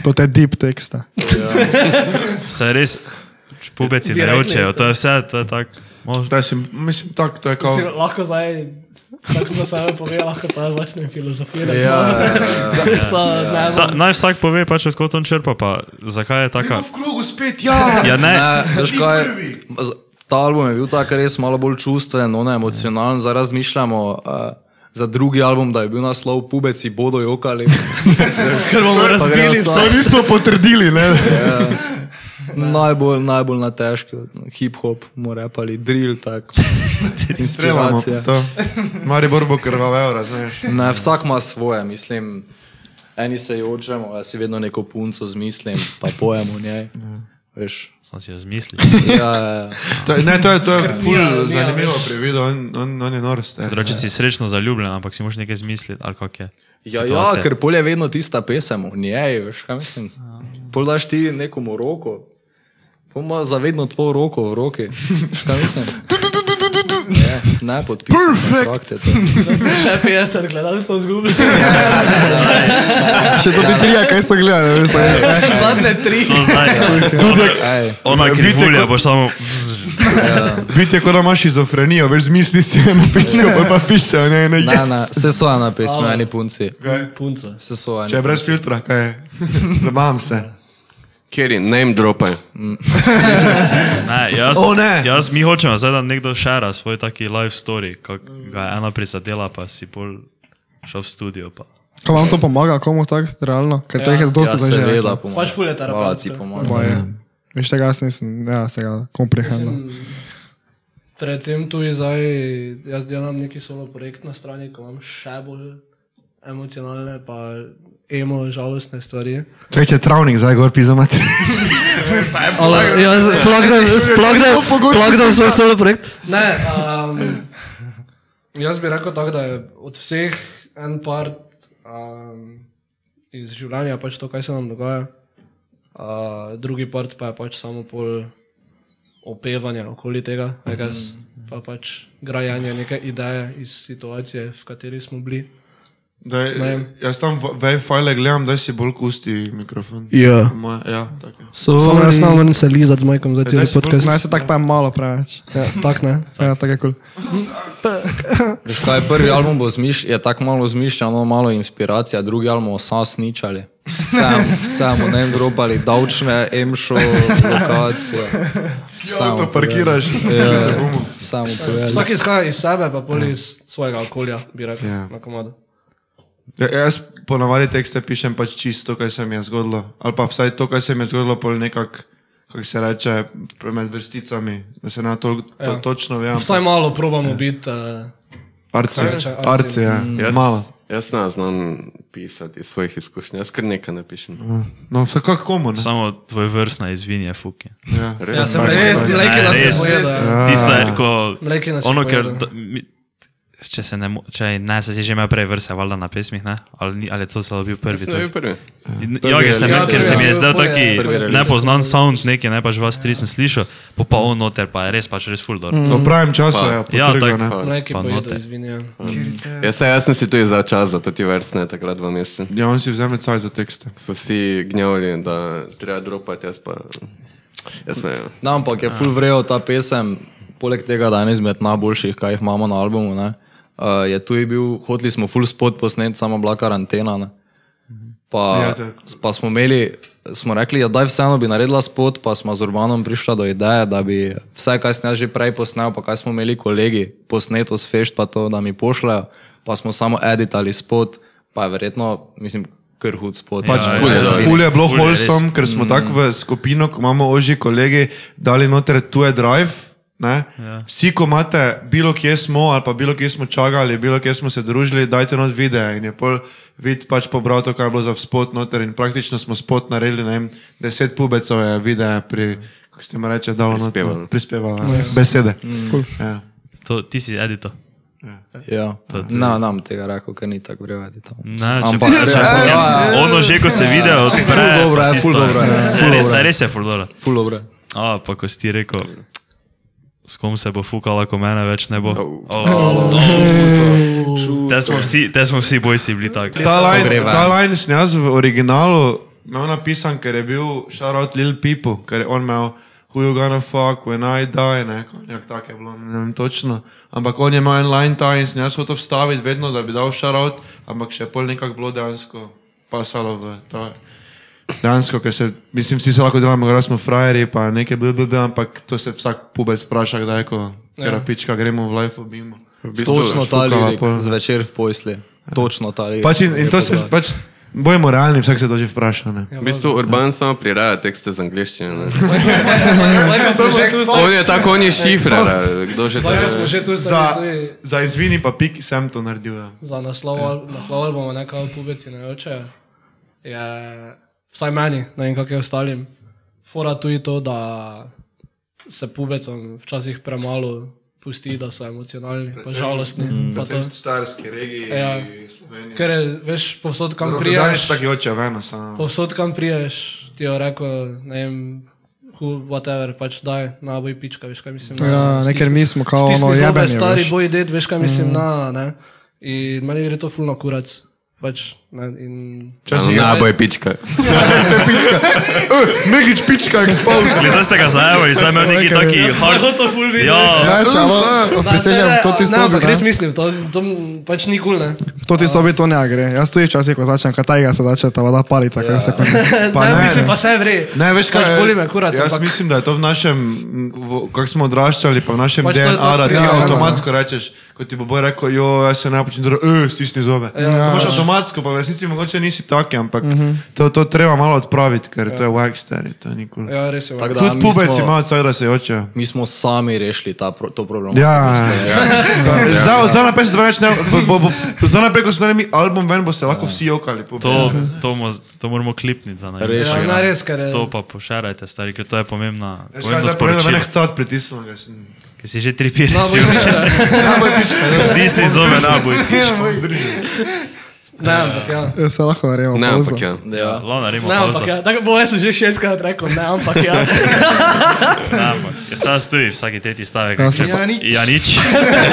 Speaker 7: To te deep tekste.
Speaker 2: Se res, pubeci ne
Speaker 1: Direktno
Speaker 2: učejo,
Speaker 1: isto.
Speaker 2: to je vse, to je tako. mož-
Speaker 5: To je, sim- mislim, tako, to je kao.
Speaker 1: Si lahko zdaj, tako sem sam povedal, lahko pa začnem filozofirati.
Speaker 3: Ja,
Speaker 1: Sa, ne,
Speaker 2: Sa, naj vsak pove, pač odkot on črpa, pa zakaj je taka.
Speaker 5: V krogu spet, ja!
Speaker 2: Ja, ne,
Speaker 3: Ne, veš kaj, z- ta album je bil tako res malo bolj čustven, ono emocionalen, zdaj razmišljamo. Uh, Za drugi album, da je bil naslov Pubeci bodo jokali.
Speaker 1: ker bomo razbili
Speaker 3: gremo
Speaker 1: vse.
Speaker 5: To nismo potrdili, ne?
Speaker 3: najbolj, najbolj na težki, hip-hop, mora pa ali drill, tako.
Speaker 5: Strelamo.
Speaker 3: Inspiracija.
Speaker 5: to. Maribor bo krvavel, razumeš?
Speaker 3: Ne, vsak ima svoje, mislim. Eni se jočemo, jaz si vedno neko punco zmislim, pa pojem o njej. Veš,
Speaker 2: sem si jo zmislil.
Speaker 3: ja, ja, ja.
Speaker 5: To, je- ne, to je, to je ful
Speaker 1: Nija, Nija,
Speaker 5: zanimivo
Speaker 1: veš.
Speaker 5: pri vidu, on, on, on je norst.
Speaker 2: Reče si srečno zaljubljen, ampak si moraš nekaj zmisliti, ali kako je.
Speaker 3: Ja, ja,
Speaker 2: situacija.
Speaker 3: ker polje je vedno tista pesem, v njej, veš kaj mislim. Pol daš ti nekomu roko, pol ima zavedno tvojo roko v roki. Veš kaj mislim? Ne, ne podpisal. Perfekt.
Speaker 1: Še 50 gledalcev zgubil.
Speaker 7: Še to ti
Speaker 5: Ja.
Speaker 7: trija, kaj so gledali, veš, ne?
Speaker 1: Zadnje tri.
Speaker 2: To zdaj. Ona,
Speaker 3: Ej,
Speaker 2: ja. ona krivulja boš samo.
Speaker 5: Biti je, kot da imaš šizofrenijo, veš, zmisli si eno pičko, pol pa piše, ne, ne,
Speaker 3: ne,
Speaker 5: yes.
Speaker 3: ne, se so ena pesma, eni punci.
Speaker 1: Punca.
Speaker 3: Se so
Speaker 5: Če je
Speaker 3: ena.
Speaker 5: Ja, brez filtra, kaj je? Zabavam se.
Speaker 8: Ja.
Speaker 4: Kjer je name dropaj.
Speaker 2: Ne, jaz,
Speaker 5: O, ne.
Speaker 2: jaz mi hočemo zdaj, da nekdo šara svoj taki life story, kako ga je ena prisadela, pa si bolj šel v studio. Pa.
Speaker 7: Ko vam to pomaga, komu tako, realno? Ker teh je
Speaker 3: Ja,
Speaker 7: dosti zdaj že.
Speaker 3: seveda,
Speaker 7: rekla.
Speaker 3: pomaga.
Speaker 1: Pač ful je
Speaker 3: Hvala ti,
Speaker 1: terapevtsko.
Speaker 3: pomaga.
Speaker 1: Ja.
Speaker 7: Moje. Veš tega jaz nisem, ja, se ga komprehendam.
Speaker 1: Predvsem tudi zdaj, jaz delam neki solo projekt na strani, ko imam še bolj emocionalne, pa emo, žalostne stvari.
Speaker 5: Če je travnik, zdaj gor pisa mater.
Speaker 1: Ampak jaz plagdam, plagdam, plagdam svoj solo projekt. Ne, um, jaz bi rekel tako, da je od vseh en part um, iz življenja pač to, kaj se nam dogaja. Uh, drugi part pa je pač samo pol opevanje okoli tega, I guess, pa pač grajanje neke ideje iz situacije, v kateri smo bili.
Speaker 5: Daj,
Speaker 1: Ne.
Speaker 5: jaz tam vej file gledam, da si bolj kusti mikrofon.
Speaker 1: Ja.
Speaker 5: Moje, ja, tako. je.
Speaker 1: Samo jaz ne morem se lizati z majkom za
Speaker 5: cel
Speaker 1: cel
Speaker 5: daj si bolj- podcast.
Speaker 1: podcast.
Speaker 7: Naj se tako pa je malo preveč.
Speaker 1: Ja, tak ne.
Speaker 7: Ja, tako je kul. Cool.
Speaker 3: Veš kaj, prvi album bo zmiš, je tako malo zmišljeno, malo inspiracija, drugi album vsa sničali. Sam, samo ne vem, dropali davčne, emšo, lokacije. Samo povedano.
Speaker 5: Avto parkiraš,
Speaker 1: Ja.
Speaker 5: da bomo.
Speaker 3: Samo povedal.
Speaker 1: Vsak izhaja iz sebe, pa pol iz svojega okolja, bi rekel,
Speaker 5: Ja.
Speaker 1: na komadu.
Speaker 5: Ja, jaz ponavadi tekste pišem pač čisto, kar se mi je zgodilo. Ali pa vsaj to, kar se mi je zgodilo, pol nekako, kako se reče, med vrsticami. Da se na to, to
Speaker 1: Ja.
Speaker 5: točno ve. ampak-
Speaker 1: Vsaj malo probamo biti. Uh,
Speaker 5: Arci,
Speaker 1: Kaj reče arci?
Speaker 5: arci, ja. Malo.
Speaker 4: Mm. Jaz ne znam pisati iz svojih izkušenj, jaz kar nekaj napišem.
Speaker 5: No, vsakak komu, ne?
Speaker 2: Samo tvoj vrstna izvinja, fuki.
Speaker 5: Ja.
Speaker 1: Ja, sem res,
Speaker 5: Tako.
Speaker 1: mleki nas je
Speaker 2: res.
Speaker 1: pojedel.
Speaker 2: Tista
Speaker 5: ja.
Speaker 2: je, ko...
Speaker 1: Mleki nas je
Speaker 2: Ono, ker...
Speaker 1: pojedel.
Speaker 2: da- mi- Če se ne, mo- če ne, se si že imel prej vrste, valjda na pesmih, ne? Ali, ni- ali je to celo bil prvi?
Speaker 4: Sem bil prvi.
Speaker 2: Ja, ker sem,
Speaker 4: release,
Speaker 2: ja, ker
Speaker 4: ja.
Speaker 2: sem
Speaker 1: Prvi
Speaker 2: jaz zdaj
Speaker 1: release.
Speaker 2: taki
Speaker 1: Prvi
Speaker 4: release.
Speaker 2: nepoznan sound, neki ne pač vas tri sem slišal, pa pa on noter, pa je res pač res full door.
Speaker 5: V pravem času
Speaker 4: Pa.
Speaker 5: je
Speaker 2: Ja,
Speaker 5: potrgal,
Speaker 2: tako.
Speaker 5: ne?
Speaker 4: Pa-
Speaker 1: Mleki
Speaker 2: pa
Speaker 1: pojedel,
Speaker 2: noter.
Speaker 1: izvinjam.
Speaker 4: Ja, saj jaz sem si tudi za čas, zato ti versne takrat dva meseca.
Speaker 5: Ja, on si vzame caj za tekste.
Speaker 4: So vsi gnjavili, da treba dropati, jaz pa... Jaz pa, ja.
Speaker 3: No, ampak je full vrejo ta pesem, poleg tega, da je ena izmed najboljših, kaj jih imamo na albumu. Ne, uh, je tu bil, hoteli smo full spot posnet, samo bila karantena. Ne. Pa,
Speaker 5: Ja, tako.
Speaker 3: pa smo imeli, smo rekli, da je vseeno bi naredila spot, pa smo z Urbanom prišla do ideje, da bi vse, kar sem jaz že prej posnel, pa kaj smo imeli kolegi, posneto s fešt, pa to, da mi pošljajo, pa smo samo editali spot, pa je verjetno, mislim, krhud spot.
Speaker 2: Pač Ja,
Speaker 4: ful je dobro.
Speaker 5: Ful je bilo
Speaker 2: Ful je res.
Speaker 5: wholesome, ker smo tako v skupino, ko imamo ožji kolegi, dali noter tuje drive. Ne? Vsi, ko imate, bilo kje smo, ali pa bilo kje smo čakali, bilo kje smo se družili, dajte not videe. In je pol vid pač pobral to, kaj je bilo za spot noter. In praktično smo spot naredili, ne vem, deset pubecov je videe pri, kako se jim reče, dalo
Speaker 4: Prispevalo.
Speaker 5: noter. Prispevalo. ja. Besede. Ja.
Speaker 2: To, ti si edito.
Speaker 3: Ja, ne, nam tega rekel, ker ni tako vrevati tam.
Speaker 2: Ne, če pa
Speaker 3: Ampak-
Speaker 2: rečeš,
Speaker 3: Ja,
Speaker 2: fucking,
Speaker 3: ja, ja.
Speaker 2: ono že, ko se vidi, odpre.
Speaker 3: Ful dobro je,
Speaker 2: pa tisto,
Speaker 3: ful dobro je,
Speaker 2: saj
Speaker 3: ja. Ful
Speaker 2: Res,
Speaker 3: dobro
Speaker 2: saj
Speaker 3: je.
Speaker 2: res je full dobro.
Speaker 3: Ful dobro.
Speaker 2: A, pa ko si ti rekel, s kom se bo fukala, ko mene več ne bo. O, Te smo vsi, te smo vsi bojci bili taki.
Speaker 5: Ta line,
Speaker 3: pogreva.
Speaker 5: ta line sem jaz v originalu imel napisan, ker je bil Shoutout Lil Peepo, ker je on imel Who you gonna fuck when I die, ne, nekako tako je bilo, ne vem točno. Ampak on je imel en line ta in sem jaz hotel vstaviti vedno, da bi dal shoutout, ampak še pol nekako bilo dejansko pasalo v ta. Dejansko, ker se, mislim, vsi se lahko delamo, da smo frajeri, pa nekaj BBB, ampak to se vsak pubec vpraša, kdaj, ko terapička gremo v life obimo.
Speaker 4: V bistvu,
Speaker 3: Točno ta
Speaker 5: štukala
Speaker 3: lirik,
Speaker 5: pol.
Speaker 3: zvečer v pojsli. Točno ta lirik.
Speaker 5: Pač in, in to se, pač, bojmo realni, vsak se to že vpraša, ne.
Speaker 1: Ja.
Speaker 4: v bistvu Urban samo priraja tekste z angliščine. ne.
Speaker 1: Zdaj pa smo že tu,
Speaker 4: On je tako, on je šifrar, kdo že
Speaker 1: zdaj pa smo
Speaker 4: tako.
Speaker 1: že tu,
Speaker 5: Za,
Speaker 1: zdaj je tu.
Speaker 5: za izvini pa pik sem to naredil. Ja.
Speaker 1: za naslov, al- naslov albuma, ne kao pubeci ne oče, je vsaj meni, ne vem kako je ostalim, fora tudi to, da se pubecom včasih premalo pusti, da so emocionalni, pa žalostni.
Speaker 2: Mm.
Speaker 1: Pa to,
Speaker 6: Starski regiji,
Speaker 1: ja,
Speaker 6: Slovenija.
Speaker 1: ker je, veš, povsod kam
Speaker 5: Danes
Speaker 1: prijaš,
Speaker 5: taki oče, veno samo.
Speaker 1: povsod kam prijaš, ti je rekel, ne vem, who, whatever, pač daj, na boj pička, veš kaj mislim. ne,
Speaker 7: Ja, ne, ker mi smo kao
Speaker 1: Stisni
Speaker 7: ono
Speaker 1: zobe,
Speaker 7: jebeni,
Speaker 1: Stari
Speaker 7: veš.
Speaker 1: boj ded, veš kaj mislim, mm. na, ne. In meni gre to fulno kurac. Pač, ne, in...
Speaker 4: Ja, Naboj pička.
Speaker 6: Megič pička expose.
Speaker 2: Zdaj ste ga zajavali, zdaj imel neki taki hard. Ja,
Speaker 7: Ja, če, ampak prisežem, v toti
Speaker 1: Ne, ampak res
Speaker 7: sobi, ne,
Speaker 1: mislim, to, to pač ni kul, ne.
Speaker 7: v toti sobi to ne gre. Jaz tudi včasih, ko začnem, kaj tajega se začne, ta voda pali,
Speaker 1: Ja.
Speaker 7: tako vse kot.
Speaker 5: Pa
Speaker 1: ne,
Speaker 5: ne,
Speaker 1: mislim
Speaker 5: ne.
Speaker 1: pa se vre.
Speaker 5: Ne, veš kaj
Speaker 1: Pač boli me kurac,
Speaker 5: Jaz
Speaker 1: ampak-
Speaker 5: mislim, da je to v našem, kako smo odraščali, pa v našem
Speaker 1: Pač
Speaker 5: pač
Speaker 1: to je to
Speaker 5: DNA, da ti
Speaker 1: priročno.
Speaker 5: avtomatsko rečeš, ko ti bo boj rekel, jo, jaz se ne počnem dobro, eh, stisni zobe. Ja, Moš avtomatsko, pa v resnici mogoče nisi taki, ampak
Speaker 1: Mhm.
Speaker 5: to, to treba malo odpraviti, ker to je wag stari, to nikoli.
Speaker 1: Ja, res je.
Speaker 3: Tako da,
Speaker 5: Tudi
Speaker 3: mi
Speaker 5: pubec
Speaker 3: smo-
Speaker 5: ima caj, da se joče.
Speaker 3: Mi smo sami rešili ta, pro- to problematiko.
Speaker 5: Ja, Za- za naprej se to več ne, bo- bo- bo- za naprej, ko smo naredili album ven, bo se lahko vsi jokali. Ja. pubec.
Speaker 2: To, to, mo, to moramo klipniti za nami.
Speaker 3: Res.
Speaker 1: Ja, ne, res, ker je...
Speaker 2: To pa pošarajte, stari, ker to je pomembna.
Speaker 5: Veš kaj,
Speaker 2: Pomembno
Speaker 5: zdaj povem, da me
Speaker 2: sporočilo.
Speaker 5: ne hcat pritisnil, ker sem...
Speaker 2: Ki si že tri pire
Speaker 1: No, boj
Speaker 2: spil.
Speaker 1: pička.
Speaker 2: Stisni zove na boj.
Speaker 3: Ja,
Speaker 1: Ne, ampak ja.
Speaker 7: Se lahko verjamem.
Speaker 4: Ne, ampak ja.
Speaker 3: Ja.
Speaker 2: Lona rima
Speaker 1: Ne, ampak ja.
Speaker 2: pauza.
Speaker 1: Tako bo jaz sem že šestkrat rekel, ne, ampak ja.
Speaker 2: Ne, ampak ja. Sam stoji vsaki tretji stavek.
Speaker 7: Ja, sem
Speaker 2: Ja,
Speaker 7: sa-
Speaker 2: Janič.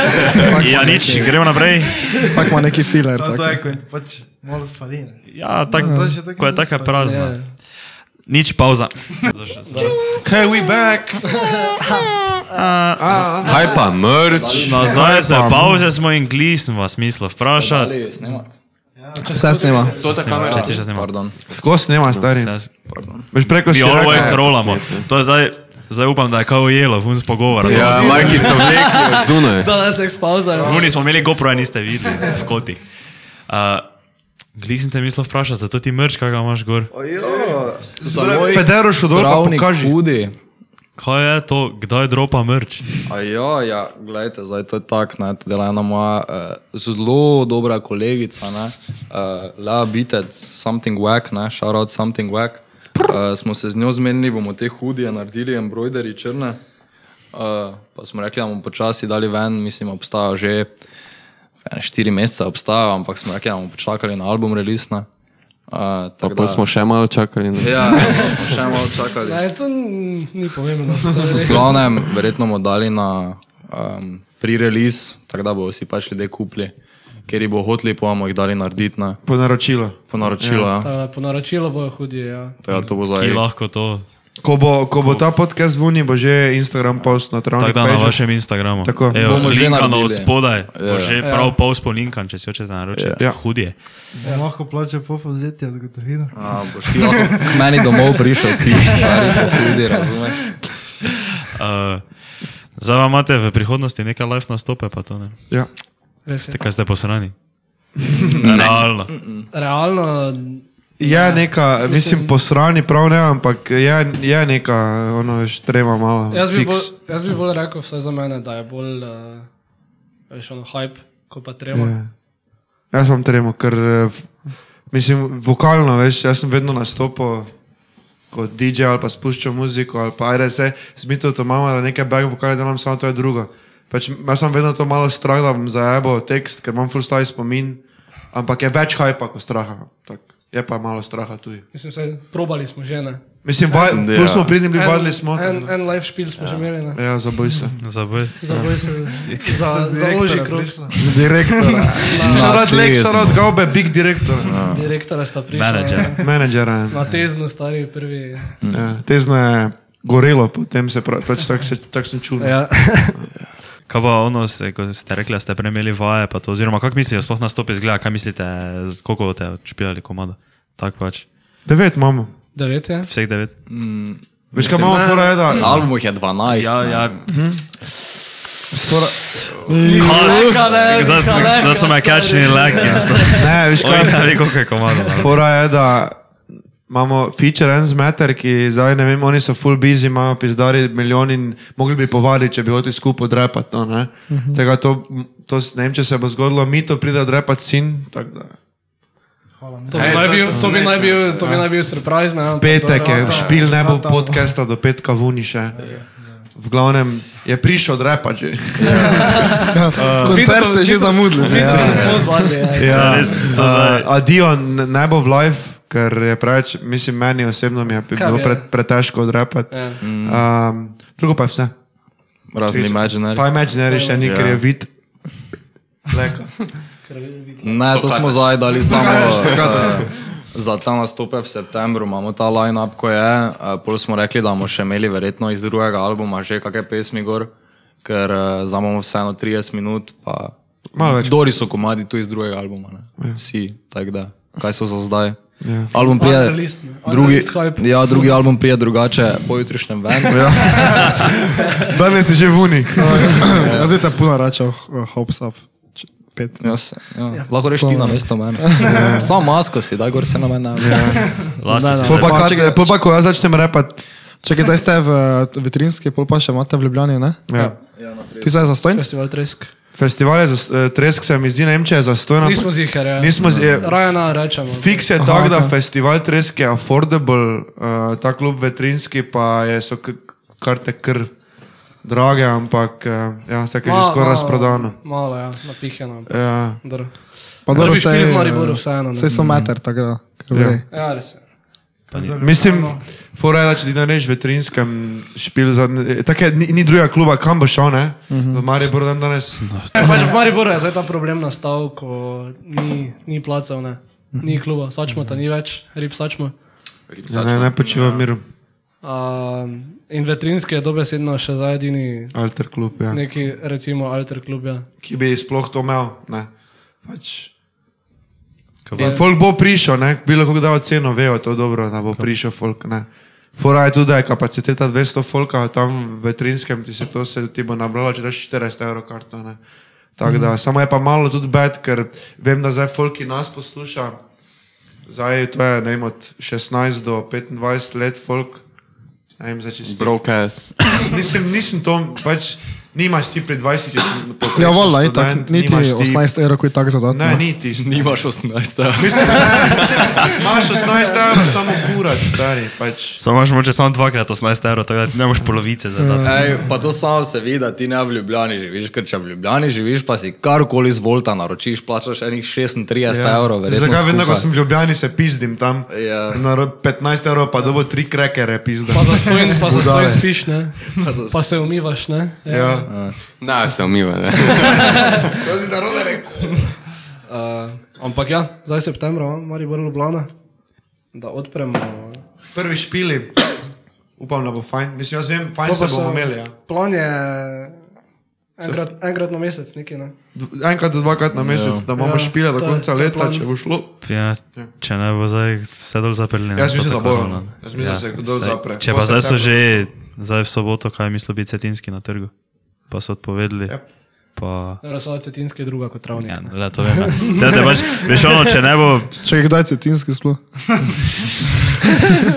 Speaker 2: Janič, gremo naprej.
Speaker 7: Vsak ima neki filer.
Speaker 8: To, to
Speaker 7: tako.
Speaker 8: je, ko pač malo stvari. ne.
Speaker 2: Ja, tak,
Speaker 8: zdaj še tako
Speaker 2: ko je taka
Speaker 8: nisva.
Speaker 2: prazna.
Speaker 1: Ja.
Speaker 2: Nič pauza. Zaš- zaš-
Speaker 5: Hey, we back!
Speaker 4: Kaj pa mrč?
Speaker 2: Nazaj se pauze smo in gli sem vas mislil vprašati.
Speaker 3: Ali snemati?
Speaker 7: Vse snima.
Speaker 4: To ta kamera.
Speaker 2: Če si še snimam.
Speaker 3: Pardon.
Speaker 5: Skos snema, stari.
Speaker 2: Vse-
Speaker 5: Veš preko
Speaker 2: Mi
Speaker 5: si
Speaker 2: always rolamo. To je zdaj, zdaj upam, da je kao jelo, vun spogovor.
Speaker 4: Ja, majki so vlekli od zunaj.
Speaker 1: Danes je pauza.
Speaker 2: Vuni smo imeli GoPro, niste videli v koti. Uh, Glih sem te mislil vprašati, zato ti mrč, kaj ga imaš gor.
Speaker 3: Za moj
Speaker 5: Pedero šodor, pa
Speaker 3: travnik
Speaker 5: pokaži.
Speaker 3: hudi,
Speaker 2: Kaj je to, kdaj dropa mrč?
Speaker 3: A ja, ja, gledajte, zdaj to je tako, ne, to dela ena moja uh, zelo dobra kolegica, ne, uh, La Bitec, Something Wack, ne, shout out Something Wack. Uh, smo se z njo zmenili, bomo te hudije naredili, embroideri črne, uh, pa smo rekli, da bomo počasi dali ven, mislim, obstaja že ene štiri mesece, obstaja, ampak smo rekli, da bomo počakali na album release, ne. Uh,
Speaker 4: Pa pol smo še malo čakali. Ne?
Speaker 3: Ja, še malo čakali.
Speaker 1: Ne, to n- ni pomembno. stari.
Speaker 3: V glavnem, verjetno bomo dali na um, pre-release, tako da bodo si pač ljudje kupili, ker jih bo hoteli, pa bomo jih dali narediti na
Speaker 5: Po naročilu.
Speaker 3: ponaročilo. Ja,
Speaker 1: Ta, Po naročilu eh, bojo hudi, ja.
Speaker 3: to, ja, to bo
Speaker 2: Ki
Speaker 3: zdaj.
Speaker 2: lahko to.
Speaker 5: Ko bo, ko bo ta podcast zvuni, bo že Instagram post na travniku.
Speaker 2: Tako da na vašem Instagramu.
Speaker 5: Tako.
Speaker 2: Evo,
Speaker 3: Bomo že
Speaker 2: linkano od
Speaker 3: naredili.
Speaker 2: spodaj. Bo
Speaker 3: Ja.
Speaker 2: že prav pol spolinkan, če si hočete naročiti.
Speaker 5: Ja.
Speaker 2: Hudje.
Speaker 8: Ja. Lahko plača po povzetju z gotovino.
Speaker 3: A, boš ti lahko k meni domov prišel, ti stari, ljudi razumeš.
Speaker 2: Uh, Zdaj vam imate v prihodnosti neke live nastope, pa to ne.
Speaker 5: Ja.
Speaker 1: Res je.
Speaker 2: Te kaj ste posrani? Realno.
Speaker 1: Realno,
Speaker 5: Je neka, mislim,
Speaker 1: Ja. Mislim-
Speaker 5: mislim, posrani prav ne, ampak je, je neka, ono, veš, trema malo.
Speaker 1: jaz bi,
Speaker 5: fiks.
Speaker 1: bolj, jaz bi bolj rekel, vse za mene, da je bolj, uh, veš, ono hype, ko pa treba. Yeah.
Speaker 5: Ja. Jaz sem tremo, ker eh, v- mislim, vokalno, veš, jaz sem vedno nastopal kot DJ ali pa spuščal muziko ali pa RSE, zmito to imamo, da nekaj back vokale delam, samo to je drugo. Pač, jaz sem vedno to malo strah, da bom zajebo tekst, ker imam full staj spomin, ampak je več hajpa kot straha. Tak. Je pa malo straha tudi.
Speaker 1: Mislim, se, probali smo že, ne.
Speaker 5: Mislim, vaj, yeah. plus smo pridni bili, vadili smo.
Speaker 1: En,
Speaker 5: tako da-
Speaker 1: en live špil smo yeah. že imeli, ne.
Speaker 5: Ja, zaboj se.
Speaker 2: Zaboj.
Speaker 1: Za boj se, za, za oži krog.
Speaker 5: Direktor. Šarad
Speaker 3: Na
Speaker 5: Lek,
Speaker 3: tezni.
Speaker 5: šarad Gaube, big direktor.
Speaker 1: Ja. Direktora sta prišla.
Speaker 2: Menedžer.
Speaker 1: ne.
Speaker 5: Menedžer. ja.
Speaker 1: Na tezno stari prvi.
Speaker 5: Ja, tezno je gorelo, potem se pravi, pač tako se- tako sem čutil.
Speaker 1: Ja.
Speaker 2: Kaj pa ono, se, ko ste rekli, da ste premeli vaje, pa to, oziroma kako mislite, sploh nastop izgleda, kaj mislite, z- koliko boste odšpijali komado? Tako pač,
Speaker 5: Devet imamo.
Speaker 1: Devet ja. je.
Speaker 2: vseh devet.
Speaker 5: Veš, kaj imamo, fora je da.
Speaker 3: Album jih je 12.
Speaker 2: Ja,
Speaker 3: ne.
Speaker 2: ja.
Speaker 3: Sora,
Speaker 2: Kaj? Zdaj sem- zdaj so me kačni laki.
Speaker 5: Ne, veš,
Speaker 2: Oj, ne
Speaker 5: kaj
Speaker 2: ve, koliko je komado.
Speaker 5: fora je da. Imamo feature en zmeter, ki zdaj ne vem, oni so full busy, imajo pizdari milijon in mogli bi povaditi, če bi hoteli skupaj drepati. No, ne? Tega to, to s- ne vem, če se bo zgodilo, mi to pride drepati sin. tako da.
Speaker 1: To bi naj bil, to Ja. bi naj bil, to bi naj bil surprise, ne. ampak
Speaker 5: Petek je,
Speaker 1: dobro.
Speaker 5: špil ne bo podcasta do petka vuni še. V glavnem je prišel drepati že.
Speaker 7: ja. Koncert se je že zamudil.
Speaker 1: Mislim, da smo zvali. ja.
Speaker 5: Ja,
Speaker 2: res, to zdaj-
Speaker 5: Uh, Adijo n- ne bo v live, ker je preveč, mislim, meni osebno mi je bi
Speaker 1: Kaj
Speaker 5: bilo
Speaker 1: je?
Speaker 5: pre, pretežko odrepati.
Speaker 1: Ja.
Speaker 2: Mm.
Speaker 5: Um, drugo pa je vse.
Speaker 3: Razni imaginari.
Speaker 5: Pa Imaginary še ni,
Speaker 2: Ja.
Speaker 5: ker je vid.
Speaker 3: Ne, to smo zdaj dali samo eh, za ta nastope v septembru. Imamo ta line-up, ko je. Eh, Pol smo rekli, da bomo še imeli verjetno iz drugega albuma že kakšne pesmi gor, ker zamemo vseeno 30 minut. pa
Speaker 5: Malo več. Ja.
Speaker 3: Dori so komadi tu iz drugega albuma, ne? vsi. Tako da, kaj so za zdaj? Album prije,
Speaker 1: Unreleased, ne.
Speaker 3: drugi,
Speaker 1: Unreleased hype.
Speaker 3: ja, drugi album prije drugače, pojutrišnjem ven.
Speaker 5: Ja. Danes je že vuni.
Speaker 7: No, ja. Jaz bi te puno račal, hops up. Č- Pet.
Speaker 3: Jaz, ja. Lahko rečeš ti na mesto mene.
Speaker 5: Ja.
Speaker 3: Samo masko si, da gor se na mene. Ja.
Speaker 2: Lasti si se-
Speaker 5: Pol pa,
Speaker 7: Pa
Speaker 5: kad-
Speaker 7: čekaj.
Speaker 5: pol pa, ko jaz začnem repati.
Speaker 7: Čakaj, zdaj ste v eh, Vitrinski, pol pa še imate v Ljubljani, ne?
Speaker 5: Ja.
Speaker 7: Ti zdaj zastojni?
Speaker 1: Festival Tresk.
Speaker 5: Festival je zas- eh, tresk, se mi zdi, ne vem, če je zastojno.
Speaker 1: Nismo zihar, ja.
Speaker 5: No, Nismo z, je,
Speaker 1: Rajana rečemo.
Speaker 5: Fiks je tak, da festival Tresk je affordable, uh, ta klub Vetrinski pa je, so k- karte kar drage, ampak uh, ja, tako je že
Speaker 1: Ma-
Speaker 5: skoraj
Speaker 1: malo-
Speaker 5: razprodano.
Speaker 1: Malo, ja, napihano.
Speaker 5: Ja.
Speaker 1: Dobro.
Speaker 7: Pa
Speaker 1: Dobro,
Speaker 7: dobro,
Speaker 1: bi špil
Speaker 7: saj,
Speaker 1: v Mariboru
Speaker 7: eh,
Speaker 1: vseeno. ne.
Speaker 7: saj so meter, tako da. kar v
Speaker 5: Ja.
Speaker 7: redu.
Speaker 1: Ja, res je.
Speaker 5: Mislim, fora je, da če ti narediš veterinskem špil, za, tako je, ni, ni drugega kluba, kam boš šel, ne? Mm -hmm. V Mariboru dan danes.
Speaker 1: Ja, pač v Mariboru je zdaj ta problem nastal, ko ni, ni placev, ne. ni kluba, sačmo ta ni več, rib sačmo.
Speaker 5: Ne, ne, ne počiva v miru.
Speaker 1: Um, in veterinski je dobesedno še za edini
Speaker 5: Alter klub, ja.
Speaker 1: neki, recimo, alter klub. Ja.
Speaker 5: Ki bi sploh to imel, ne? Pač.
Speaker 2: Kaj
Speaker 5: In folk bo prišel, ne? Bilo kako da oceno, vejo to dobro, da bo prišel folk, ne? Fora je tudi, da je kapaciteta 200 folka, tam v veterinskem ti se to se ti bo nabralo, če daš 40 evrov karto, ne? Tako da, samo je pa malo tudi bed, ker vem, da zdaj folk, ki nas posluša, Zdaj to je ne vem, od 16 do 25 let folk, Ajme, zdaj, če si ti-
Speaker 4: Broke ass.
Speaker 5: Nisem, nisem to, pač nimaš ti pri 20, če si poprečen
Speaker 7: Ja, vola, itak,
Speaker 5: študent,
Speaker 7: niti no.
Speaker 5: nimaš ti-
Speaker 7: 18 evrov, ko je tako zadatno.
Speaker 5: Ne, niti.
Speaker 3: Nimaš 18.
Speaker 5: Mislim, ne, imaš 18 evrov, samo kurat, stari, pač.
Speaker 2: Samo imaš moče samo dvakrat 18 evrov, tako da ne boš polovice za to.
Speaker 3: Ej, pa to samo se vidi, da ti ne v Ljubljani živiš, ker če v Ljubljani živiš, pa si karkoli z Volta naročiš, plačaš enih 36 ja. evrov. verjetno
Speaker 5: Zakaj vedno, ko
Speaker 3: skupaj.
Speaker 5: sem v Ljubljani, se pizdim tam.
Speaker 3: Ja.
Speaker 5: Na ro- 15 evrov pa dobo tri krekere pizdam.
Speaker 1: Pa za stojen, pa za
Speaker 5: Budale.
Speaker 1: stojen spiš, ne?
Speaker 3: za-
Speaker 1: Pa se umivaš, ne? Ja.
Speaker 5: Ja.
Speaker 4: Na, se umiva, ne.
Speaker 6: To si narobe rekel.
Speaker 1: Uh, ampak ja, zdaj septembra, a, Maribor Ljubljana, da odpremo. no.
Speaker 5: Prvi špili, upam, da bo fajn. Mislim, jaz vem,
Speaker 1: To
Speaker 5: fajn se
Speaker 1: pa
Speaker 5: bomo
Speaker 1: so-
Speaker 5: imeli. Ja.
Speaker 1: Plan je enkrat, enkrat na mesec, nekaj, ne?
Speaker 5: Dv- Enkrat do dvakrat na mesec, da imamo
Speaker 1: Ja,
Speaker 5: špile do
Speaker 1: to je-
Speaker 5: konca
Speaker 1: to je
Speaker 5: leta,
Speaker 1: plan.
Speaker 5: če bo šlo.
Speaker 2: Ja, če ne bo zdaj vse dol zaprli.
Speaker 5: Jaz mislim, da bojo.
Speaker 2: bo.
Speaker 5: Jaz mislim, da se dol
Speaker 2: Ja.
Speaker 5: zapre.
Speaker 2: Če pa
Speaker 5: Po
Speaker 2: zdaj so
Speaker 5: septembru.
Speaker 2: že, zdaj v soboto, kaj misli biti cetinski na trgu, pa so odpovedali.
Speaker 5: Yep.
Speaker 2: Pa,
Speaker 1: Razsodaj cetinske je druga kot travnik.
Speaker 2: ja, le, to vem. ja. Te, te baš, veš ono, če ne bo,
Speaker 7: Če je kdaj cetinski sploh.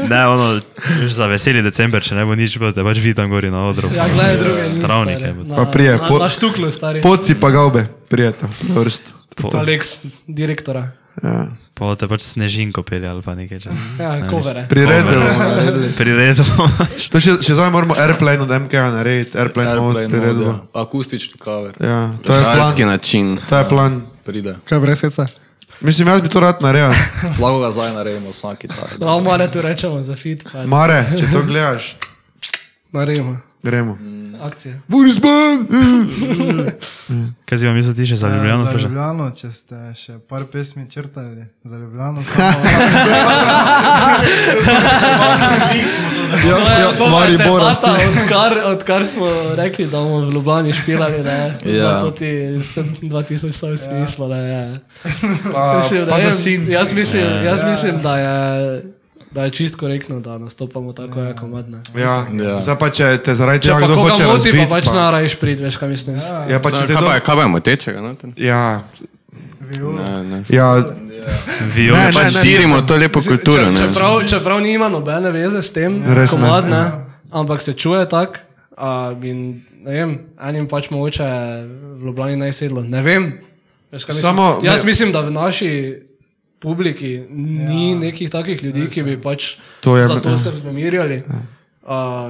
Speaker 2: ne ono, veš, za veseli december, če ne bo nič, bo te pač vidim gori na odru.
Speaker 1: Ja, gledaj, druge ni.
Speaker 2: Travnik
Speaker 1: stari.
Speaker 2: je bil.
Speaker 1: Na-
Speaker 5: Pa prije,
Speaker 1: Na,
Speaker 5: po-
Speaker 1: na štuklu, stari.
Speaker 5: Poci pa gaube, prijeta, vrst.
Speaker 2: Po,
Speaker 1: Alex, direktora.
Speaker 5: Ja.
Speaker 2: po te pač snežinko pelje ali pa nekaj. Če,
Speaker 1: Ja, kovere.
Speaker 5: Priredili bomo naredili.
Speaker 2: Priredimo.
Speaker 5: To še, še zdaj moramo airplane od MK-ja narediti, airplane, airplane
Speaker 3: Airplane
Speaker 5: mode,
Speaker 3: mode,
Speaker 5: priredbo.
Speaker 3: ja. akustični cover ja.
Speaker 5: Ja, to je plan.
Speaker 4: Alski način.
Speaker 5: To je plan.
Speaker 3: pride.
Speaker 7: Kaj brez heca?
Speaker 5: Mislim, jaz bi to rad naredil.
Speaker 3: Lahko ga zdaj naredimo vsak tak. da.
Speaker 1: No, mare tu rečemo za fit, pa
Speaker 5: Mare, če to gledaš,
Speaker 1: naredimo.
Speaker 5: gremo.
Speaker 1: Akcije.
Speaker 5: Boris Ban!
Speaker 2: Kaj si vam misli, ti še za Ljubljano?
Speaker 8: Ja, za
Speaker 2: vprašaj?
Speaker 8: Ljubljano, če ste še par pesmi črtali, za Ljubljano. Samo,
Speaker 7: Ja,
Speaker 1: No,
Speaker 7: ja, Maribor,
Speaker 1: debata,
Speaker 7: vsi.
Speaker 1: odkar, odkar smo rekli, da bomo v Ljubljani špilali, ne?
Speaker 3: Ja.
Speaker 1: Zato ti se 2000 saj smislo, ne? Ja.
Speaker 5: Pa,
Speaker 1: Mislim,
Speaker 5: pa
Speaker 1: da
Speaker 5: za
Speaker 1: je-
Speaker 5: sin. Ja.
Speaker 1: Jaz mislim, jaz mislim da, je, da je čist korektno, da nastopamo tako, jako madne.
Speaker 5: Ja,
Speaker 3: Ja.
Speaker 5: zdaj pa če te zaradi
Speaker 1: Če
Speaker 5: tega
Speaker 1: pa
Speaker 5: kdo hoče
Speaker 1: koga moti,
Speaker 5: razbiti,
Speaker 1: pa pač narajš prid, veš, kaj mislim. Ja.
Speaker 5: Ja, pa če
Speaker 4: Kaj
Speaker 5: te kdo...
Speaker 4: pa je, kaj pa je motečega, no?
Speaker 5: Ja,
Speaker 4: Ne, ne.
Speaker 5: ja,
Speaker 2: Vijole.
Speaker 5: Ne,
Speaker 4: Pač
Speaker 5: ne, ne.
Speaker 4: širimo to lepo kulturo, ne.
Speaker 1: Čeprav, čeprav nima nobene veze s tem,
Speaker 5: Res ne.
Speaker 1: komad, ne, ampak se čuje tako. a, In ne vem, enim pač mogoče v Ljubljani najsedlo. Ne vem. Veš, kaj mislim?
Speaker 5: Samo-
Speaker 1: Jaz
Speaker 5: ne.
Speaker 1: mislim, da v naši publiki ni ja. nekih takih ljudi, ki bi pač
Speaker 5: To je-
Speaker 1: za
Speaker 5: ja.
Speaker 1: to se vznemirjali. A,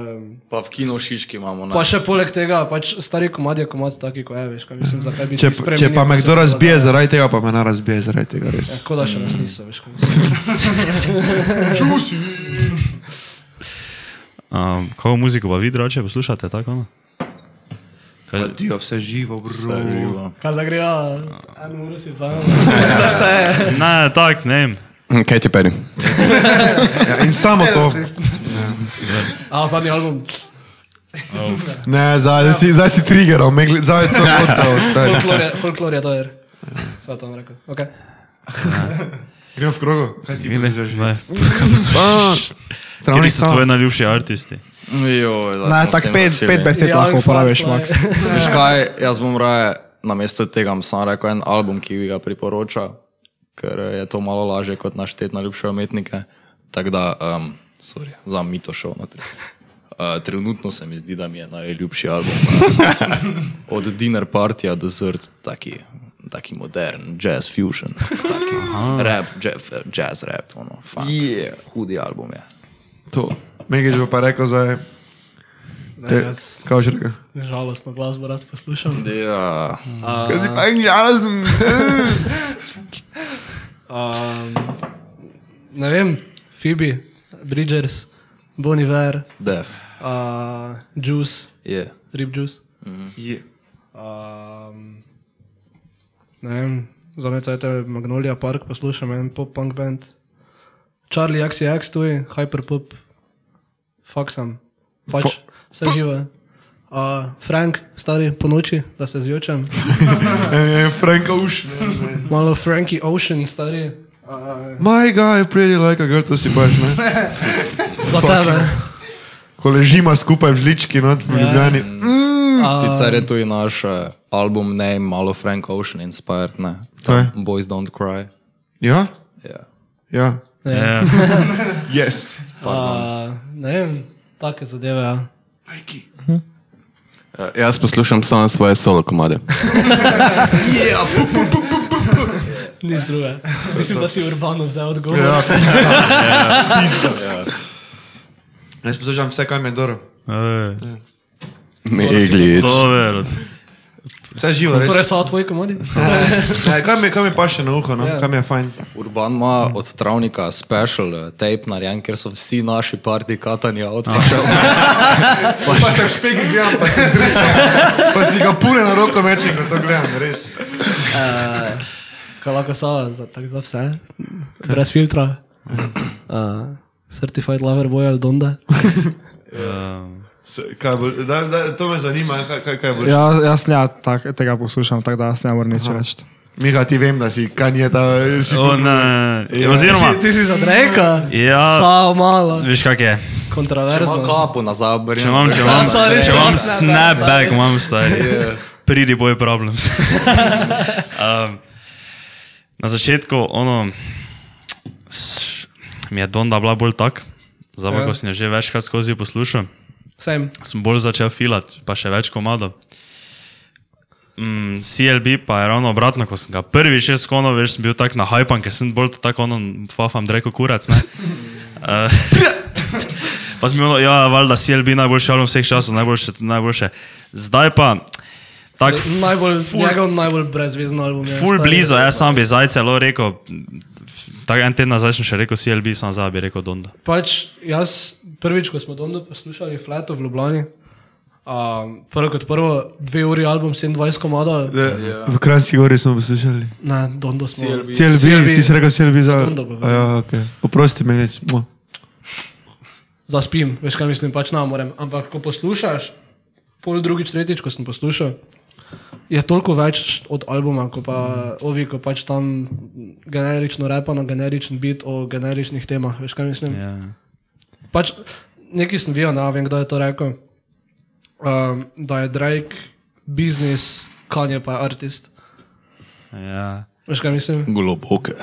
Speaker 3: Pa v kino šiški imamo. ne.
Speaker 1: Pa še poleg tega, pač stari komad je komad taki, kot je, veš, kaj mislim, zakaj bi
Speaker 5: če,
Speaker 1: ti spremenil.
Speaker 5: če pa me
Speaker 1: ko se
Speaker 5: kdo
Speaker 1: mi
Speaker 5: razbije
Speaker 1: dogaja.
Speaker 5: zaradi tega, pa me ne razbije zaradi tega, res.
Speaker 1: Tako Ja, da še nas niso, veš, kaj
Speaker 2: Um, Kako muziko pa vi drugače poslušate, tako? no? ono? Kaj,
Speaker 5: Dio, vse živo, bro.
Speaker 3: Vse živo.
Speaker 1: Kaj zagreja, en uro si vzamem, da šteje.
Speaker 2: ne, tak, ne vem.
Speaker 4: Kaj ti peri?
Speaker 5: Ja, in samo to.
Speaker 1: A zadnji album,
Speaker 5: Ne, zdaj si, zdaj si triggeral, me gled- zdaj je to gotovo, stari.
Speaker 1: folklor je, folklor je dojer. Sva tam rekel, ok.
Speaker 5: Gremo v krogu. Kaj ti misliš?
Speaker 2: Ne.
Speaker 5: Travnik
Speaker 2: Kateri so tvoji
Speaker 5: sam.
Speaker 2: najljubši artisti?
Speaker 3: Joj, zdaj
Speaker 7: Ne,
Speaker 3: smo s
Speaker 7: tak
Speaker 3: tem ja.
Speaker 7: pet,
Speaker 3: začeli.
Speaker 7: pet besed
Speaker 1: Young
Speaker 7: lahko uporabiš,
Speaker 1: Firefly.
Speaker 7: Max.
Speaker 3: Veš kaj, jaz bom raje na mesto tega bom samo rekel en album, ki bi ga priporočal, ker eh, je to malo lažje kot naštet najljubše umetnike. Tako da, um, sorry, za mito šel notri. Uh, trenutno se mi zdi, da mi je najljubši album. eh, Od Dinner Party do Zrd, taki, taki modern, jazz fusion, taki rap, jazz, jazz rap, ono, funk. Yeah. Hudi album je.
Speaker 5: To. Megič bo pa rekel zdaj, te,
Speaker 1: jaz-
Speaker 5: kaj boš rekel?
Speaker 1: Žalostno glasbo rad poslušam.
Speaker 3: Ja,
Speaker 5: Kaj si pa englarazen?
Speaker 1: Um, ne vem, Phoebe, Bridgers, Bon Iver,
Speaker 3: def.
Speaker 1: uh, Juice,
Speaker 3: Yeah.
Speaker 1: Rib Juice.
Speaker 5: Je.
Speaker 1: Um, ne vem, za nekaj te Magnolia Park poslušam, en pop-punk band. Charlie XCX, tu je, Hyperpop, faksam, pač vse živo. Uh, Frank, stari po noči, da se zjočem.
Speaker 5: Franka uš.
Speaker 1: Malo Frankie Ocean, stari. Uh,
Speaker 5: My guy, pretty like a girl, to si paš, ne?
Speaker 1: za tebe.
Speaker 5: Ko ležima skupaj v žlički, not v Ljubljani.
Speaker 3: Sicer je tu i naš eh, album name malo Frank Ocean inspired, ne? Tam Boys Don't Cry.
Speaker 5: Ja?
Speaker 3: Ja.
Speaker 5: Ja.
Speaker 2: Ja.
Speaker 5: Yes. no.
Speaker 1: Uh, ne vem, Take zadeve, ja.
Speaker 4: Eh, Jaz poslušam samo svoje solo komade.
Speaker 1: Nič druge. Mislim, da si urbano vzel odgovor.
Speaker 5: Ja. Jaz poslušam vse, kaj mi je dobro.
Speaker 2: Ja. Ej,
Speaker 4: Meglič.
Speaker 2: Dobro.
Speaker 5: Vse živo, res.
Speaker 1: Torej so tvoji komodi?
Speaker 5: Ja, Kaj mi, kaj mi paše na uho, no?
Speaker 1: Ja.
Speaker 5: kaj mi je fajn.
Speaker 3: Urban ima od travnika special eh, tape narejen, ker so vsi naši parti katanja odprli.
Speaker 6: Pa se špik gledam, pa si, pa si ga pune na roko mečem, ko to gledam, res.
Speaker 1: Kaj lahko so, za, tak za vse. Brez filtra. Uh, certified lover boy ali donda.
Speaker 2: ehm.
Speaker 5: S- Kaj bo, da, da, to me zanima, kaj, kaj, kaj bo. Ja.
Speaker 7: Ja, jaz ne tak, tega poslušam, tako da jaz ne morem nič reči.
Speaker 6: Miha, ti vem, da si kanje ta...
Speaker 2: O, ne. Oziroma,
Speaker 1: Ja. Ti si za Drake?
Speaker 2: Ja.
Speaker 1: Samo malo.
Speaker 2: veš kak je.
Speaker 1: Kontroverzno.
Speaker 3: Ima kapo nazaj, obrnjen.
Speaker 2: Če imam, če imam,
Speaker 1: Ja, sorry,
Speaker 2: če
Speaker 1: če
Speaker 2: imam
Speaker 1: imaš nazaj,
Speaker 2: snapback,
Speaker 1: stari.
Speaker 2: imam stari.
Speaker 1: Ja.
Speaker 2: Pridi boy problems. um, na začetku, ono, s- mi je Donda bila bolj tak, zdaj
Speaker 1: Ja.
Speaker 2: pa, ko sem jo že večkrat skozi poslušal,
Speaker 1: Sem.
Speaker 2: sem bolj začel filat, pa še več komado. Mm, CLB pa je ravno obratno, ko sem ga prvi še skonil, veš, sem bil tak na hajpan, ker sem bolj tako ono, fafam, reko kurac, ne. Eh, Pa sem imel, ja, valjda CLB najboljši album vseh časov, najboljše, najboljše. Zdaj pa, tako
Speaker 1: Najbolj,
Speaker 2: ful-
Speaker 1: njegov najbolj brezvezen album. Torej, je,
Speaker 2: ful
Speaker 1: stari.
Speaker 2: blizu,
Speaker 5: ja.
Speaker 2: jaz sam bi zdaj celo rekel, tako en teden nazaj sem še rekel CLB, sam zdaj bi rekel Donda.
Speaker 1: Pač jaz prvič, ko smo domno poslušali Flato v Ljubljani, um, prvo kot prvo, dve uri album, 27 komadov,
Speaker 5: V Kranjski gori smo poslušali.
Speaker 1: ne, Dondo smo.
Speaker 5: Cel bi, ti si rekel, cel bi za...
Speaker 1: Ja. Tondo govorim.
Speaker 5: A Ja, okay. Oprosti me, nič. Mo.
Speaker 1: Zaspim, veš kaj mislim, pač ne morem. Ampak ko poslušaš, pol drugič, tretjič, ko sem poslušal, je toliko več od albuma, ko pa ovi, ko pač tam generično repa na generičen bit o generičnih temah, veš kaj mislim.
Speaker 2: Ja.
Speaker 1: Pač nekaj sem videl, ne vem, kdo je to rekel. Um, da je Drake biznis, Kanye pa je artist.
Speaker 2: Ja.
Speaker 1: Veš kaj mislim?
Speaker 3: Globoke.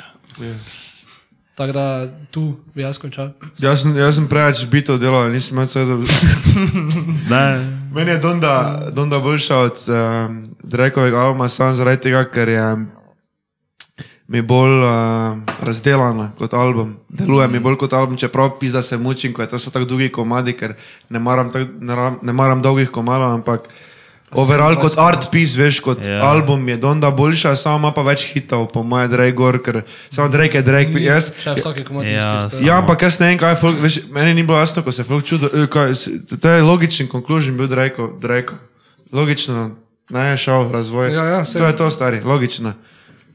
Speaker 1: Tako da tu bi jaz končal.
Speaker 5: Jaz sem, jaz sem preveč bito delal, nisem imel vse dobro.
Speaker 2: Ne.
Speaker 5: Meni je Donda, Donda boljša od um, Drakeovega albuma, samo zaradi tega, ker je um, mi bolj um, razdelana kot album. Deluje mi bolj kot album, čeprav pizda se mučim, ko je to so tako dolgi komadi, ker ne maram, tak, ne, ram, ne maram dolgih komadov, ampak overall kot art piece, veš, kot
Speaker 2: Ja.
Speaker 5: yeah. album je Donda boljša, samo ima pa več hitov, po mojem, Drake gor, ker samo Drake je Drake, jaz,
Speaker 1: Še vsake komadi
Speaker 2: Ja,
Speaker 1: isto.
Speaker 5: Ja, ampak jaz ne vem, kaj je folk, veš, meni ni bilo jasno, ko se je folk čudo, eh, kaj, s- to je logičen konklužen bil Drake, Drake. Logično, naj je šel razvoj.
Speaker 1: Ja, ja, saj.
Speaker 5: to je to, stari, logično.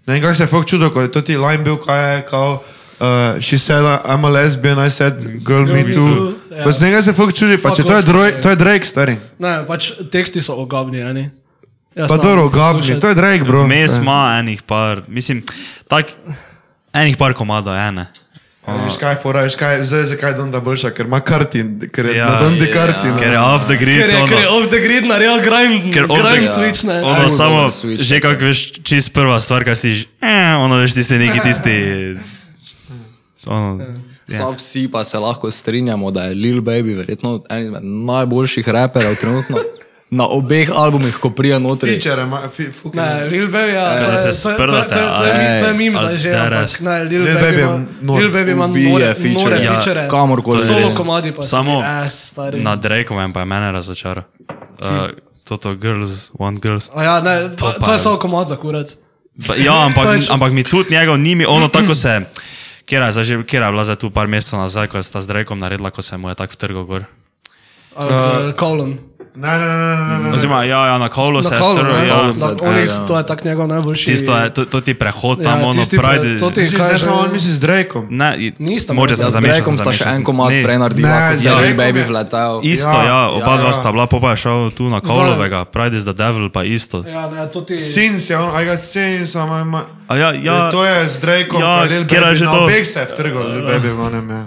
Speaker 5: Ne vem, kako se je folk čudo, ko je to ti line bil, kaj je, kao, uh, she said I'm a lesbian, I said girl, girl me,
Speaker 1: me
Speaker 5: too.
Speaker 1: too, ja.
Speaker 5: Ja. Pa se nekaj se folk čudi, pa
Speaker 1: Fuck
Speaker 5: če to je,
Speaker 1: off,
Speaker 5: droj,
Speaker 1: stari.
Speaker 5: to je Drake, stari.
Speaker 1: Ne, pač teksti so ogabni, ali ne? Jaz
Speaker 5: Pa
Speaker 1: ne
Speaker 5: dobro,
Speaker 1: morem
Speaker 5: gabni,
Speaker 1: poslušati.
Speaker 5: to je Drake, bro.
Speaker 2: Vmes
Speaker 5: Ja.
Speaker 2: ima enih par, mislim, tak, enih par komadov, ene.
Speaker 5: Ja, Veš kaj, je fora, veš kaj, zdaj zakaj je Donda boljša, ker ima kartin, ker je
Speaker 2: Ja,
Speaker 5: ja, na Dondi
Speaker 2: ja,
Speaker 5: kartin.
Speaker 2: Ker je off the
Speaker 1: Ker
Speaker 2: grid,
Speaker 1: je, ker je
Speaker 2: ono,
Speaker 1: off the grid naredil grind,
Speaker 2: Ker off the-
Speaker 1: grind
Speaker 2: ja.
Speaker 1: switch, ne?
Speaker 2: ono
Speaker 3: Ful
Speaker 2: samo,
Speaker 3: dober switch,
Speaker 2: že kak veš, čist prva stvar, kaj si, že, eh, ono veš, tisti neki tisti, ono,
Speaker 3: Sam vsi pa se lahko strinjamo, da je Lil Baby verjetno eden izmed najboljših raperjev trenutno na obeh albumih, ko prija notri.
Speaker 5: Feature, ima, fi, fucking-
Speaker 1: Ne, Lil Baby, ja.
Speaker 2: Kaj
Speaker 1: to
Speaker 2: se
Speaker 1: je-
Speaker 2: se
Speaker 1: to je- to je- to je- to je
Speaker 2: sprtate,
Speaker 1: mi- To je
Speaker 3: ej,
Speaker 1: mim
Speaker 2: ali
Speaker 1: zdaj že,
Speaker 2: deres.
Speaker 1: ampak ne, Lil
Speaker 5: Lil
Speaker 1: Baby
Speaker 5: Baby
Speaker 1: ima,
Speaker 5: je nor-
Speaker 1: Lil Baby ima
Speaker 3: ubije
Speaker 1: nore,
Speaker 3: feature.
Speaker 1: nore
Speaker 2: Ja,
Speaker 1: feature.
Speaker 3: kamorkoli
Speaker 2: je
Speaker 1: Solo
Speaker 2: res.
Speaker 1: komadi pa
Speaker 2: Samo
Speaker 1: ass, stari.
Speaker 2: na Drakeovem pa je mene razočaral.
Speaker 1: Hm.
Speaker 2: Uh, Toto girls, one girls.
Speaker 1: A ja, ne, to,
Speaker 2: pa
Speaker 1: to je
Speaker 2: je-
Speaker 1: samo komad za kurat.
Speaker 2: Pa, ja, ampak,
Speaker 1: Pač-
Speaker 2: ampak mi tudi njegov ni, mi ono tako se, kjer je, zdaj že- katera je bila za tu par mesecev nazaj, ko je sta z Drakeom naredila, ko se mu je tako vtrgal gor.
Speaker 1: Ali z Kolom.
Speaker 5: Ne, ne, ne, ne, ne, ne.
Speaker 2: Oziroma, ja, ja, na Kaulu
Speaker 1: Hm. Na
Speaker 2: se je
Speaker 1: Kolom,
Speaker 2: vtrgal,
Speaker 1: ne,
Speaker 2: ja.
Speaker 1: da-
Speaker 3: se-
Speaker 1: oni-
Speaker 3: ja, ja.
Speaker 1: To je tak njegov najboljši.
Speaker 2: Tisto je, to, to ti prehod
Speaker 1: Ja,
Speaker 2: tam, ono,
Speaker 1: tisti pre-
Speaker 2: pride.
Speaker 1: to ti-
Speaker 5: Misliš,
Speaker 1: Kaj
Speaker 5: ne
Speaker 1: že-
Speaker 5: samo on, misliš z Drakeom.
Speaker 2: Ne, i-
Speaker 1: Nista,
Speaker 2: mogoče
Speaker 1: ja,
Speaker 2: sem
Speaker 3: Ja, z
Speaker 2: zamešal. sem
Speaker 3: Drakeom sta še
Speaker 2: zamešal,
Speaker 3: en
Speaker 2: sem-
Speaker 3: komad
Speaker 2: ne,
Speaker 3: prej naredila,
Speaker 5: Ne,
Speaker 3: ko
Speaker 5: z
Speaker 3: je Lil
Speaker 5: Drakeom
Speaker 3: Baby
Speaker 5: je-
Speaker 3: vletel.
Speaker 2: Isto, ja,
Speaker 5: Ja,
Speaker 2: ja oba
Speaker 5: ja,
Speaker 2: dva
Speaker 5: ja.
Speaker 2: sta bila, pa pa je šel tu na Kaulovega, Pride is the Devil, pa isto.
Speaker 1: Ja, ne, to ti.
Speaker 5: Since je on, I got since, I'm, I'm,
Speaker 2: A ja, ja,
Speaker 5: E, to je z Drakeom,
Speaker 2: ja,
Speaker 5: ja, Lil
Speaker 2: kjer je
Speaker 5: Baby,
Speaker 2: že
Speaker 5: na
Speaker 2: to?
Speaker 5: obeh se je vtrgal, Lil Baby, v onem, ja.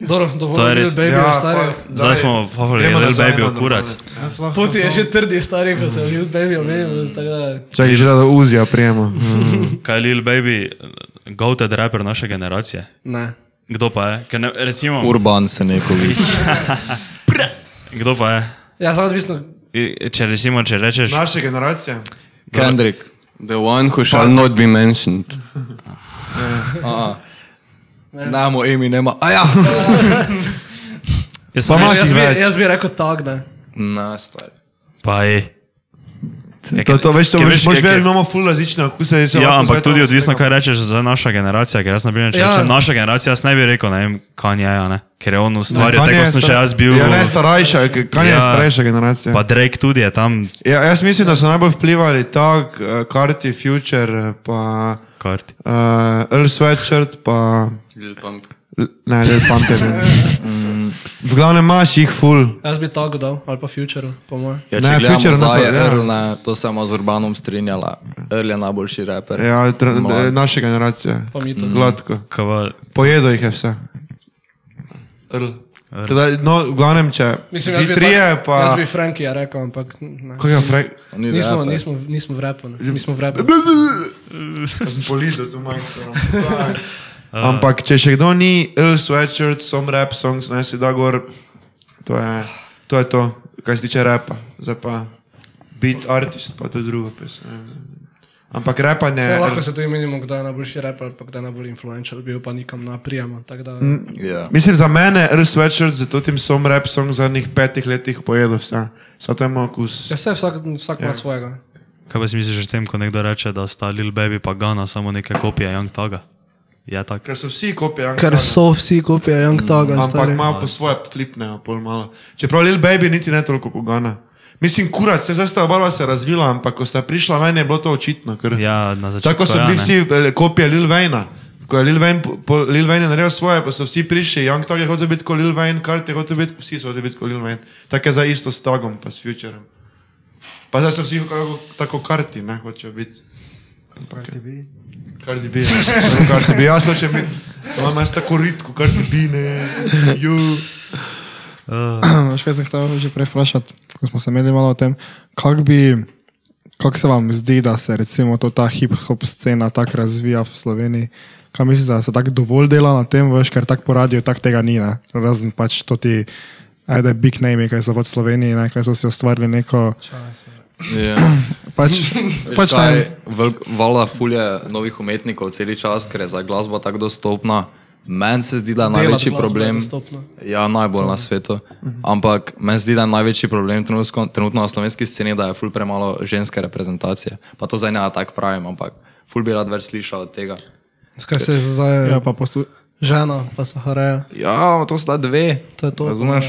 Speaker 1: Dobro,
Speaker 2: To je
Speaker 1: dovolj, Lil
Speaker 2: res.
Speaker 1: Baby,
Speaker 5: Ja,
Speaker 1: je stari.
Speaker 5: fuck,
Speaker 2: zdaj
Speaker 5: daj.
Speaker 2: smo, pa vali,
Speaker 5: Gremo
Speaker 2: Lil
Speaker 5: nazaj
Speaker 2: Baby,
Speaker 5: na Ja,
Speaker 2: okurac.
Speaker 5: domove.
Speaker 8: Jaz lahko
Speaker 1: Puti je
Speaker 8: samo-
Speaker 1: še trdi, stari, ko se je Lil Baby omenil. tako da-
Speaker 5: Čakaj, že da Uzija prijema.
Speaker 2: Kaj je Lil Baby, goated rapper naše generacije?
Speaker 1: Ne.
Speaker 2: Kdo pa je? Ker Ne, recimo,
Speaker 3: Urban se nekovič.
Speaker 2: kdo pa je?
Speaker 1: Ja, samo odvisno.
Speaker 2: I- Če recimo, če rečeš,
Speaker 5: Naše generacije.
Speaker 3: Kendrick.
Speaker 4: The one who shall not be mentioned.
Speaker 3: Znamo, Emi nema. A ja.
Speaker 2: jaz sem
Speaker 3: Ma,
Speaker 2: jaz-
Speaker 1: Jaz bi,
Speaker 3: več.
Speaker 1: jaz bi rekel tak, da.
Speaker 3: Na, stari.
Speaker 2: Pa je.
Speaker 5: To, to veš, to
Speaker 2: Ker
Speaker 5: veš, moš
Speaker 2: ker-
Speaker 5: ver, imamo ful različne okuse. jaz se
Speaker 2: Ja,
Speaker 5: lahko
Speaker 2: ampak
Speaker 5: zdaj
Speaker 2: tudi
Speaker 5: to-
Speaker 2: odvisno, kaj rečeš za našo generacijo. Ker jaz, na primer, če
Speaker 1: Ja.
Speaker 2: ja. rečem naša generacija, jaz ne bi rekel, ne vem, kaj je, a ne? ker je on ustvarjal,
Speaker 5: Kanye
Speaker 2: tako
Speaker 5: je
Speaker 2: sem še
Speaker 5: star-
Speaker 2: jaz bil.
Speaker 5: Ja, ne, starejša, kaj je
Speaker 2: Ja.
Speaker 5: starejša generacija.
Speaker 2: Pa Drake tudi je tam,
Speaker 5: Ja, jaz mislim, da so najbolj vplivali tak, eh, Carti, Future, pa
Speaker 2: karti.
Speaker 5: uh, Earl Sweatshirt, pa
Speaker 4: Lil Pump.
Speaker 5: L- ne, Lil Pump je bil. Mm. V glavnem imaš jih ful.
Speaker 1: Jaz bi tako dal, ali pa Future, po mojem.
Speaker 3: Ja,
Speaker 5: Ne,
Speaker 3: če gledamo
Speaker 5: Future
Speaker 3: nazaj,
Speaker 5: napad, ja.
Speaker 3: Earl, ne, to se ima z Urbanom strinjala. Earl je najboljši raper.
Speaker 5: Ja, tr-
Speaker 3: Mlad.
Speaker 5: eh, naše generacije. Mm.
Speaker 1: Pa mi to.
Speaker 5: Gladko.
Speaker 2: Kava,
Speaker 5: Pojedo jih je vse. Teda, no, v glavnem, če
Speaker 1: Mislim, jaz
Speaker 5: vi
Speaker 1: bi,
Speaker 5: trije,
Speaker 1: tak, jaz
Speaker 5: pa...
Speaker 1: bi Frankija rekel, ampak ne.
Speaker 5: Kaj je Frank?
Speaker 3: Ni
Speaker 1: Nismo,
Speaker 3: raper.
Speaker 1: nismo, nismo v repu, ne. nismo v repu.
Speaker 5: Jaz sem polizel tu majsko. Ampak, če še kdo ni Earl Sweatshirt, som rap songs, naj si da gor, to je to, je to kar se tiče rapa. Zdaj pa beat artist, pa to je drugo pesem. Ampak rapanje
Speaker 1: Vse, lahko
Speaker 5: je...
Speaker 1: se tu imenimo, kdo je najboljši rap ali pa kdo je najbolj influential, bil pa nikam na prijemu. tako da-
Speaker 3: Ja.
Speaker 5: Mislim, za mene je Earl Sweatshirt, zato tim som rap song v zadnjih petih letih pojedel vse. Sad to je moj okus.
Speaker 1: Ja, vse vsak, vsak ima svojega.
Speaker 2: kaj pa si misliš o tem, ko nekdo reče, da sta Lil Baby pa Gana samo neke kopije Young Taga? Je tako.
Speaker 5: Ker so vsi kopije, ampak...
Speaker 1: Ker so vsi kupijo Young Taga,
Speaker 2: Mm,
Speaker 5: Ampak
Speaker 1: stari.
Speaker 5: malo po svoje flipnejo, pol malo. Čeprav Lil Baby niti ne toliko pogana. Mislim, kurat, se zdaj sta oba dva se razvila, ampak ko sta prišla ven, je bilo to očitno. Ker...
Speaker 2: Ja, na začetku.
Speaker 5: Tako so
Speaker 2: ja,
Speaker 5: bili
Speaker 2: ne.
Speaker 5: vsi eh, kopije Lil Vejna. Ko je Lil Vejn, po- po, Lil Vejn je naredil svoje, pa so vsi prišli. Young Tog je hotel biti kot Lil Vejn, Kart je hotel biti, vsi so hoteli biti kot Lil Vejn. Tako je za isto s Togom, pa s Futurem. Pa zdaj so vsi kako, tako karti, ne hočejo biti.
Speaker 8: Cardi B.
Speaker 5: Kar ti bi, kar ti bi, jaz hočem biti. Imam jaz tako ritko, kar ti bi, ne. Ju.
Speaker 7: Veš, kaj sem hotel že prej vprašati, ko smo se imeli malo o tem, kako bi, kako se vam zdi, da se recimo to ta hip-hop scena tako razvija v Sloveniji? Kaj mislite, da se tako dovolj dela na tem, veš, ker tako po radiju tako tega ni, ne? razen pač to ti, ajde, big name, kaj so pač v Sloveniji, ne? kaj so si ustvarili neko,
Speaker 3: Ja.
Speaker 7: pač,
Speaker 3: Pač
Speaker 7: pač ne.
Speaker 3: kaj, vel- Vala fulje novih umetnikov celi čas, ker je za glasbo tako dostopna. Meni se zdi, da je največji
Speaker 1: glasbo je
Speaker 3: problem.
Speaker 1: dostopna.
Speaker 3: Ja, najbolj na svetu. Ampak meni se zdi, da je največji problem trenutno, trenutno na slovenski sceni, da je ful premalo ženske reprezentacije. Pa to zdaj ne tako pravim, ampak ful bi rad več slišal od tega.
Speaker 1: Kaj se zdaj,
Speaker 7: Ja, pa poslu...
Speaker 1: žena, pa Sahareja.
Speaker 3: Ja, to sta dve.
Speaker 1: To je to.
Speaker 3: Razumeš?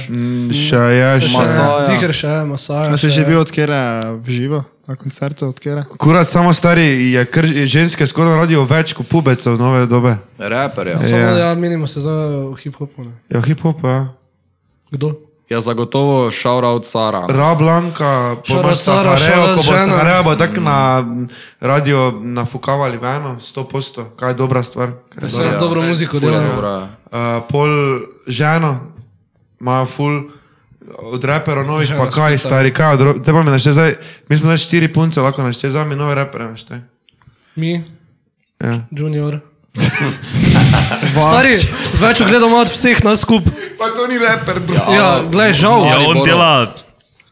Speaker 5: Še je, še je.
Speaker 3: Masaja.
Speaker 1: Zikr še, ja, Masaja.
Speaker 7: A si
Speaker 1: še.
Speaker 7: že bil odkera v živo, na koncertu odkera?
Speaker 5: Kurat, samo stari je, kr, je ženske skoraj radijo več kot pubecev nove dobe.
Speaker 3: Reper, ja.
Speaker 1: Samo, ja, minimo se za hip-hopu. ne.
Speaker 5: Ja, hip-hop, ja.
Speaker 1: Kdo?
Speaker 3: Ja, zagotovo šaurav cara.
Speaker 5: Rablanka,
Speaker 1: Šarat
Speaker 5: pomaž
Speaker 1: Sara,
Speaker 5: Sahareo,
Speaker 1: šarat
Speaker 5: ko bo
Speaker 1: žena.
Speaker 5: Sahareo, bo tako na radio nafukavali veno, 100%, kaj je dobra stvar. ker je
Speaker 1: Vse
Speaker 5: dobra.
Speaker 1: ja, dobro muziko dela.
Speaker 3: Dobra.
Speaker 5: Uh, pol ženo, imajo ful, od reperov novih, pa kaj stari, kaj od, ro- te pa mi našte zdaj, mi smo zdaj štiri punce, lahko našte, zdaj mi nove repere našte.
Speaker 1: Mi,
Speaker 5: Ja.
Speaker 1: junior. Stari, več gledamo od vseh nas skupaj.
Speaker 5: Pa to ni reper, bro.
Speaker 1: Ja, glej, žal.
Speaker 2: Ja, on
Speaker 3: Mariboru.
Speaker 2: dela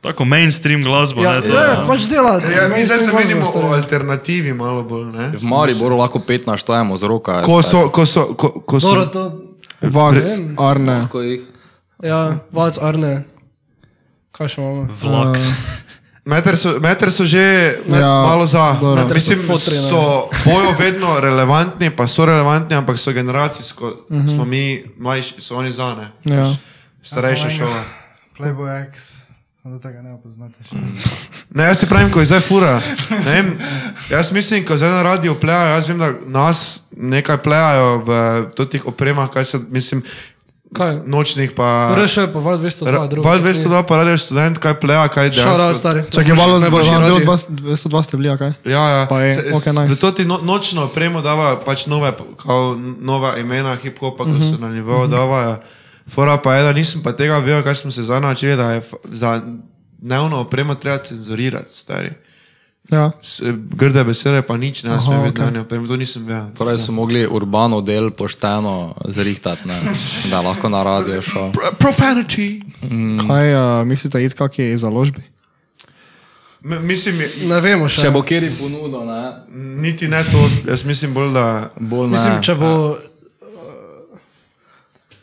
Speaker 2: tako mainstream glasbo.
Speaker 1: Ja,
Speaker 2: Ja, ne, to,
Speaker 1: ja, pač dela.
Speaker 5: Ja, mi zdaj se
Speaker 1: Mislim,
Speaker 5: menimo
Speaker 1: stari.
Speaker 5: o alternativi malo bolj, ne?
Speaker 3: V Mariboru lahko pet naštajemo z roka.
Speaker 5: Ko so, ko so, ko, ko so.
Speaker 1: Dobro, to,
Speaker 7: Vax, Arne.
Speaker 3: Ko jih...
Speaker 1: ja, vac, Arne. Kaj še imamo?
Speaker 2: Vlogs.
Speaker 5: Ja. Meter so, meter so že ja,
Speaker 7: Ja,
Speaker 5: malo za.
Speaker 7: dobro.
Speaker 1: Meter
Speaker 5: Mislim,
Speaker 1: so fotri, ne.
Speaker 5: so bojo vedno relevantni, pa so relevantni, ampak so generacijsko. Mm -hmm. Smo mi mlajši, so oni zane.
Speaker 7: Ja.
Speaker 5: Starejša
Speaker 8: Ja, so
Speaker 5: šola.
Speaker 8: Playboy X. Samo da tega ne poznate še.
Speaker 5: Ne, jaz ti pravim, ko je zdaj fura. Ne Vem, jaz mislim, ko zdaj na radiju plejajo, jaz vem, da nas nekaj plejajo v eh, totih opremah, kaj se, mislim,
Speaker 1: Kaj?
Speaker 5: nočnih pa...
Speaker 1: RŠ, pa val 202, drugo.
Speaker 5: Val 202 pa radio študent, kaj pleja, kaj
Speaker 1: Šala,
Speaker 5: dejansko.
Speaker 1: stari.
Speaker 7: Čakaj, malo ne bo,
Speaker 1: Boljši
Speaker 7: na delu
Speaker 1: radi.
Speaker 7: 202 ste bili, a kaj?
Speaker 5: Ja, ja.
Speaker 7: Pa je,
Speaker 5: Se-
Speaker 7: ok,
Speaker 5: s-
Speaker 7: nice.
Speaker 5: Zato ti no, nočno opremo dava pač nove, kao, n- nova imena hip-hopa, ko
Speaker 1: Mhm.
Speaker 5: so na nivoju davajo. Fora pa je, da nisem pa tega vedel, kaj smo se zanačili, da je f- za dnevno opremo treba cenzurirati, stari.
Speaker 7: Ja.
Speaker 5: S- Grde besede pa nič, ne smem vedeti,
Speaker 7: okej.
Speaker 5: ne, to nisem vedel.
Speaker 3: Torej so mogli urbano del pošteno zrihtati, ne? da lahko na radio šel.
Speaker 5: Pr- Profanity!
Speaker 7: Kaj uh, mislite, id kak je založbi?
Speaker 5: M- Mislim, je-
Speaker 1: Ne vemo še.
Speaker 3: Če bo kjer ponudil, ne?
Speaker 5: niti ne to, jaz mislim bolj, da
Speaker 3: Bolj ne.
Speaker 1: Mislim, če bo. eh,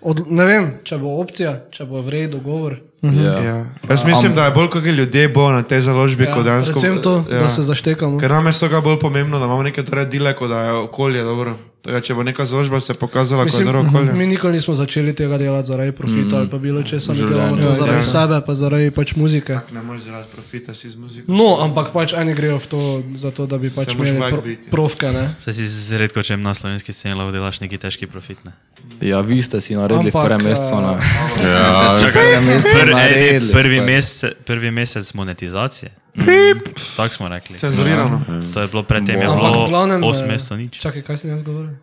Speaker 1: Od, ne vem, če bo opcija, če bo v redu dogovor.
Speaker 3: Ja.
Speaker 5: Ja. Jaz mislim, da je bolj, kako ljudje bo na tej založbi, kot
Speaker 1: Ja,
Speaker 5: dejansko.
Speaker 1: predvsem to, ja. da se zaštekamo.
Speaker 5: Ker nam je stoga bolj pomembno, da imamo neke dobre dele, kot da je okolje dobro. Tako, da če bo neka založba se pokazala kot
Speaker 1: Mislim,
Speaker 5: dobro okolje.
Speaker 1: mi nikoli nismo začeli tega delati zaradi profita mm. ali pa bilo česa, mi delamo to zaradi ja. sebe, pa zaradi pač muzike.
Speaker 5: Ne moreš delati profita si z muziko.
Speaker 1: No, ampak pač eni grejo v to, zato da bi pač
Speaker 5: moraš
Speaker 1: imeli
Speaker 5: vak
Speaker 1: pro,
Speaker 5: biti, ja.
Speaker 1: profke. Ne?
Speaker 2: Se si z redko čem na slovenski sceni lahko delaš neki težki profit. Ne?
Speaker 3: ja, vi ste si naredili
Speaker 1: Ampak,
Speaker 3: Ampak, prve mesto.
Speaker 1: eh,
Speaker 3: Ne? Ja, ste si prve mesto
Speaker 2: Prvi, ej,
Speaker 3: naredili.
Speaker 2: prvi,
Speaker 3: stari.
Speaker 2: mesec, prvi mesec monetizacije. Mm, Tako smo rekli.
Speaker 5: Cenzurirano.
Speaker 2: To je bilo predtem, je
Speaker 1: Ampak v
Speaker 2: bilo
Speaker 1: glavnem.
Speaker 2: 8
Speaker 1: eh,
Speaker 2: mesecev nič.
Speaker 1: Čakaj, kaj sem jaz govoril?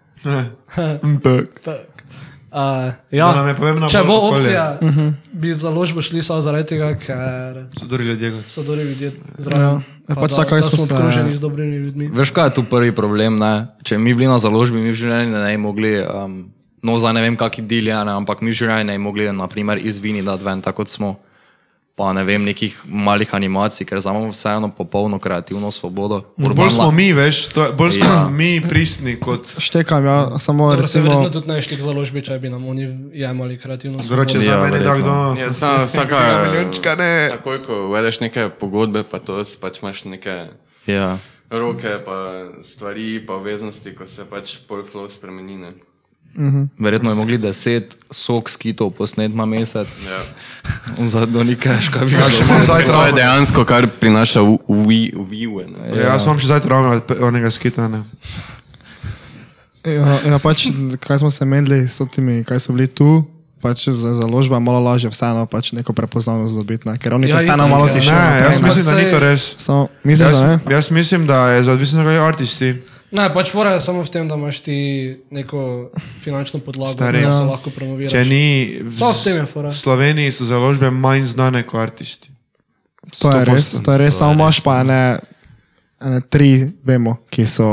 Speaker 5: Ampak.
Speaker 1: Uh,
Speaker 5: Da nam
Speaker 1: ja,
Speaker 5: je pomembno
Speaker 1: če
Speaker 5: bolj
Speaker 1: bo
Speaker 5: okolje.
Speaker 1: opcija, uh
Speaker 7: Mhm.
Speaker 1: -huh. bi v založbo šli samo zaradi tega, ker
Speaker 5: So dobri ljudje. kot-
Speaker 1: so dobri ljudje zraven.
Speaker 7: Ja,
Speaker 1: Pa
Speaker 7: pač
Speaker 1: da-
Speaker 7: tako,
Speaker 1: da
Speaker 7: jaz smo se-
Speaker 1: smo obkroženi z dobrimi ljudmi.
Speaker 3: Veš, kaj je tu prvi problem? Ne? Če mi bili na založbi, mi v življenju ne bi mogli, um, no, zdaj ne vem, kaki del je, ne, ampak mi v življenju ne bi mogli, naprimer, iz Vini dati ven, tako kot smo. Pa ne vem, nekih malih animacij, ker zdaj imamo vseeno popolno kreativno svobodo.
Speaker 5: Bolj smo
Speaker 3: la-
Speaker 5: mi, veš, to, je- bolj smo
Speaker 3: Ja.
Speaker 5: ja. mi prisni kot
Speaker 7: Štekam, ja, samo
Speaker 1: Dobro, se
Speaker 7: recimo.
Speaker 1: verjetno tudi ne šli k založbi, če bi nam oni jemali kreativnost.
Speaker 5: vroče
Speaker 3: Ja,
Speaker 5: za meni, da
Speaker 3: verjetno.
Speaker 5: kdo.
Speaker 4: Ja, samo vsaka.
Speaker 5: Milijončka ne.
Speaker 4: Takoj, ko uvedeš neke pogodbe, pa to s- pač imaš neke
Speaker 3: Ja.
Speaker 4: roke, pa stvari, pa obveznosti, ko se pač pol flow spremeni. Ne?
Speaker 3: Verjetno je mogli deset sok skitov posnet na mesec,
Speaker 4: Ja.
Speaker 3: za do nikaš, kaj bi bilo.
Speaker 5: Imam zdaj
Speaker 4: To je
Speaker 5: travme.
Speaker 4: dejansko, kar prinaša view.
Speaker 5: Ja, jaz imam še zdaj travme od pe- onega skitana.
Speaker 7: Ja, ja, pač, kaj smo se menili s temi, kaj so bili tu, pač za založba je malo lažje, vseeno pač neko prepoznavnost dobiti, ne? ker oni
Speaker 1: Ja,
Speaker 7: ja, vseeno
Speaker 1: itak,
Speaker 7: malo
Speaker 1: ja.
Speaker 7: tišijo.
Speaker 5: Ne,
Speaker 7: naprej,
Speaker 5: jaz
Speaker 7: ne.
Speaker 5: mislim, da ni to
Speaker 1: Saj-
Speaker 5: res.
Speaker 7: Samo, misliš, da ne?
Speaker 5: Jaz, jaz mislim, da je za odvisno, kaj je artisti.
Speaker 1: Ne, pač fora je samo v tem, da imaš ti neko finančno podlago,
Speaker 5: Stari,
Speaker 1: da se
Speaker 5: ja.
Speaker 1: lahko promoviraš.
Speaker 5: Če ni, v
Speaker 1: Prav v tem je fora.
Speaker 5: v Sloveniji so založbe manj znane kot artisti.
Speaker 7: To je res,
Speaker 5: 100%.
Speaker 7: to je res, samo imaš pa ene, ene tri, vemo, ki so,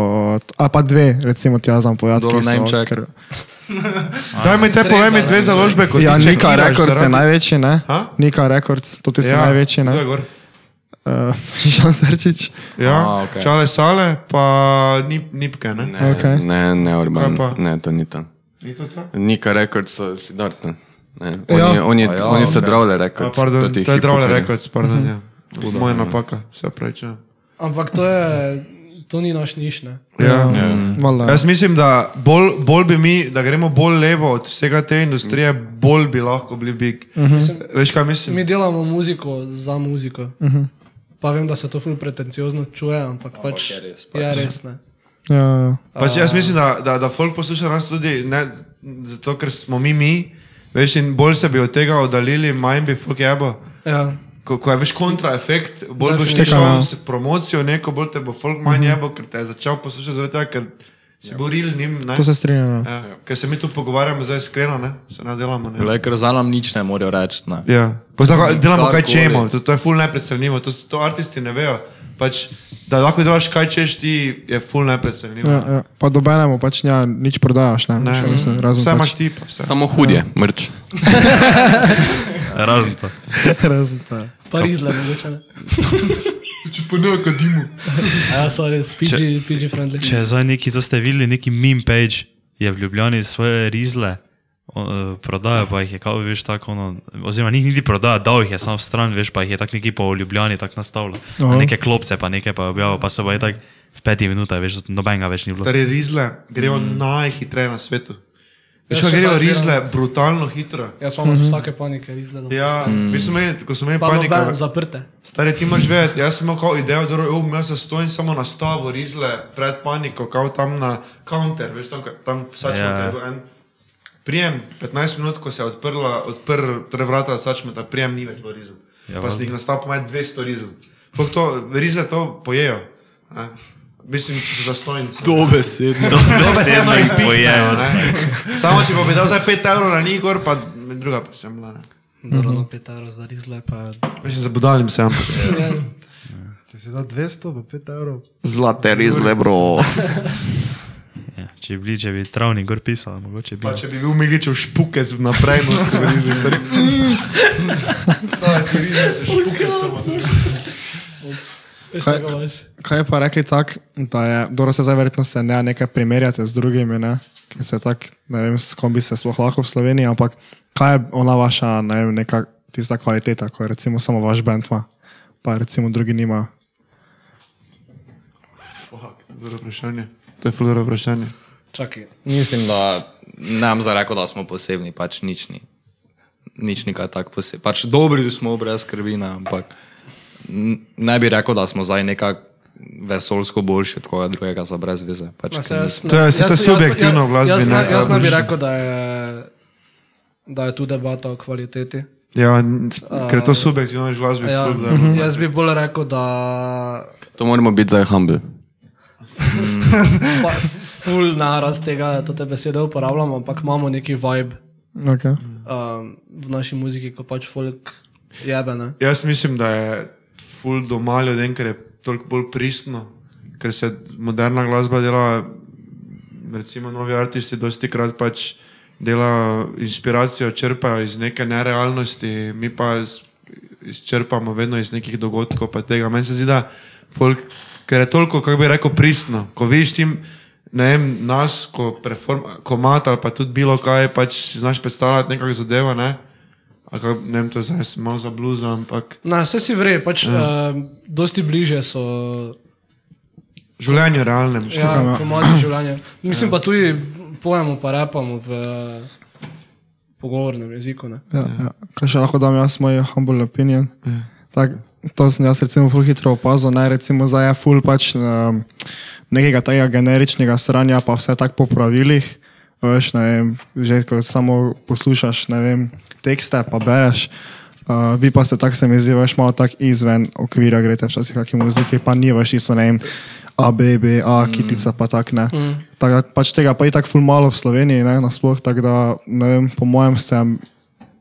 Speaker 7: a pa dve, recimo ti jaz znam povedati,
Speaker 3: Dobro,
Speaker 7: ki
Speaker 3: name
Speaker 7: so.
Speaker 3: check.
Speaker 5: Zdaj mi te povem, mi dve založbe kot
Speaker 7: Ja, Nika Records je največji, ne?
Speaker 5: Ha? Ja.
Speaker 7: Nika Records, to ti so največji, ne? Uh, Žan Srčič.
Speaker 5: Ja,
Speaker 3: A, okej.
Speaker 5: čale sale, pa nip, nipke, ne?
Speaker 4: Ne,
Speaker 7: Okej.
Speaker 4: ne, ne,
Speaker 5: Kaj
Speaker 4: Urban.
Speaker 5: pa?
Speaker 4: Ne, to ni to.
Speaker 5: Ni to to?
Speaker 4: Nika Records so si Dartne.
Speaker 7: Ja.
Speaker 4: Oni, oni,
Speaker 3: Aja,
Speaker 4: oni so
Speaker 3: okej.
Speaker 4: Dravle
Speaker 5: A,
Speaker 4: Records.
Speaker 5: pardon,
Speaker 4: toti
Speaker 5: to je Dravle
Speaker 4: hip-hoperji.
Speaker 5: Records, pardon,
Speaker 7: Mhm.
Speaker 5: ja. Moja napaka, se opravičujem.
Speaker 1: Ampak to, je, to ni naš niš. Ne?
Speaker 5: Ja.
Speaker 7: Vala.
Speaker 5: Jaz mislim, da bolj, bolj bi mi, da gremo bolj levo od vsega te industrije, bolj bi lahko bili big.
Speaker 7: Mhm.
Speaker 5: Veš kaj mislim?
Speaker 1: Mi delamo muziko za muziko. Uh
Speaker 5: Mhm.
Speaker 1: -huh. Pa vem, da se to ful pretenciozno čuje, ampak, ampak pač je res. Pač. Je res ne.
Speaker 7: Ja, ja.
Speaker 5: Pač jaz mislim, da, da, da folk posluša nas tudi, ne, zato ker smo mi mi, veš, in bolj se bi od tega oddaljili, manj bi folk jebo.
Speaker 1: Ja.
Speaker 5: Ko, ko je veš kontraefekt, bolj boš ti
Speaker 7: Definitivno.
Speaker 5: šel s promocijo, neko bolj te bo folk manj jebo, ker te je začel poslušati zaradi tega, ker si boril njim. ne.
Speaker 7: To se strinjam. ja.
Speaker 5: Ja, ker se mi tu pogovarjamo zdaj iskreno, ne? se ne delamo. Ne?
Speaker 3: Le, ker za nam nič ne morejo reči. Ne?
Speaker 5: Ja. Pa Tako, delamo kaj
Speaker 3: Karkoli.
Speaker 5: čemo, to, to je ful nepredstavljivo, to, s- to artisti ne vejo. Pač, da lahko delaš kaj češ ti, je ful nepredstavljivo.
Speaker 7: Ja, ja. Pa dobenemu pač nja, nič prodajaš, ne? Še mislim, razen
Speaker 5: Vse imaš
Speaker 7: pač.
Speaker 5: ti, pa vse.
Speaker 4: Samo
Speaker 5: Ja.
Speaker 4: hudje, mrč.
Speaker 2: Razen to.
Speaker 7: razen to.
Speaker 1: Pariz, le mogoče. ne.
Speaker 5: Če pa ne, kadimu.
Speaker 1: Ja, sorry, PG, PG friendly.
Speaker 2: Če je zdaj neki, to ste videli, neki meme page je v Ljubljani svoje rizle. o, eh, Prodajo pa jih je, kako veš, tako, ono, oziroma njih niti prodaja, dal jih je sam v stran, veš, pa jih je tako neki po Ljubljani tako nastavljal. Na neke klopce, pa nekaj pa je objavil, pa so pa je tako v petih minutah, veš, nobenega več ni bilo.
Speaker 5: Stari rizle grejo mm. najhitreje na svetu.
Speaker 1: Jaz
Speaker 5: Veš, kaj
Speaker 1: še
Speaker 5: grejo
Speaker 1: zdaj zbiram.
Speaker 5: rizle, brutalno hitro.
Speaker 1: Jaz imam od Ja, vsake panike, izgledam.
Speaker 5: Mhm. Ja, mm. mi smo imeli, ko smo imeli
Speaker 1: Pa
Speaker 5: paniko.
Speaker 1: noben zaprte.
Speaker 5: Stari ti imaš vedeti, jaz sem imel kao idejo, da imel sem stojim samo na stavu, rizle pred paniko, kao tam na counter, veš tam, ka- tam vsač
Speaker 2: Ja.
Speaker 5: yeah. en. Prijem, 15 minut, ko se je odprla, odprl, torej vrata sačmeta, prijem ni več bilo rizov. Ja, pa si jih nastavil pomaj 200 rizov. Fok to, rize to pojejo. Ne? Mislim, zastojim.
Speaker 3: Dobesedno.
Speaker 2: Dobesedno jih pojejo.
Speaker 5: Samo če bi dal zdaj 5 evrov na njih gor, pa druga pa sem bila. ne.
Speaker 1: Zelo na petaro za rizle. Pa...
Speaker 5: Mislim, zabudalim se, ampak.
Speaker 8: Ti si dal 200, pa 5 evrov.
Speaker 6: Zlate rizle, bro.
Speaker 2: Ja, če bi, bili, če bi travni gor pisal, mogoče bi.
Speaker 6: Pa
Speaker 5: Pač
Speaker 6: če bi bil Miličev špukec vnaprej, no se bi rizli stari. Saj se rizli s špukecom.
Speaker 7: Kaj, kaj pa rekli tako, da je, dobro se zdaj verjetno se ne nekaj primerjate z drugimi, ne, ki se tako, ne vem, s kom bi se sploh lahko v Sloveniji, ampak kaj je ona vaša, ne vem, neka tista kvaliteta, ko je recimo samo vaš band ima, pa recimo drugi nima.
Speaker 5: Dobro vprašanje. To je ful dobro vprašanje.
Speaker 1: Čakaj.
Speaker 3: Mislim, da nam za reko, da smo posebni, pač nič ni. Nič ni kaj tako posebnega. Pač dobri smo brez skrbina, ampak n- ne bi rekel, da smo zdaj nekako vesolsko boljši od koga drugega za brez veze. Pač,
Speaker 1: Ma se
Speaker 3: ker ni-
Speaker 1: jaz ne-
Speaker 5: To je- se to
Speaker 1: jaz-
Speaker 5: subjektivno v glasbi,
Speaker 1: Jaz, jaz,
Speaker 5: ne,
Speaker 1: jaz,
Speaker 5: kaj
Speaker 1: jaz ne bi
Speaker 5: boš-
Speaker 1: rekel, da je, da je tu debata o kvaliteti.
Speaker 5: Ja, n- ker je to subjektivno, že glasbi
Speaker 1: Ja,
Speaker 5: ful, da-
Speaker 1: jaz bi bolj rekel, da
Speaker 4: To moramo biti zdaj humble.
Speaker 1: pa, ful naraz tega, da te besede uporabljamo, ampak imamo neki vibe
Speaker 7: Okay.
Speaker 1: um, v naši muziki, ko pač folk jebe. Ne?
Speaker 5: Jaz mislim, da je ful doma ljudem, ker je toliko bolj pristno, ker se moderna glasba dela, recimo novi umetniki, dosti krat pač delajo inspiracijo, črpajo iz neke nerealnosti, mi pa iz- izčrpamo vedno iz nekih dogodkov, pa tega. Meni se zdi, da folk, ker je toliko, kako bi rekel, pristno, ko viš tim. Ne vem, nas, ko perform, komat ali pa tudi bilo kaj, pač si znaš predstavljati nekakšno zadevo, ne? Ali Kak, ne vem, to zdaj sem malo zabluzal, ampak
Speaker 1: Na, vse si vre, pač ja. um, dosti bliže so
Speaker 5: Življenje realno. Ja.
Speaker 1: ja, komadi življenja. Mislim ja. pa tudi pojemo, pa repamo v eh, pogovornem jeziku. Ne?
Speaker 7: Ja, ja. Kaj še lahko dam jaz moj humble opinion? Tak, to sem jaz recimo ful hitro opazil, naj recimo zdaj je ful pač um, nekega tega generičnega sranja, pa vse tako po pravilih. Veš, ne vem, že ko samo poslušaš, ne vem, tekste pa bereš. Uh, vi pa ste tako, se mi zdi, veš, malo tako izven okvira greste včasih kakšne muzike, pa ni več isto, ne vem, A, B, B, A, kitica pa tak ne. Mm. Tako da pač tega pa je tako ful malo v Sloveniji, ne, nasploh, tako da, ne vem, po mojem ste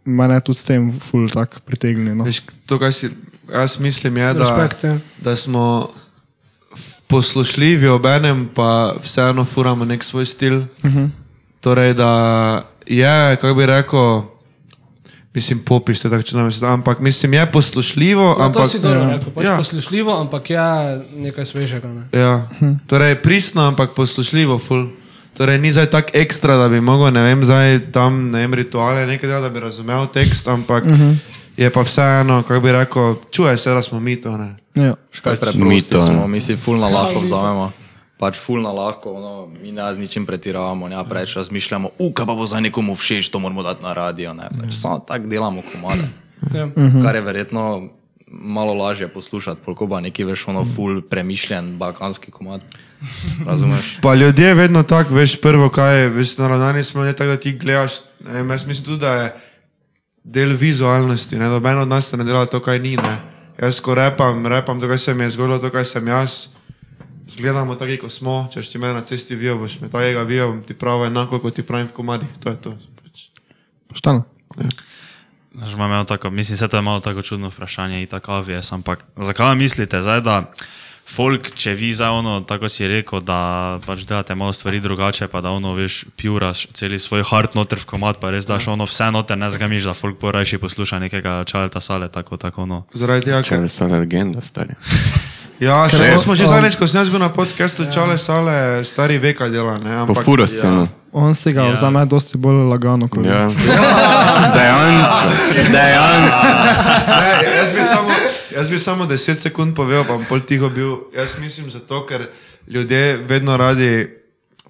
Speaker 7: mene tudi s tem ful tako pritegnili. No.
Speaker 5: Veš, to, kar si jaz mislim, je, da,
Speaker 1: Respekt, ja.
Speaker 5: da smo f- poslušljivi ob enem, pa vseeno furamo nek svoj stil. Uh
Speaker 1: Mhm.
Speaker 5: -huh. Torej, da je, kako bi rekel, mislim, popis, to je tako če nam je sedaj, ampak mislim, je poslušljivo.
Speaker 1: No,
Speaker 5: ampak,
Speaker 1: to si dobro rekel, pač ja.
Speaker 5: ja,
Speaker 1: poslušljivo, ampak je nekaj svežega. Ne?
Speaker 5: Ja. Torej, pristno, ampak poslušljivo, ful. Torej, ni zdaj tako ekstra, da bi mogel, ne vem, zdaj tam ne vem, rituale nekaj delati, da bi razumel tekst, ampak uh -huh. je pa vseeno, kako bi rekel, čuje se, da smo mi to. Ne?
Speaker 7: Ja.
Speaker 3: Škaj preprosti
Speaker 4: mito,
Speaker 3: smo, mi si fulna lahko vzamemo. Pač fulna lahko, ono, mi ne z ničim pretiravamo, ne preveč razmišljamo, uka pa bo za nekomu všeč, to moramo dati na radio. Ne, pač samo tako delamo komade.
Speaker 1: Ja.
Speaker 3: Kar je verjetno malo lažje poslušati, polko pa neki veš ono ful premišljen balkanski komad. Razumeš?
Speaker 5: Pa ljudje vedno tako, veš, prvo, kaj je, veš, naravnani smo, ne tako, da ti gledaš. Ne, vem, jaz mislim tudi, da je del vizualnosti, ne, noben od nas se ne dela to, kaj ni. Ne. Jaz, ko repam, repam to, kar se mi je zgodilo, to, kar sem jaz. Zgledamo tako, kot smo. Če ti me na cesti vijo, boš me takega vijo, bom ti pravi enako, kot ti pravim v komadih. To je to.
Speaker 7: Pošteno.
Speaker 2: Znaš, imam malo tako, mislim, se to je malo tako čudno vprašanje in tako avijes, ampak zakaj mislite zdaj, da folk, če vi zdaj ono, tako si rekel, da pač delate malo stvari drugače, pa da ono, veš, pjuraš celi svoj hard noter v komat, pa res
Speaker 1: Ja.
Speaker 2: daš ono vse noter, ne zgamiš, da folk porajši posluša nekega čaleta sale, tako, tako ono.
Speaker 5: Zaradi tega, ker.
Speaker 4: Če sem legenda, stari.
Speaker 5: Ja, še
Speaker 7: Ker-
Speaker 5: jaz smo že
Speaker 7: um,
Speaker 5: zadnjič, ko sem jaz bil na podkastu, čale sale, stari veka dela. Ne, ampak,
Speaker 4: Pofura se. Ja.
Speaker 7: On si ga
Speaker 2: Ja.
Speaker 7: ja. vzame dosti bolj lagano kot ja.
Speaker 4: Ja. Dejansko.
Speaker 5: Ja.
Speaker 4: Dejansko.
Speaker 5: Ne, jaz, bi samo, jaz bi samo 10 sekund povedal, pa bom pol tiho bil. Jaz mislim zato, ker ljudje vedno radi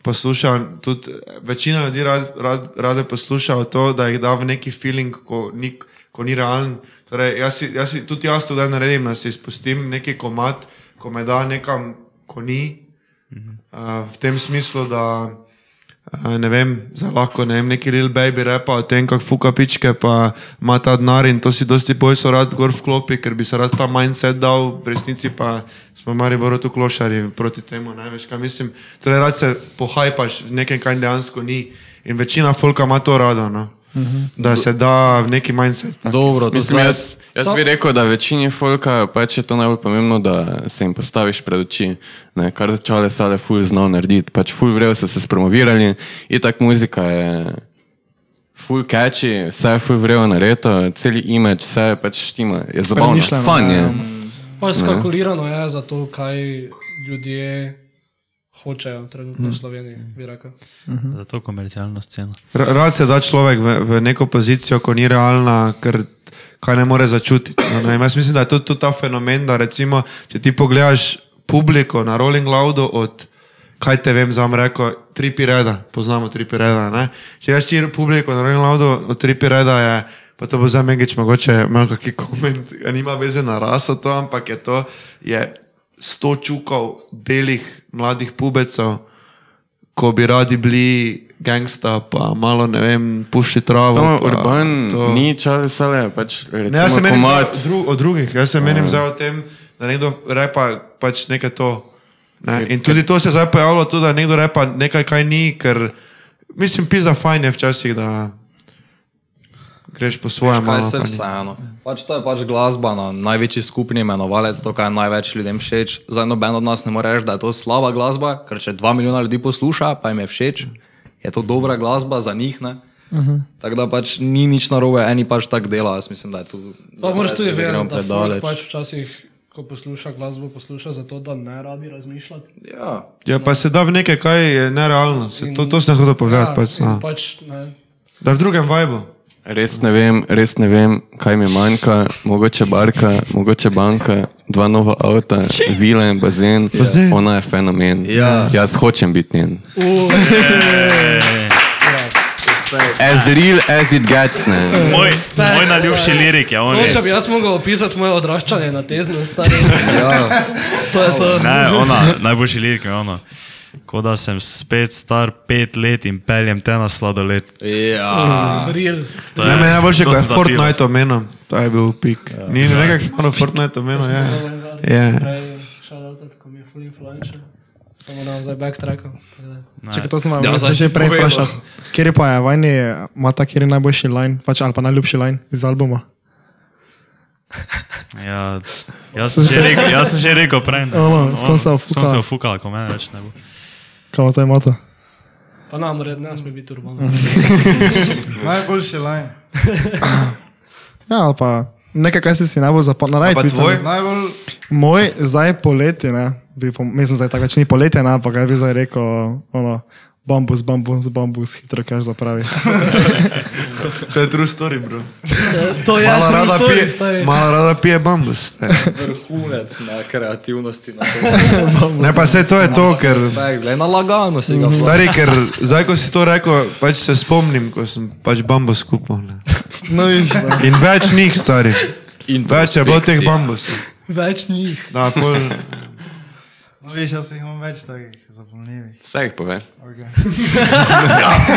Speaker 5: poslušajo, tudi večina ljudi rad, rad, rade poslušajo to, da jih da v neki feeling, ko ni, ko ni realen. Torej, jaz, si, jaz si, tudi jaz to da naredim, da si izpustim neki komat, ko me da nekam, ko ni. Uh, v tem smislu, da uh, ne vem, za lahko ne vem, neki real baby repa o tem, kako fuka pičke, pa ima ta denar in to si dosti boj so rad gor vklopi, ker bi se rad ta mindset dal, v resnici pa smo mari bodo tu klošari proti temu, ne veš kaj mislim. Torej rad se pohajpaš v nekem, kar dejansko ni in večina folka ima to rado. No. Da se da v neki mindset. tak.
Speaker 3: Dobro, to
Speaker 4: Mislim,
Speaker 3: sem
Speaker 4: jaz, jaz bi rekel, da večini folka pač je to najbolj pomembno, da se jim postaviš pred oči, ne, kar začale sale ful znov narediti. Pač ful vrejo so se spromovirali, itak muzika je ful catchy, vse je ful vrejo nareto, celi imidž, vse je pač štima, je zabavno,
Speaker 7: Premišljeno,
Speaker 4: fan je.
Speaker 1: Pa
Speaker 5: Ja.
Speaker 1: skalkulirano je za to, kaj ljudje hočejo trenutno v
Speaker 5: Hm.
Speaker 1: Sloveniji, bi rekel. Mhm.
Speaker 2: Za to komercialno sceno.
Speaker 5: Ra- Rad se da človek v, v neko pozicijo, ko ni realna, ker kaj ne more začutiti. No, ne vem, jaz mislim, da je to tudi ta fenomen, da recimo, če ti pogledaš publiko na Rolling Loudu od, kaj te vem, zam reko, tri pireda, poznamo tri pireda, ne? Če jaz ti publiko na Rolling Loudu od tri pireda je, pa to bo za Megič mogoče imel kakšen koment, ja, nima veze na raso to, ampak je to, je sto čukov belih mladih pubecev, ko bi radi bili gangsta, pa malo ne vem, pušči travo.
Speaker 4: Samo
Speaker 5: pa
Speaker 4: urban,
Speaker 5: to.
Speaker 4: ni čale sale, pač
Speaker 5: Ne, jaz
Speaker 4: recimo
Speaker 5: se menim za,
Speaker 4: komat.
Speaker 5: dru, o drugih, jaz se menim za o tem, da nekdo repa pač nekaj to. Ne? In tudi to se je zdaj pojavilo, tudi, da nekdo repa nekaj, kaj ni, ker mislim, pisa fajn je včasih, da greš po svojem.
Speaker 3: Kaj
Speaker 5: malo,
Speaker 3: se
Speaker 5: pa ni.
Speaker 3: vseeno. Pač to je pač glasba na največji skupni imenovalec, to, kar je največ ljudem všeč. Za noben od nas ne more reči, da je to slaba glasba, ker če dva milijona ljudi posluša, pa jim je všeč, je to dobra glasba za njih. Ne? Uh
Speaker 1: Mhm.
Speaker 3: -huh. Tako da pač ni nič narobe, eni pač tako dela. Jaz mislim, da je tu.
Speaker 1: Pa moraš tudi
Speaker 3: zdaj gremo
Speaker 1: vedeti, da folk
Speaker 3: predaleč.
Speaker 1: pač včasih, ko posluša glasbo, posluša zato, da ne rabi razmišljati.
Speaker 3: Ja,
Speaker 5: Ja, pa se da v nekaj, kaj je nerealno. Se, to, to sem hotel
Speaker 4: Ja,
Speaker 5: povedati. pač,
Speaker 1: in
Speaker 5: no.
Speaker 1: pač ne.
Speaker 5: Da v drugem vibru.
Speaker 4: Res ne vem, res ne vem, kaj mi manjka, mogoče barka, mogoče banka, dva nova avta, vila in bazen.
Speaker 5: Bazen.
Speaker 4: Ona je fenomen.
Speaker 3: Ja.
Speaker 4: Jaz hočem biti njen. Ja.
Speaker 3: respekt.
Speaker 4: As real as it gets, ne.
Speaker 2: Moj, moj najljubši lirik je on.
Speaker 1: To, če
Speaker 2: res.
Speaker 1: bi jaz mogel opisati moje odraščanje na teznu, stari.
Speaker 3: Ja.
Speaker 1: To je to.
Speaker 2: Ne, ona, najboljši lirik je ona. Kot da sem spet star pet let in peljem te na sladoled.
Speaker 3: ja.
Speaker 1: Real.
Speaker 2: To
Speaker 5: Ne, ja, meni je najboljše,
Speaker 2: to
Speaker 5: ko je
Speaker 2: sem zapiral.
Speaker 5: Fortnite omenil. To je bil pik. Ni nekaj, malo Fortnite omenil. Ja. Ja.
Speaker 1: Prej, shoutout, ko mi je full influencer. Samo nam zdaj backtrackal.
Speaker 7: Čekaj, to sem vam
Speaker 3: Ja,
Speaker 7: ja,
Speaker 3: zdaj
Speaker 7: že
Speaker 3: si
Speaker 7: prej
Speaker 3: povedal.
Speaker 7: vprašal. Kjer je pa je vajni, ima ta kjer je najboljši line, pač ali pa najljubši line iz albuma?
Speaker 2: Ja, jaz sem že rekel, jaz sem že rekel prej. ne.
Speaker 7: Ono, s kom se
Speaker 2: Ono,
Speaker 7: ofukala.
Speaker 2: S kom se ofukala, ko mene več ne bo.
Speaker 7: Kaj to je moto?
Speaker 1: Pa nam red, ne sme biti urban.
Speaker 8: Najboljši line.
Speaker 7: Ja, ali pa nekaj, kaj si si najbolj zapomnil.
Speaker 3: Pa tvoj?
Speaker 8: Najbolj
Speaker 7: Moj zdaj poleti, ne, bi, pom- mislim, zdaj tako več ni poletje, ne, ampak kaj bi zdaj rekel, ono, bambus, bambus, bambus, hitro kaj zapravi.
Speaker 5: To je true story, bro.
Speaker 1: To je
Speaker 5: Mala rada
Speaker 1: true story,
Speaker 5: pije,
Speaker 1: stari.
Speaker 5: mala rada pije bambus. ne.
Speaker 3: Vrhunec na kreativnosti. Na
Speaker 5: Ne,
Speaker 1: ja.
Speaker 5: pa vse to je to, ker
Speaker 3: respekt, glej, na lagano si ga vsak.
Speaker 5: Stari, ker zdaj, ko si to rekel, pač se spomnim, ko sem pač bambus kupil. Ne.
Speaker 7: No, viš, ne.
Speaker 5: In več njih, stari. Več je bilo teh
Speaker 3: Introspekcija.
Speaker 5: bambusov.
Speaker 1: Več njih.
Speaker 5: Da, pol,
Speaker 8: No, Veš, jaz jih imam več takih zapomljivih.
Speaker 4: Vse jih pove.
Speaker 8: Okay.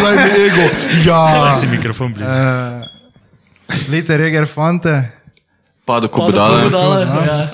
Speaker 5: daj mi ego.
Speaker 2: Da
Speaker 5: Ja.
Speaker 2: si mikrofon blizu.
Speaker 7: E.
Speaker 8: Uh, Lite reger fante.
Speaker 4: Pa do kup
Speaker 1: Pada
Speaker 4: dale.
Speaker 1: budala. Ja.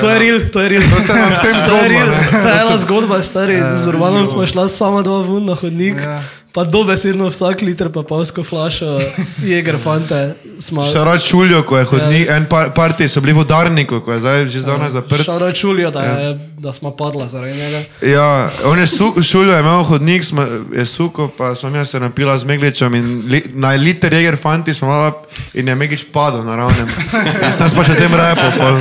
Speaker 1: To je real, to je real. To
Speaker 5: se nam
Speaker 1: To je
Speaker 5: vsem zgodilo,
Speaker 1: real,
Speaker 5: ne.
Speaker 1: to je ena zgodba, stari. Z urbanom smo šla sama dva vun na hodnik.
Speaker 8: Ja.
Speaker 1: Pa dobesedno vsak liter papavsko flašo, jeger fante, smo.
Speaker 5: Še rad čulijo, ko je hodnik, en par, parti so bili v udarniku, ko je zdaj že zdavnaj zaprt.
Speaker 1: Šara čulijo, da, je, da smo padla zaradi njega.
Speaker 5: Ja, on je su, šuljo, je imel hodnik, smo, je suko, pa sem jaz se napila z Megličem in li, na liter jeger fanti smo malo in je Meglič padel na ravnem. Jaz sem pač o tem repo. Pol.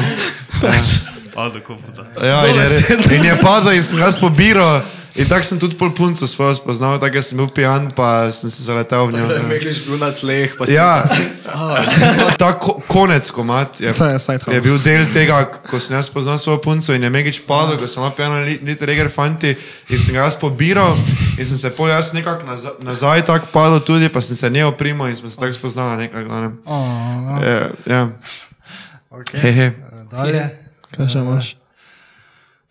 Speaker 2: Pa do kuputa.
Speaker 5: Ja, in, je, re- in je padel in sem ga spobiral. In tako sem tudi pol punco svojo spoznal, tako da sem bil pijan, pa sem se zaletel v njo. ne.
Speaker 3: Megliš bil na tleh, pa si Ah,
Speaker 5: Ja, ta ko, konec komat je,
Speaker 7: To je side hustle.
Speaker 5: je bil del tega, ko sem jaz spoznal svojo punco in je Megič padel, ko sem napijan ali reger fanti in sem ga jaz pobiral in sem se pol jaz nekako nazaj, nazaj tako padel tudi, pa sem se nje oprimo in smo se tako spoznali nekaj, glavnem.
Speaker 8: Oh,
Speaker 5: Ja, ja.
Speaker 8: okay.
Speaker 5: Hehe.
Speaker 8: Dalje.
Speaker 7: Kaj še imaš?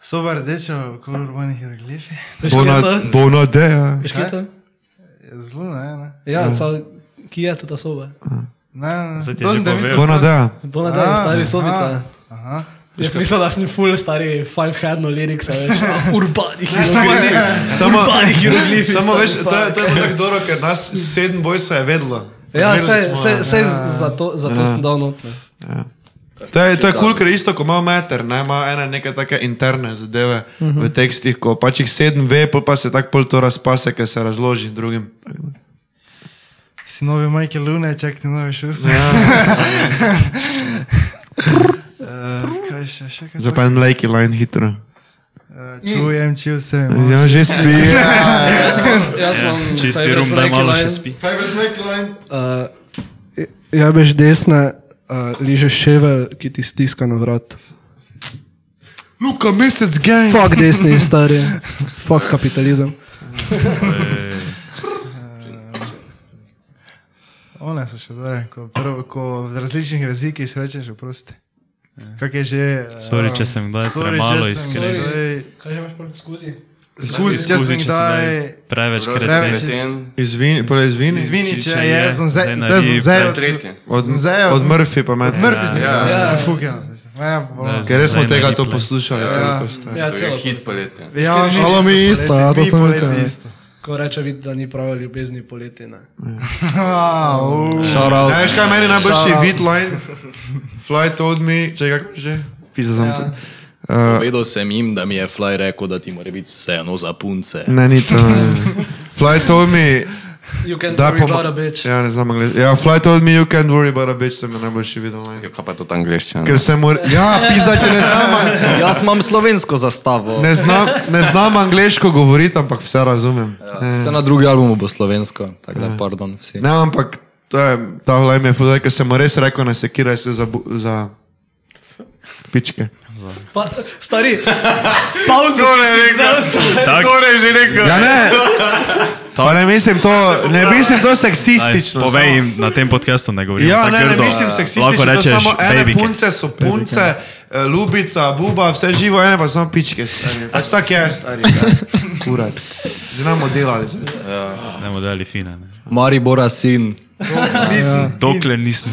Speaker 8: Soba rdeča, kolor urbanih hieroglifi.
Speaker 1: Veš, kaj je to?
Speaker 5: Bona- Bonadeja.
Speaker 1: Veš, kaj je to?
Speaker 8: Zelo ne, ne.
Speaker 1: Ja, saj, ki je ta soba?
Speaker 8: Ne, ne.
Speaker 2: Zdaj ti je
Speaker 8: To
Speaker 2: že
Speaker 8: sem te
Speaker 2: povedal.
Speaker 8: mislil.
Speaker 5: Bonadeja.
Speaker 1: To ne da,
Speaker 8: A,
Speaker 1: stari
Speaker 8: aha.
Speaker 1: sobica.
Speaker 8: Aha.
Speaker 1: Jaz mislim, da sem full stari five head no lyrics, a veš, urbani hieroglifi.
Speaker 5: Samo,
Speaker 1: Urbani hieroglifi.
Speaker 5: Samo
Speaker 1: stari,
Speaker 5: veš, to je,
Speaker 1: fuck.
Speaker 5: to je bilo tako dobro, ker nas sedem boj se je vedlo.
Speaker 1: Ja,
Speaker 5: Odmerili
Speaker 1: sej,
Speaker 5: smo,
Speaker 1: sej,
Speaker 5: ja.
Speaker 1: sej zato, zato
Speaker 5: Ja.
Speaker 1: sem dal not. ne.
Speaker 5: Ja. To je, to je kul, ker isto, ko ima meter, ne, ima ene neke take interne zadeve uh -huh. v tekstih, ko pač jih sedem ve, pol pa se tako pol to razpase, ker se razloži drugim. Tako da.
Speaker 8: Si novi Michael Lune, čak ti nove šuse. Eh, Kaj še, še kaj?
Speaker 5: Zdaj pa en lajki line hitro.
Speaker 8: Eh, Čujem, čil sem.
Speaker 5: Ja, že spi.
Speaker 1: Jaz imam
Speaker 2: Ja, Čisti
Speaker 1: favorite
Speaker 2: rum, da
Speaker 1: Frankie
Speaker 2: malo
Speaker 1: Line.
Speaker 2: še spi. E,
Speaker 1: Uh, ja, veš desne, uh, ližeš ševel, ki ti stiska na vrat.
Speaker 5: Luka, mesec gang.
Speaker 1: Fak desni, stari. Fak kapitalizem.
Speaker 8: One so še dobre, ko, prvo, ko v različnih jezikih srečaš oprosti. Kak je že... eh,
Speaker 2: Sorry, če sem kdaj
Speaker 8: sorry,
Speaker 2: premalo
Speaker 8: če sem
Speaker 2: iskren.
Speaker 8: kdaj-
Speaker 1: Kaj že imaš pol
Speaker 2: Ja,
Speaker 1: skuzi?
Speaker 8: Skuzi, če sem kdaj...
Speaker 2: Preveč
Speaker 8: Preveč
Speaker 2: krat.
Speaker 8: iz-
Speaker 5: Izvini, pa izvini.
Speaker 8: Izvini,
Speaker 2: Če-
Speaker 8: če
Speaker 2: če
Speaker 8: je,
Speaker 2: je,
Speaker 8: sem
Speaker 2: zdaj
Speaker 8: zdaj... Zdaj
Speaker 2: naredi
Speaker 8: sem zdaj...
Speaker 4: Na tretji.
Speaker 5: Od,
Speaker 8: Sem zdaj-
Speaker 5: od Murphy pa meter.
Speaker 8: Mrfi sem
Speaker 4: Ja,
Speaker 8: zdaj.
Speaker 1: ja.
Speaker 8: Fuken.
Speaker 5: Ker res smo tega to poslušali. Ja.
Speaker 1: Ja,
Speaker 4: To je
Speaker 1: celo.
Speaker 4: hit poletja.
Speaker 8: Ja,
Speaker 7: Halo, mi isto, ja, to sem rekel, ja.
Speaker 8: Isto.
Speaker 1: Ko reče vid, da ni prave ljubezni poleti, ne.
Speaker 8: Ah, uh.
Speaker 3: Šaral.
Speaker 5: Ne, veš kaj je meni najboljši vid line? Fly told me, če kako že? Pisa sem to.
Speaker 3: Vedel sem jim, da mi je Fly rekel, da ti mora biti vseeno za punce.
Speaker 5: Ne, ni to. ne. Fly told me,
Speaker 1: You can
Speaker 5: da
Speaker 1: worry
Speaker 5: poma-
Speaker 1: about a bitch.
Speaker 5: Ja, ne znam angleško. Ja, fly told me you can't worry about a bitch, sem je najboljši vid line.
Speaker 4: Jo, Kaj pa tudi angliščina?
Speaker 5: Ker se mora... Ja, pizda, če ne znam,
Speaker 3: Jaz imam slovensko zastavo.
Speaker 5: ne znam, ne znam angleško govoriti, ampak vse razumem.
Speaker 3: Ja, se na drugi albumu bo slovensko, tako da pardon vsi.
Speaker 5: Ne, ampak to je, ta vlaj mi je fudaj, ker sem mu res rekel, ne sekiraj se za, bu- za pičke.
Speaker 1: Pa, stari, pauzo.
Speaker 2: Tako je že rekel.
Speaker 5: Ja, ne, pa ne mislim to, ne mislim to seksistično.
Speaker 2: Povej jim, na tem podkastu ne govorim.
Speaker 5: Ja,
Speaker 2: tako
Speaker 5: ne, ne
Speaker 2: grdo.
Speaker 5: mislim
Speaker 2: Lahko
Speaker 5: seksistično, to
Speaker 2: rečeš,
Speaker 5: samo ene
Speaker 2: baby.
Speaker 5: punce so punce, eh, ljubica, buba, vse živo, ene pa samo pičke. stari. Pač tak je, stari. ja. Kurac. Znamo delali. zdaj.
Speaker 2: Ne bomo dali fina. ne.
Speaker 3: Maribora sin.
Speaker 8: Nisem.
Speaker 2: Dokler nisem.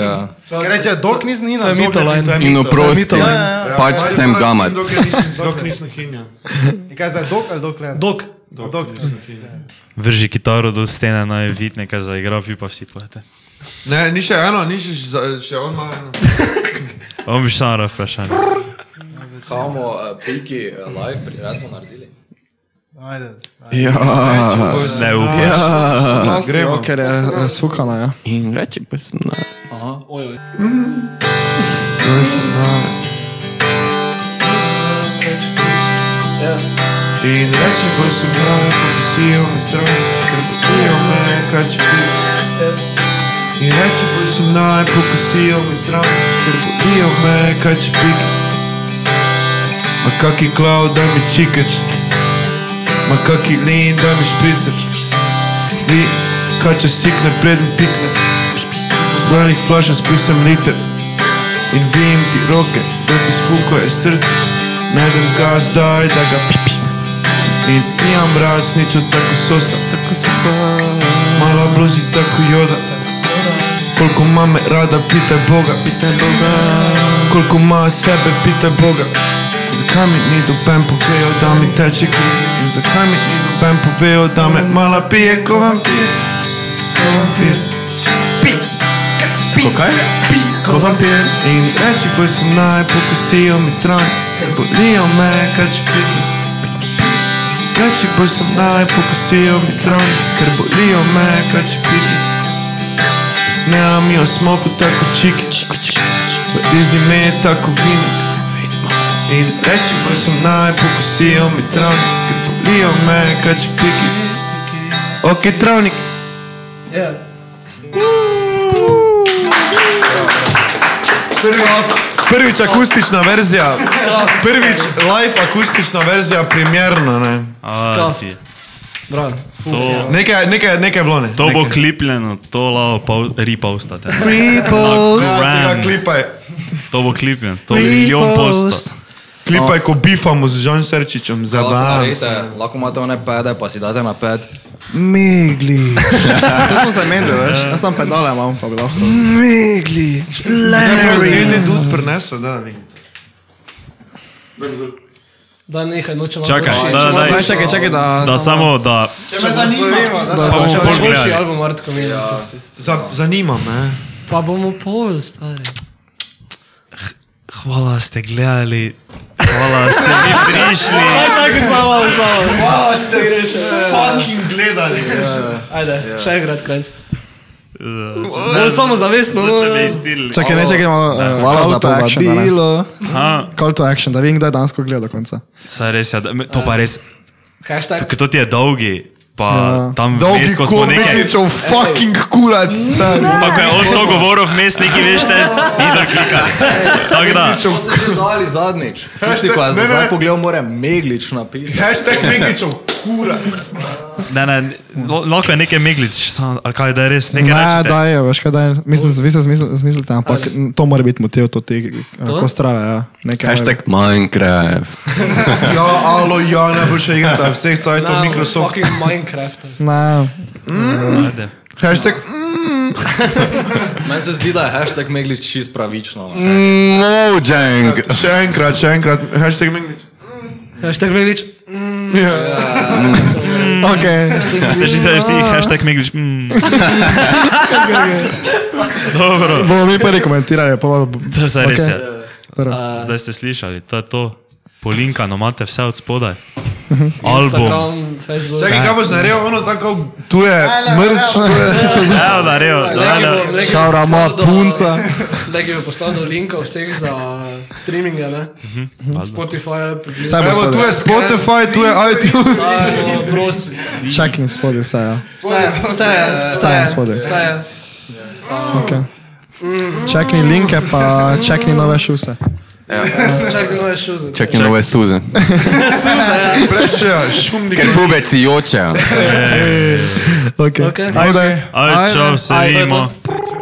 Speaker 3: Ja.
Speaker 8: Ker reče, dok nisem ni na
Speaker 1: mito line.
Speaker 5: Zdaj mi
Speaker 4: In
Speaker 5: to.
Speaker 4: oprosti,
Speaker 1: Ja,
Speaker 4: pač sem gamat.
Speaker 5: Dokler nisem- Dok nisem hinja.
Speaker 8: Kaj zdaj, dok ali dokler?
Speaker 1: Dok.
Speaker 5: Dok nisem hinja.
Speaker 2: Vrži kitaro do stene, naj vid nekaj zaigra, vi pa vsi plete.
Speaker 5: Ne, ni še eno, ni še, za- še on malo eno.
Speaker 2: On bi šara vprašanje.
Speaker 3: Kamo, uh, piki uh, live, priradno naredili.
Speaker 8: Ajde.
Speaker 4: Ja,
Speaker 2: Ne upam.
Speaker 7: Gremo, ker je razfukana, ja.
Speaker 4: in Mm, reči pa sem no. na.
Speaker 5: In reči, ko sem bila, ko si jo mi troj, ker potijo me, kaj če bi. In reči, ko sem naj, ko si jo mi troj, ker potijo me, kaj če bi. Ma kaki klav, daj mi čikač, ma kaki lin, daj mi špricač. Ni, kaj če sikne, preden pikne. Zbranih flaša spisam liter in vijem ti roke, da ti spukuje srce. Najdem ga zdaj, da ga pipi. In pijam raz, nič od tako sosa, tako sosa. Mala bluzi tako joda. Koliko mame rada, pitaj Boga, pitaj Boga. Koliko ima sebe, pitaj Boga. Zakaj mi ni doben povejo, da mi teče kri? In zakaj mi ni doben povejo, da me mala pije, ko vam pije? Ko vam pije? Ko kaj? Ko vam pije? In reči, ko sem naj, pokusijo mi tran, bolijo me, kaj če pijem. Kači bolj sem naj, pokusijo mi tron, ker bolijo me, kači piki. Ne, mi jo smo kot tako čiki, izni me je tako vino. In reči bolj sem naj, pokusijo mi tron, ker bolijo me, kači piki. Ok, travnik.
Speaker 1: Ja.
Speaker 5: Prvič akustična verzija, prvič live akustična verzija, primerna, ne.
Speaker 2: A,
Speaker 1: Skaft.
Speaker 2: ti.
Speaker 1: Bravo.
Speaker 5: ja.
Speaker 2: To,
Speaker 5: Nekaj, nekaj, nekaj vlone.
Speaker 2: to bo klipljeno, to lao ripostate.
Speaker 5: Tega
Speaker 2: Gram.
Speaker 5: klipaj.
Speaker 2: To bo klipljeno, to bo milijon posta.
Speaker 5: Klipaj, ko bifamo z Žan Srčičem, za
Speaker 3: Lahko,
Speaker 5: dan.
Speaker 3: naredite, lahko imate one pede, pa si date na ped.
Speaker 7: Migli. To smo zamenjali, veš. Jaz sem pedale imam, pa bi lahko. Migli.
Speaker 5: Zdaj, dud prenese, da, da vidim.
Speaker 1: Da, nehaj, nočem vam
Speaker 2: Čakaj,
Speaker 1: boljši.
Speaker 2: da,
Speaker 1: Če
Speaker 2: da,
Speaker 1: vam
Speaker 2: daj.
Speaker 7: Daj,
Speaker 1: boljši
Speaker 7: čakaj,
Speaker 1: album.
Speaker 7: čakaj, da...
Speaker 2: Da samo, da...
Speaker 8: me zanima,
Speaker 1: Da,
Speaker 2: bomo
Speaker 1: če
Speaker 2: pol
Speaker 1: boš boljši
Speaker 2: gledali.
Speaker 1: album Artko mi
Speaker 5: Ja.
Speaker 1: je.
Speaker 5: pač Za, zanima me.
Speaker 1: Pa bomo pol, stari.
Speaker 2: Hvala, ste gledali. Hvala, ste vi prišli.
Speaker 1: Čakaj, samo, samo.
Speaker 5: Hvala, ste fucking gledali. Ja.
Speaker 1: Ajde, še enkrat, kranc. Bolj samozavestno, no.
Speaker 2: Ste me
Speaker 1: no.
Speaker 2: iztirili.
Speaker 7: Čakaj, ne, čakaj malo. eh,
Speaker 3: Hvala
Speaker 7: call
Speaker 3: za
Speaker 7: to action danes.
Speaker 3: povabilo.
Speaker 2: Aha,
Speaker 7: Call to action, da vidim, kdaj dansko gleda do konca.
Speaker 2: saj res je, da- me- to pa res,
Speaker 1: Hashtag.
Speaker 2: ker to ti je dolgi, pa
Speaker 7: Ja.
Speaker 2: tam vmes,
Speaker 6: Dolgi
Speaker 2: ko smo nekaj...
Speaker 6: kurničev, fucking kurac, stari.
Speaker 2: Pa ko je on to govoril vmes, neki veš, te si da klikali. Tako da,
Speaker 3: To ste že dali zadnjič. Tisti, ko je za zdaj pogledal, mora meglič napisati.
Speaker 6: Hashtag Mekičev, kurac.
Speaker 2: ne, ne, lo- lahko je nekaj meglič, samo- ali kaj, da je res, nekaj
Speaker 7: Ne,
Speaker 2: rečete.
Speaker 7: daj, ja, veš kaj, daj. Mislim, vi se zmisl- zmislite, ampak n- to mora biti motiv, to te eh,
Speaker 1: To?
Speaker 7: kostrave, ja. Nekaj mora
Speaker 4: Hashtag Minecraft.
Speaker 5: Ja, alo, ja, najboljša igrica vseh
Speaker 1: Na,
Speaker 5: cajtov, Microsoft.
Speaker 1: Fucking Minecraft.
Speaker 7: biti. Ne,
Speaker 2: Ajde.
Speaker 5: Hashtag
Speaker 3: Meni se zdi, da je hashtag meglič čist pravično.
Speaker 4: No, Mojang.
Speaker 5: Še enkrat, še enkrat, hashtag Minglič.
Speaker 1: Hashtag Velič.
Speaker 7: ok.
Speaker 2: Ste že zdaj vsi hashtag meglič. Mm. Dobro,
Speaker 7: Bomo mi prvi komentirali, pa bo...
Speaker 2: to se res je.
Speaker 7: prvo.
Speaker 2: Zdaj ste slišali, to je to. Polinkano imate vse od spodaj. Album.
Speaker 1: Instagram, Facebook.
Speaker 5: Čakaj, kaj boš naredil, ono tako, tu je mrč, tu je...
Speaker 2: Evo, da, rejo, da, da.
Speaker 3: Šaura ima punca.
Speaker 1: Da bi poslal do linkov vseh za streaminge, ne? Mhm. Spotify,
Speaker 7: Saj bo
Speaker 5: Evo, tu je
Speaker 7: spodaj.
Speaker 5: Spotify, tu je iTunes.
Speaker 1: Ajmo, prosim.
Speaker 7: Čakni spodaj vse, ja.
Speaker 1: Vse je, vse je, vse je,
Speaker 7: Spodaj.
Speaker 1: vse je.
Speaker 7: Okay. Čakni linke, pa čakni nove šuse.
Speaker 1: Čakaj, nove šuze.
Speaker 4: Čakaj, nove suze.
Speaker 5: Prešejo, šumnik.
Speaker 4: Ker pubeci jočejo.
Speaker 7: Okay.
Speaker 1: Okej.
Speaker 7: Ajde.
Speaker 2: Aj, čau, se
Speaker 1: Aj, to je
Speaker 2: vidimo.
Speaker 1: to.